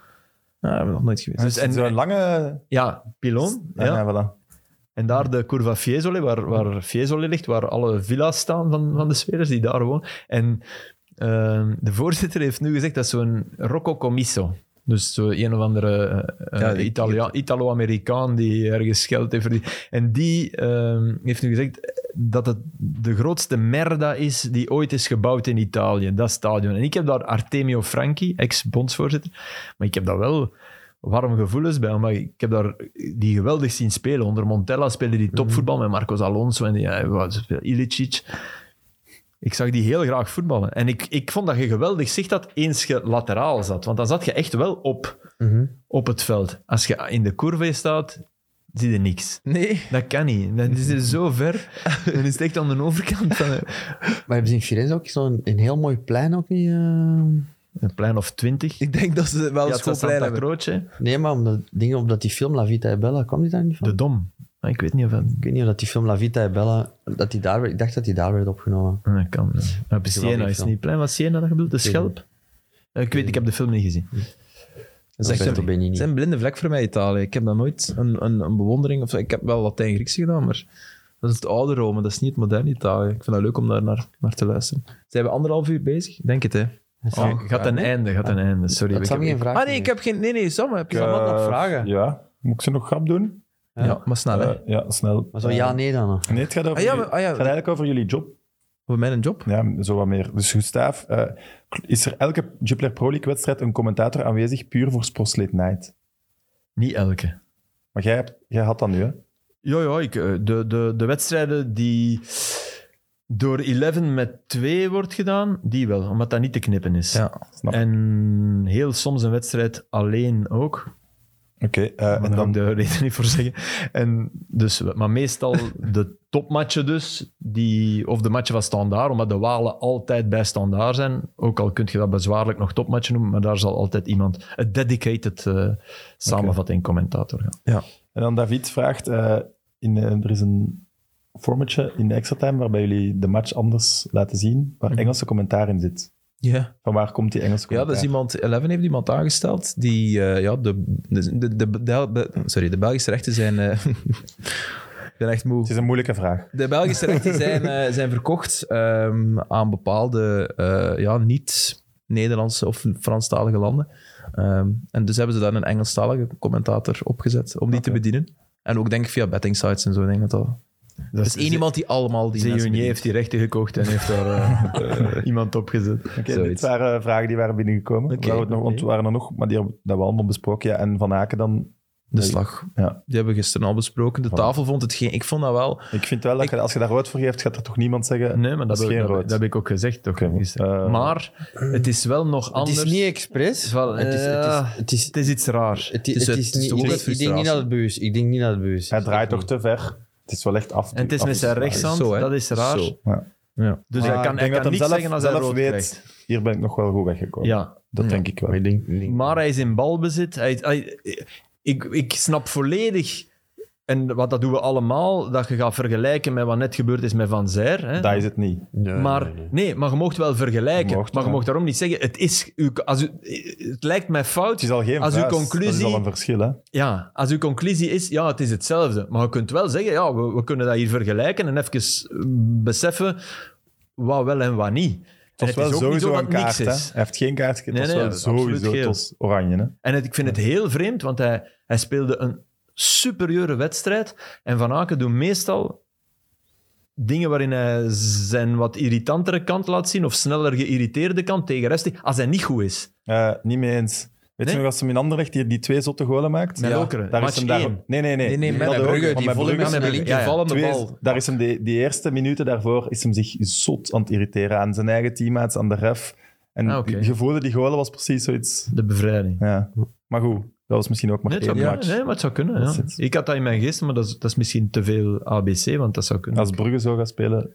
Ah, hebben we nog nooit geweest. Dus, Dus, en en, zo'n lange... ja, Pilon. Ja, Ja. ja, voilà. En daar de Curva Fiesole, waar, waar Fiesole ligt, waar alle villa's staan van, van de spelers die daar wonen. En ehm, de voorzitter heeft nu gezegd dat is zo'n Rocco Commisso. Dus zo een of andere eh, Ja, eh, die- Italia- Italo-Amerikaan die ergens geld heeft verdiend. En die ehm, heeft nu gezegd dat het de grootste merda is die ooit is gebouwd in Italië. Dat stadion. En ik heb daar Artemio Franchi, ex-bondsvoorzitter. Maar ik heb daar wel warm gevoelens bij. Maar ik heb daar die geweldig zien spelen. Onder Montella speelde die topvoetbal met Marcos Alonso en die, ja, wat speelde Ilicic. Ik zag die heel graag voetballen. En ik, ik vond dat je geweldig zicht had eens je lateraal zat. Want dan zat je echt wel op, Mhm. op het veld. Als je in de curve staat, zie je niks. Nee. Dat kan niet. Dan is het zo ver. Dan is het echt aan de overkant. Van Maar hebben ze in Firenze ook zo'n een heel mooi plein ook niet? eh? een plein of twintig. Ik denk dat ze wel Ja, een het was schoolplein Santa hebben. Croce. hè. Nee, maar omdat, dingen, omdat die film La Vita e Bella, kwam die daar niet van? De Dom. Maar ik weet niet of dat... Ik weet niet of dat die film La Vita e Bella, dat die daar, werd- ik dacht dat die daar werd opgenomen. Ah, Dat kan. ja. Maar bij Siena is film. het niet plein. Wat Siena dat bedoelt? De Schelp? Eh, Ik weet, ik heb de film niet gezien. Dat is Dat echt weet een- ik niet. Het is een blinde vlek voor mij, Italië. Ik heb dat nooit een, een, een bewondering... Of, zo. ik heb wel Latijn-Grieks gedaan, maar dat is het oude Rome. Dat is niet het moderne Italië. Ik vind dat leuk om daar naar, naar te luisteren. Zijn we anderhalf uur bezig? Ik Denk het, hè. eh, Oh, gaat een einde, gaat een einde. Sorry. Dat ik zou heb- geen vraag Ah, nee, ik heb geen... Nee, nee, Sam, heb je Ik, allemaal eh, nog vragen? Ja. Moet ik ze nog grap doen? Ja, maar snel, hè. Eh, ja, snel. Eh, Maar zo ja, nee dan. hè. Nee, het gaat, over Ah, ja, jullie- maar- ah, ja. het gaat eigenlijk over jullie job. Voor mijn job? Ja, zo wat meer. Dus Gustav, eh, is er elke Jupiler Pro League-wedstrijd een commentator aanwezig puur voor Sports Late Night? Niet elke. Maar jij, hebt- jij had dat nu, hè? Ja, ja ik, eh, de, de, de wedstrijden die door 11 met 2 wordt gedaan, die wel, omdat dat niet te knippen is. Ja. Snap. Oké. En heel soms een wedstrijd alleen ook. eh, Maar en daar dan... kan ik de reden niet voor zeggen. En dus, maar meestal de topmatchen dus, die, of de matchen van Standaard, omdat de Walen altijd bij Standaard zijn. Ook al kun je dat bezwaarlijk nog topmatchen noemen, maar daar zal altijd iemand, een dedicated eh samenvatting commentator gaan. En dan David vraagt, eh, in, eh, er is een formatje in de extra time waarbij jullie de match anders laten zien, waar Engelse commentaar in zit. Mhm. Ja. Van waar komt die Engelse Ja, commentaar? dat is iemand, Eleven heeft iemand aangesteld die eh, ja, de, de, de, de, de- de- sorry, de Belgische rechten zijn. eh, ik ben echt moe. Het is een moeilijke vraag. De Belgische rechten zijn, eh, zijn verkocht ehm, aan bepaalde eh, ja, niet-Nederlandse of Franstalige landen. Ehm, en dus hebben ze daar een Engelstalige commentator opgezet om die te Oké. bedienen. En ook denk ik via betting sites en zo. Ik Denk dat dat... Dat Er is één iemand die allemaal die mensen Zeeunier bedient. heeft die rechten gekocht en heeft daar eh, eh, iemand opgezet. Oké, dit Zoiets. waren eh, vragen die waren binnengekomen. Oké, Waar we het nog, want oké. er waren er nog, maar die hebben dat we allemaal besproken. Ja, en Van Aken dan De slag. Ja. Die hebben we gisteren al besproken. De tafel vond het geen... Ik vond dat wel... Ik vind wel dat je, als je daar rood voor geeft, gaat er toch niemand zeggen... Nee, maar dat, is heb, ik- geen dat- rood. dat heb ik ook gezegd. Toch, Oké, eh, maar het is wel nog Het anders. is niet expres. Wel, het, is, het, ja. is, het, is, Het is iets raar. het, is is, het- het is het is niet- ook ik denk- wat Ik denk niet dat het bewust. Ik denk niet dat het bewust. Hij is. draait toch te ver. Het is wel echt af. En het is met zijn rechthand, Zo, hè? dat is raar. Zo. Ja. Ja. Dus Maar hij ik kan, hij denk dat kan niks hem zelf- zeggen als hij zelf rood weet. krijgt. Hier ben ik nog wel goed weggekomen. Ja. Dat denk ik wel. Ik denk, ik denk- Maar hij is in balbezit. Hij, hij- ik, ik snap volledig, en wat dat doen we allemaal, dat je gaat vergelijken met wat net gebeurd is met Van Zijr. Hè? Dat is het niet. Nee, Maar nee, nee. nee, maar je mocht wel vergelijken. Eh, Je mocht, maar je ja. mocht daarom niet zeggen, het, is, uw- als u, het lijkt mij fout. Het is al geen Als uw vuist. Dat conclusie- is al een verschil, hè. Ja, als uw conclusie is, ja, het is hetzelfde. Maar je kunt wel zeggen, ja, we, we kunnen dat hier vergelijken en even eh, beseffen wat wel en wat niet. En Het was is wel ook niet sowieso een zo dat het niks kaart, hè. Hij is. heeft geen kaart gekregen. Nee, Het nee, was wel dat is sowieso absoluut het geel. was oranje, hè. En het- ik vind het heel vreemd, want hij, hij speelde een superieure wedstrijd. En Van Aken doet meestal dingen waarin hij zijn wat irritantere kant laat zien, of sneller geïrriteerde kant tegen rest, als hij niet goed is. Eh, niet mee eens. Weet Nee? je nog, als hem in Anderlecht die, die twee zotte golen maakt? Met Lokeren. Daar Match is hem daar... één. Nee, nee, nee. Nee, nee, met Dat Brugge, ook, die want met volle Brugge mensen is Aan de hem- linker linker ja. vallende Twee- bal. Daar is hem die, die eerste minuten daarvoor is hem zich zot aan het irriteren aan zijn eigen teammates, aan de ref. En Ah, oké. het gevoel dat die golen was precies zoiets. De bevrijding. Ja. Maar goed, dat was misschien ook maar Nee, het één zou, ja, match. nee, maar het zou kunnen. Dat is Ja. het. Ik had dat in mijn geest, maar dat is, dat is misschien te veel ABC, want dat zou kunnen. Als Brugge zo gaat spelen,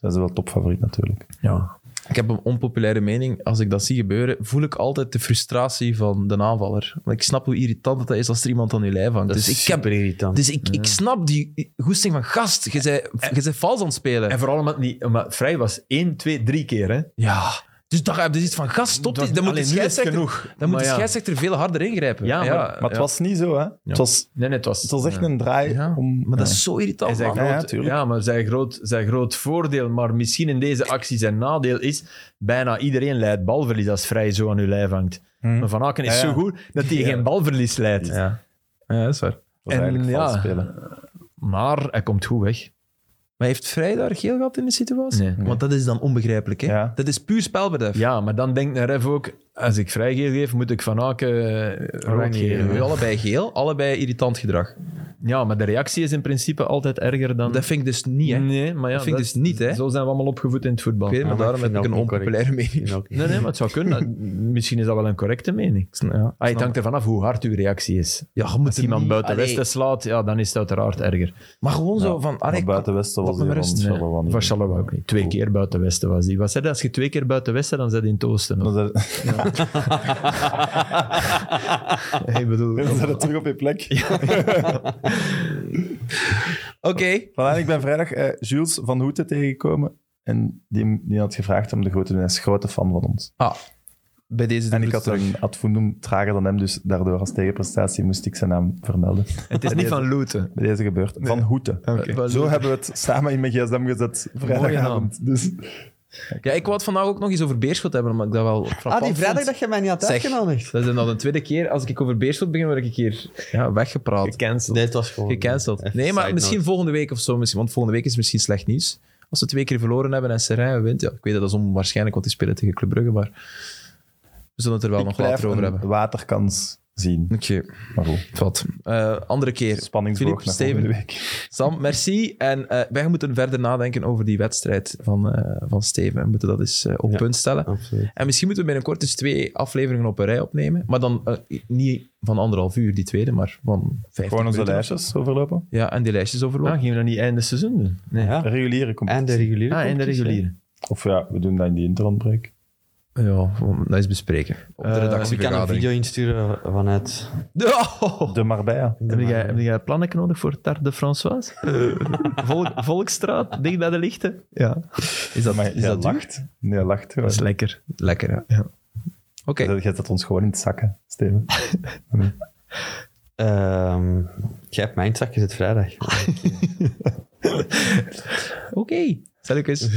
zijn ze wel topfavoriet Eh, natuurlijk. Ja. Ik heb een onpopulaire mening. Als ik dat zie gebeuren, voel ik altijd de frustratie van de aanvaller. Want ik snap hoe irritant dat is als er iemand aan je lijf hangt. dat Dus is ik, heb, super irritant. dus ik, ik snap die goesting van gast. Je bent, je bent vals aan het spelen. En vooral omdat het niet... Maar Vrij was één, twee, drie keer, hè. Ja, dus daar heb je iets van gast. Stop, dit. dan moet de Allee, nu is het scheidsrechter, genoeg. dan moet Maar de ja. scheidsrechter veel harder ingrijpen. Ja, maar- Maar het was niet zo, hè? Het, was, Nee, nee, het was... het was echt ja. een draai. Ja, om, Maar dat ja. is zo Hij irritant, zei man. Ja, ja, groot, ja, tuurlijk. maar zijn groot, zijn groot voordeel, maar misschien in deze actie zijn nadeel is, bijna iedereen leidt balverlies als Vrij zo aan uw lijf hangt. Hm. Maar Van Aken is Ja, ja. zo goed dat hij geen balverlies leidt. Ja. ja, dat is waar. Dat was en eigenlijk vals ja. spelen. Maar hij komt goed weg. Maar heeft Vrij daar geel gehad in de situatie? Nee. Want dat is dan onbegrijpelijk, hè? Ja. Dat is puur spelbedrijf. Ja, maar dan denkt een ref ook, als ik Vrij geel geef, moet ik Van Aken eh, rood niet geven. geven. Nu Ja. allebei geel, allebei irritant gedrag. Ja, maar de reactie is in principe altijd erger dan... Dat vind ik dus niet, hè? nee, maar ja, Dat vind ik dus niet, hè. Zo zijn we allemaal opgevoed in het voetbal. Ik weet het, maar Ja, maar daarom ik heb ik vind een dat ook niet onpopulaire mening. Oké. Nee, nee, maar het zou kunnen. Misschien is dat wel een correcte mening. Ja, Ah, het hangt ervan af hoe hard uw reactie is. ja, je moet Als iemand niet- buiten Allee, Westen slaat, ja, dan is het uiteraard erger. Maar gewoon zo Ja, van... Maar Allee, buiten Westen laat was me hij maar rust. van Charleroi niet. Van Charleroi ook niet. Twee keer buiten Westen was die. Wat zei dat? Als je twee keer buiten Westen, dan zit je in het oosten. Dan of? zijn- Ik bedoel, dan zijn we terug op je plek. Oké. Voilà, en ik ben vrijdag eh, Jules van Hoeten tegengekomen. En die, die had gevraagd om de grote Hij is een grote fan van ons. Ah, dus, eh, bij deze En doen ik we had het terug. een ad fundum trager dan hem, dus daardoor als tegenprestatie moest ik zijn naam vermelden. het is niet van looten. Bij deze gebeurt. Van Hoeten. Ah, Oké. Zo hebben we het samen in mijn gsm gezet vrijdagavond. Dus, Ja, ik wou het vandaag ook nog eens over Beerschot hebben, omdat ik dat wel frappant Ah, die vrijdag vond. dat je mij niet had Zeg. uitgenodigd. Dat is dan de tweede keer. Als ik over Beerschot begin, word ik hier ja, weggepraat. Nee, het was gewoon... Gecanceld. Even Nee, maar side misschien note. volgende week of zo. misschien- Want volgende week is misschien slecht nieuws. Als ze twee keer verloren hebben en Serijn wint. Ja, ik weet dat dat is onwaarschijnlijk, want die spelen tegen Club Brugge. Maar we zullen het er wel ik nog blijf later over een hebben. waterkans zien. Oké, Maar goed, wat. Eh, andere keer. spanningsboog Philippe, naar Steven. volgende week. Sam, merci. En eh, wij moeten verder nadenken over die wedstrijd van, eh, van Steven. We moeten dat eens eh, op Ja. punt stellen. Absoluut. En misschien moeten we binnenkort dus twee afleveringen op een rij opnemen. Maar dan eh, niet van anderhalf uur, die tweede, maar van vijf Gewoon onze minuten. lijstjes overlopen. Ja, en die lijstjes Ah, overlopen. gingen we dat niet einde seizoen doen? Nee. Ja. De reguliere En de competitie. reguliere Ah, in de competitie. reguliere. Of ja, we doen dat in die interlandbreak. Ja, dat is bespreken. Op de Of Eh, ik kan een redactievergadering. video insturen vanuit... De Marbella. Heb jij, heb jij plannen nodig voor Tarte de Françoise? Volk- Volksstraat, dicht bij de lichten? Ja, Is dat, Maar is jij dat duur? lacht? Nee, lacht gewoon. dat is lekker. Lekker, ja. Ja. Oké. Je zet dat ons gewoon in het zakken, Steven. Ehm, jij hebt mijn zakje, het vrijdag. Oké. Stel ik eens.